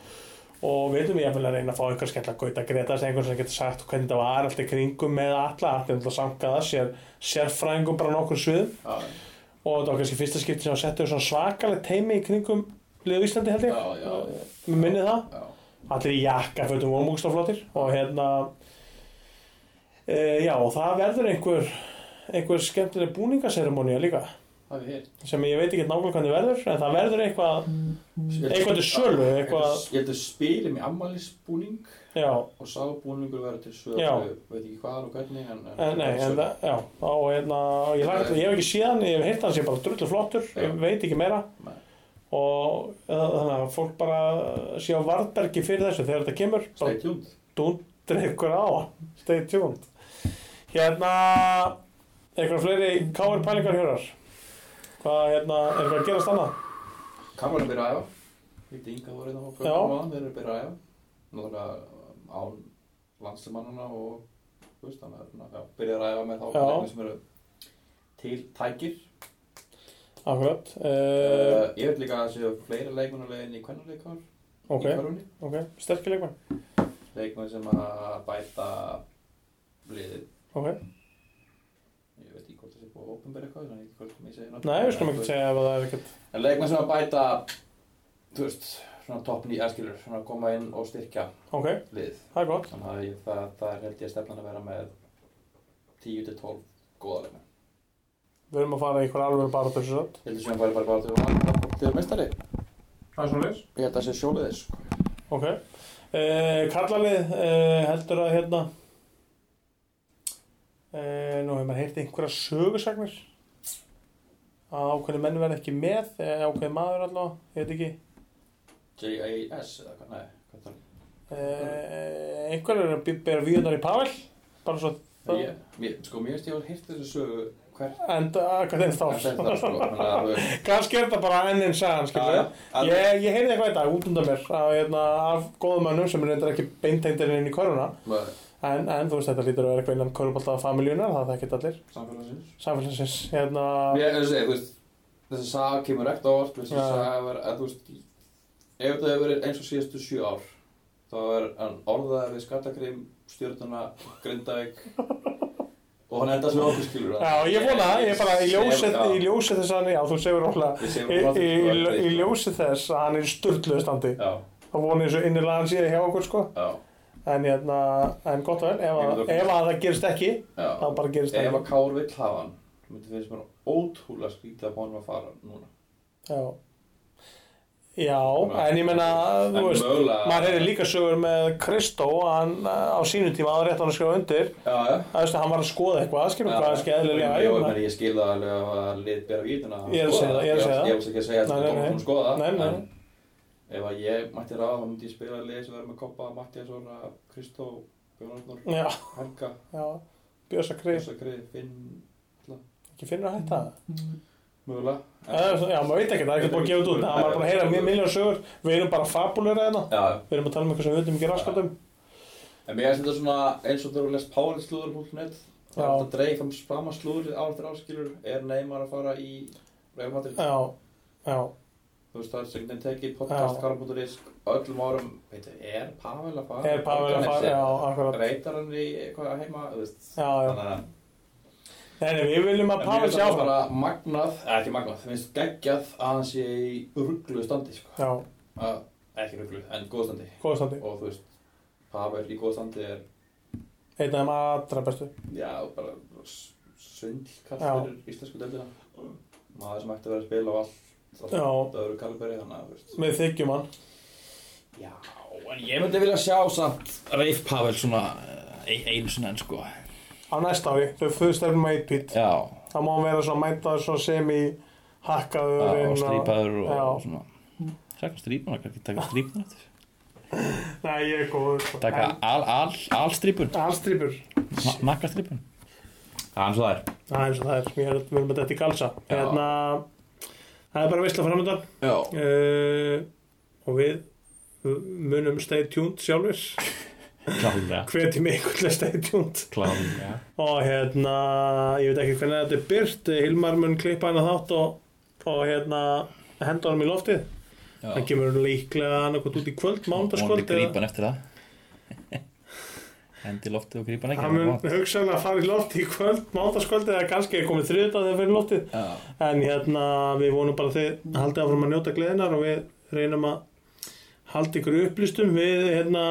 [SPEAKER 2] og við ætlum ég að reyna að fá einhver skell að gauta gretast einhver sem getur sagt hvernig það var allt í kringum með alla, allt er alltaf samkaða sér, sérfræðingum bara á nokkur svið
[SPEAKER 4] já,
[SPEAKER 2] og þetta var kannski fyrsta skipti sem að setja svona svakalegt teimi í kringum liðu Íslandi held ég,
[SPEAKER 4] já, já,
[SPEAKER 2] mér minni það
[SPEAKER 4] já.
[SPEAKER 2] allir í jakka fötum vorum ógstaflottir og hérna e, já og það verður einhver einhver skemmtileg búningaseremónia líka
[SPEAKER 4] Það er hér.
[SPEAKER 2] sem ég veit ekki nákvæmlega hvernig verður en það verður eitthvað, eitthvað til sölu eitthvað, um
[SPEAKER 4] Ég ætla að spila mig ammælisbúning
[SPEAKER 2] já,
[SPEAKER 4] og sábúningur verður til sölu.
[SPEAKER 2] Já.
[SPEAKER 4] Veit ekki hvað og hvernig, en...
[SPEAKER 2] en, nei, en það, já og hérna, ég, lagt, ég hef ekki síðan ég hef heyrt hann sé bara drullu flottur
[SPEAKER 4] Já.
[SPEAKER 2] ég veit ekki meira
[SPEAKER 4] Nei.
[SPEAKER 2] og eh, þannig að fólk bara sé á varðbergi fyrir þessu þegar þetta kemur bara
[SPEAKER 4] Stay tuned.
[SPEAKER 2] dundri ykkur á stay tuned hérna eitthvað fleiri káir pælingar hjörar hvað hérna, er eitthvað að gerast annað
[SPEAKER 4] Kamran er byrjað að æfa. Hitti Inga voru hérna á
[SPEAKER 2] Já.
[SPEAKER 4] programmaðan, þeir eru byrjað að æfa. Náttúrulega án landslimannana og, þú veist, þannig að byrjað að æfa með þá
[SPEAKER 2] Já.
[SPEAKER 4] leikmenn sem eru til tækir.
[SPEAKER 2] Akkurat
[SPEAKER 4] Uh,
[SPEAKER 2] uh,
[SPEAKER 4] ég veit líka að það séu fleiri leikmannulegin í kvennuleikar
[SPEAKER 2] Ok,
[SPEAKER 4] í hverjunni.
[SPEAKER 2] ok, sterkir leikmann
[SPEAKER 4] Leikmann sem að bæta liðið.
[SPEAKER 2] Ok,
[SPEAKER 4] Ég veit ekki hvort það sé búið að openbæra eitthvað, þannig að ég veit ekki hvort mér segja
[SPEAKER 2] nei, við skulum ekki segja ef að það er ekkert
[SPEAKER 4] En leikmann sem að bæta, þú veist, svona toppin í erskilur, svona að koma inn og styrkja
[SPEAKER 2] Ok,
[SPEAKER 4] liðið.
[SPEAKER 2] það er gott
[SPEAKER 4] Þannig að ég, það, það er held ég stefnan að vera með 10-12 góða leikmann.
[SPEAKER 2] Við erum að fara í einhver alveg bara þessu satt
[SPEAKER 4] Ég held að sem að bara bara til að til mestari.
[SPEAKER 7] Það er svona leys.
[SPEAKER 4] Ég held að það sé sjóliðis. sko.
[SPEAKER 2] Ok uh, Karlalið uh, heldur að hérna uh, Nú hefur maður heyrt einhverja sögursagnir að ákveðni menn verða ekki með eða ákveðni maður allavega, ég veit ekki
[SPEAKER 4] JAS eða hvað, nei, hvað það
[SPEAKER 2] uh, einhverjur er að bí- bera víðunar í Pavel bara svo
[SPEAKER 4] er. Ég, mér, sko, mér veist ég að hýrt þessu sögu hvert
[SPEAKER 2] enda hvað þeim
[SPEAKER 4] Það er
[SPEAKER 2] stáð
[SPEAKER 4] það, sko, þannig að þú veist.
[SPEAKER 2] kannski er þetta bara enn einn sagan skilur við
[SPEAKER 4] að-
[SPEAKER 2] Ég, ég heyrði eitthvað í dag út undan mér af, hérna, af góðum mönnum sem er reyndar ekki beintengdir inn í koruna
[SPEAKER 4] Maður,
[SPEAKER 2] en, en þú veist þetta lítur að vera eitthvað innan korupolta af familjunar, það þekkit allir
[SPEAKER 4] samfélagsins.
[SPEAKER 2] samfélagsins hérna,
[SPEAKER 4] Ég er að segja, þú veist, þessi saga kemur ekkert á orð, þessi
[SPEAKER 2] Já.
[SPEAKER 4] saga var, að þú veist, ef þetta hefur verið eins og síðastu sjö ár, þá er hann orðaði við skattakrým, stjórnuna, Grindavík og hann endast við okkur skilur
[SPEAKER 2] já, ég vona það, ég bara í ljósi, í ljósi þess að já, þú segir ólega í, í, í, í ljósi þess að hann er í störtluðu standi
[SPEAKER 4] Já,
[SPEAKER 2] þá vona ég svo innilega að hann sé hjá okkur sko
[SPEAKER 4] já,
[SPEAKER 2] en, hérna, en gott og vel, ef, að- ef að það gerist ekki
[SPEAKER 4] já.
[SPEAKER 2] þá bara gerist
[SPEAKER 4] Ef að
[SPEAKER 2] ekki
[SPEAKER 4] Kár vill hafa hann, þú myndi finnst mér ótrúlega skrítið að honum að fara núna.
[SPEAKER 2] já. já, en ég menna
[SPEAKER 4] En
[SPEAKER 2] þú veist
[SPEAKER 4] mögulega-
[SPEAKER 2] maður hefði líka sögur með Kristó að hann uh, á sínum tíma aðra rétt hann að skrifa undir
[SPEAKER 4] Já, já.
[SPEAKER 2] að veist að hann var að skoða eitthvað skilum hvað er skeðlilega
[SPEAKER 4] Jó, ég, ég skil það alveg að að lið bera vítina
[SPEAKER 2] Ég er að segja það, ég er að segja það.
[SPEAKER 4] Ég ætla ekki að segja
[SPEAKER 2] Nei,
[SPEAKER 4] þetta
[SPEAKER 2] nei,
[SPEAKER 4] er
[SPEAKER 2] nei.
[SPEAKER 4] dómum skoða
[SPEAKER 2] Nei, nei.
[SPEAKER 4] sko, en Ef að ég mætti ráða þá myndi ég spila lið sem verður með Koppa, Mattias Orra, Kristó, Björn Arnór,
[SPEAKER 2] já,
[SPEAKER 4] Helga,
[SPEAKER 2] já, Björsa Krif
[SPEAKER 4] Björsa Grið, Finn,
[SPEAKER 2] ekki finnur að hætta það
[SPEAKER 4] mögulega
[SPEAKER 2] Eða, þú veist, já, maður veit ekki, það er ekki búin að gefa þetta út það maður er bara að heyra mjög miljón sögur við erum bara fabulera hérna
[SPEAKER 4] Já,
[SPEAKER 2] við erum að tala um eitthvað sem við veitum ekki raskatum
[SPEAKER 4] en mér er þetta svona eins og þegar þú lest Power slúður hún net Það er
[SPEAKER 2] Já.
[SPEAKER 4] alltaf dreif fram spama slúður ár eftir áskilur Er Neymar að fara í Real Madrid?
[SPEAKER 2] já, já,
[SPEAKER 4] Þú veist, það er segndin tekið
[SPEAKER 2] Já.
[SPEAKER 4] podcast, karam.is, öllum árum, veit þú, er Pavel að fara?
[SPEAKER 2] er Pavel að fara já, akkurat já,
[SPEAKER 4] Reytar hann í eitthvað heima, þú veist,
[SPEAKER 2] já,
[SPEAKER 4] þannig að...
[SPEAKER 2] nei, nei, við viljum að
[SPEAKER 4] En mér
[SPEAKER 2] Pavel
[SPEAKER 4] finnst
[SPEAKER 2] sjá
[SPEAKER 4] það
[SPEAKER 2] það
[SPEAKER 4] bara magnað, eða ekki magnað, það finnst geggjað að hann sé í ruggluðu standi, sko.
[SPEAKER 2] já,
[SPEAKER 4] Að, ekki ruggluð, en góðu standi.
[SPEAKER 2] góða standi,
[SPEAKER 4] Og þú veist, Pavel í góðu standi er,
[SPEAKER 2] einn af þeim allra bestu
[SPEAKER 4] já, bara s- svindlkall
[SPEAKER 2] Já.
[SPEAKER 4] fyrir íslensku deildina. Maður sem ætti að vera að spila á allt, allt
[SPEAKER 2] Já.
[SPEAKER 4] öðru kaliberi, þannig að, þú veist.
[SPEAKER 2] með þykjum hann
[SPEAKER 4] Já, en ég myndi vilja sjá samt
[SPEAKER 5] Reif Pavel svona ein, einu sinni enn sko
[SPEAKER 2] á næsta ári, þau fyrst erum að eitt pít
[SPEAKER 5] Já,
[SPEAKER 2] þá má hann vera svo mætaður svo sem í hakkaður
[SPEAKER 5] og
[SPEAKER 2] inn
[SPEAKER 5] strýpaður og,
[SPEAKER 2] Já.
[SPEAKER 5] og svona Sækka strýpuna, kannski taka strýpuna eftir
[SPEAKER 2] nei, ég er góður sko.
[SPEAKER 5] Taka
[SPEAKER 2] En-
[SPEAKER 5] al, al, alstrýpun,
[SPEAKER 2] Alstrýpur
[SPEAKER 5] nakkastrýpun Það er eins og það er
[SPEAKER 2] Það er eins og það er, mér erum við erum að þetta í galsa
[SPEAKER 5] Já.
[SPEAKER 2] Hérna, það er bara veistla framöndan
[SPEAKER 5] Já
[SPEAKER 2] uh, Og við munum stay tuned sjálfur
[SPEAKER 5] Klálega
[SPEAKER 2] Hvetjum ykkur til að stay tuned
[SPEAKER 5] Klálega
[SPEAKER 2] Og hérna, ég veit ekki hvernig þetta er byrt Hilmar mun klippa hana þátt og, og hérna, henda honum í loftið Það kemur líklega annarkot út í kvöld,
[SPEAKER 5] Mónandi
[SPEAKER 2] mánudagskvöld eða-
[SPEAKER 5] grípan eftir það Hendi loftið og grípan ekki
[SPEAKER 2] Hann mun
[SPEAKER 5] það er
[SPEAKER 2] hugsanlega fara í loftið í kvöld, mánudagskvöld eða kannski er komið þriðut að það fyrir loftið
[SPEAKER 5] vont. Já,
[SPEAKER 2] En hérna, við vonum bara að þið haldið áfram að njóta gleðinar og við reynum að halda ykkur upplýstum við hérna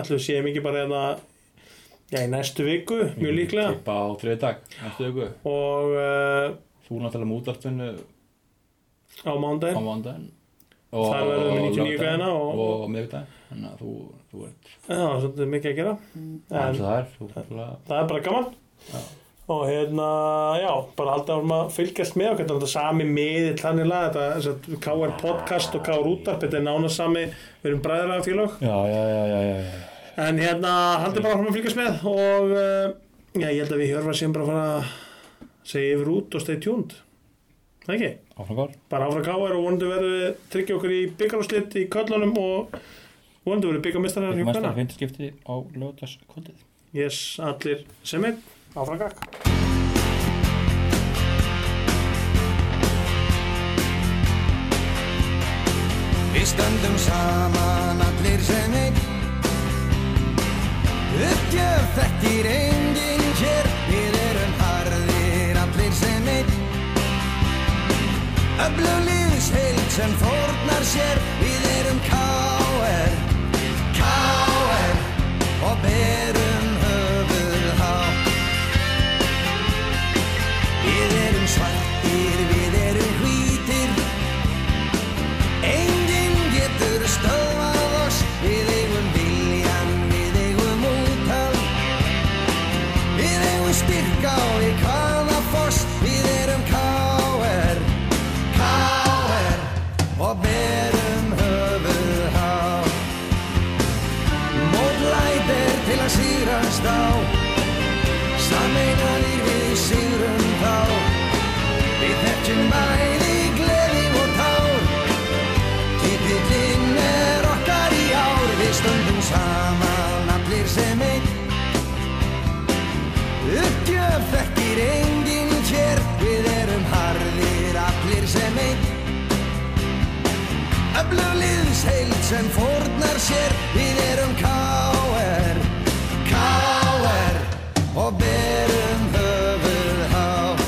[SPEAKER 2] ætlum við séum ekki bara hérna já, í næstu viku,
[SPEAKER 5] Mm,
[SPEAKER 2] mjög líklega
[SPEAKER 5] Klippa á þriði dag, næstu viku
[SPEAKER 2] og uh,
[SPEAKER 5] Þú náttúrulega með útvarpinu
[SPEAKER 2] á
[SPEAKER 5] á
[SPEAKER 2] mándaginn
[SPEAKER 5] mándaginn
[SPEAKER 2] Þar verðum við 99 gæðina og-
[SPEAKER 5] og, og, og miðvikudaginn Þannig að þú, þú ert
[SPEAKER 2] já, svolítið mikið að gera
[SPEAKER 5] Það
[SPEAKER 2] en
[SPEAKER 5] er eins og það er, þú náttúrulega
[SPEAKER 2] það er bara gaman og hérna, já, bara haldið áfram að fylgjast með okkur, þetta er sami miðill þannig laga, þetta er sem sagt, KR podcast og KR útarp, þetta er nána sami við erum bræðraða
[SPEAKER 5] Já, já, já, já, já, já.
[SPEAKER 2] En hérna, haldið bara áfram að fylgjast með og uh, já, ég held að við hjörfa sem bara að fara að segja yfir út og stay tuned. Það ekki?
[SPEAKER 5] Áfram gór.
[SPEAKER 2] Bara áfram káar og vonandi verðum við tryggja okkur í byggarúslit í köllunum og vonandi verðum við byggarmestarar hjá
[SPEAKER 5] Mesta
[SPEAKER 2] hverna.
[SPEAKER 5] finnskipti á lögutaskvöldið.
[SPEAKER 2] Yes, allir sem einn, áfram gakk.
[SPEAKER 1] Við stöndum saman allir sem einn Uppgjöf þekkir enginn hér Við erum harðir allir sem einn Öflu lífsheild sem fórnar sér Við erum K.R. K.R. Og berum höfuð hátt Við erum svartir, við erum hvítir Enginn getur stöðvað oss Við eigum viljan, við eigum útal Við eigum styrka og í hvaða foss Við erum K.R. K.R. Og berum höfuð há Mótlæt er til að sírast á Sameinar í við sírum þá Við þekkjum bæði gleði og tár Titillinn er okkar í ár, við stöndum saman allir sem einn. Uppgjöf þekkir enginn hér, við erum harðir allir sem einn. Öflug liðsheild sem fórnar sér, við erum K.R. K.R. og berum höfuð hátt.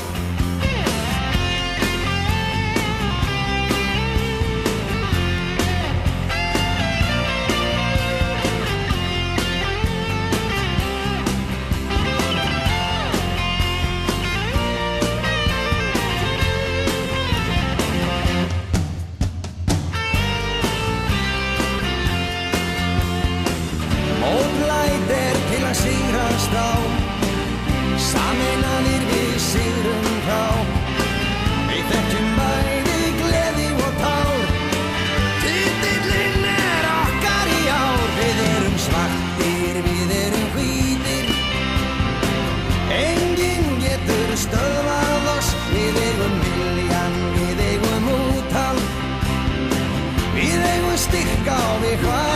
[SPEAKER 1] Mótlæt er til að sigrast á Saminaðir við sigrum þá Við þekkjum bæði gleði og tár Titillinn er okkar í ár Við erum svartir, við erum hvítir Enginn getur stöðvað oss Við eigum viljan, við eigum úthald Við eigum styrka og við hvað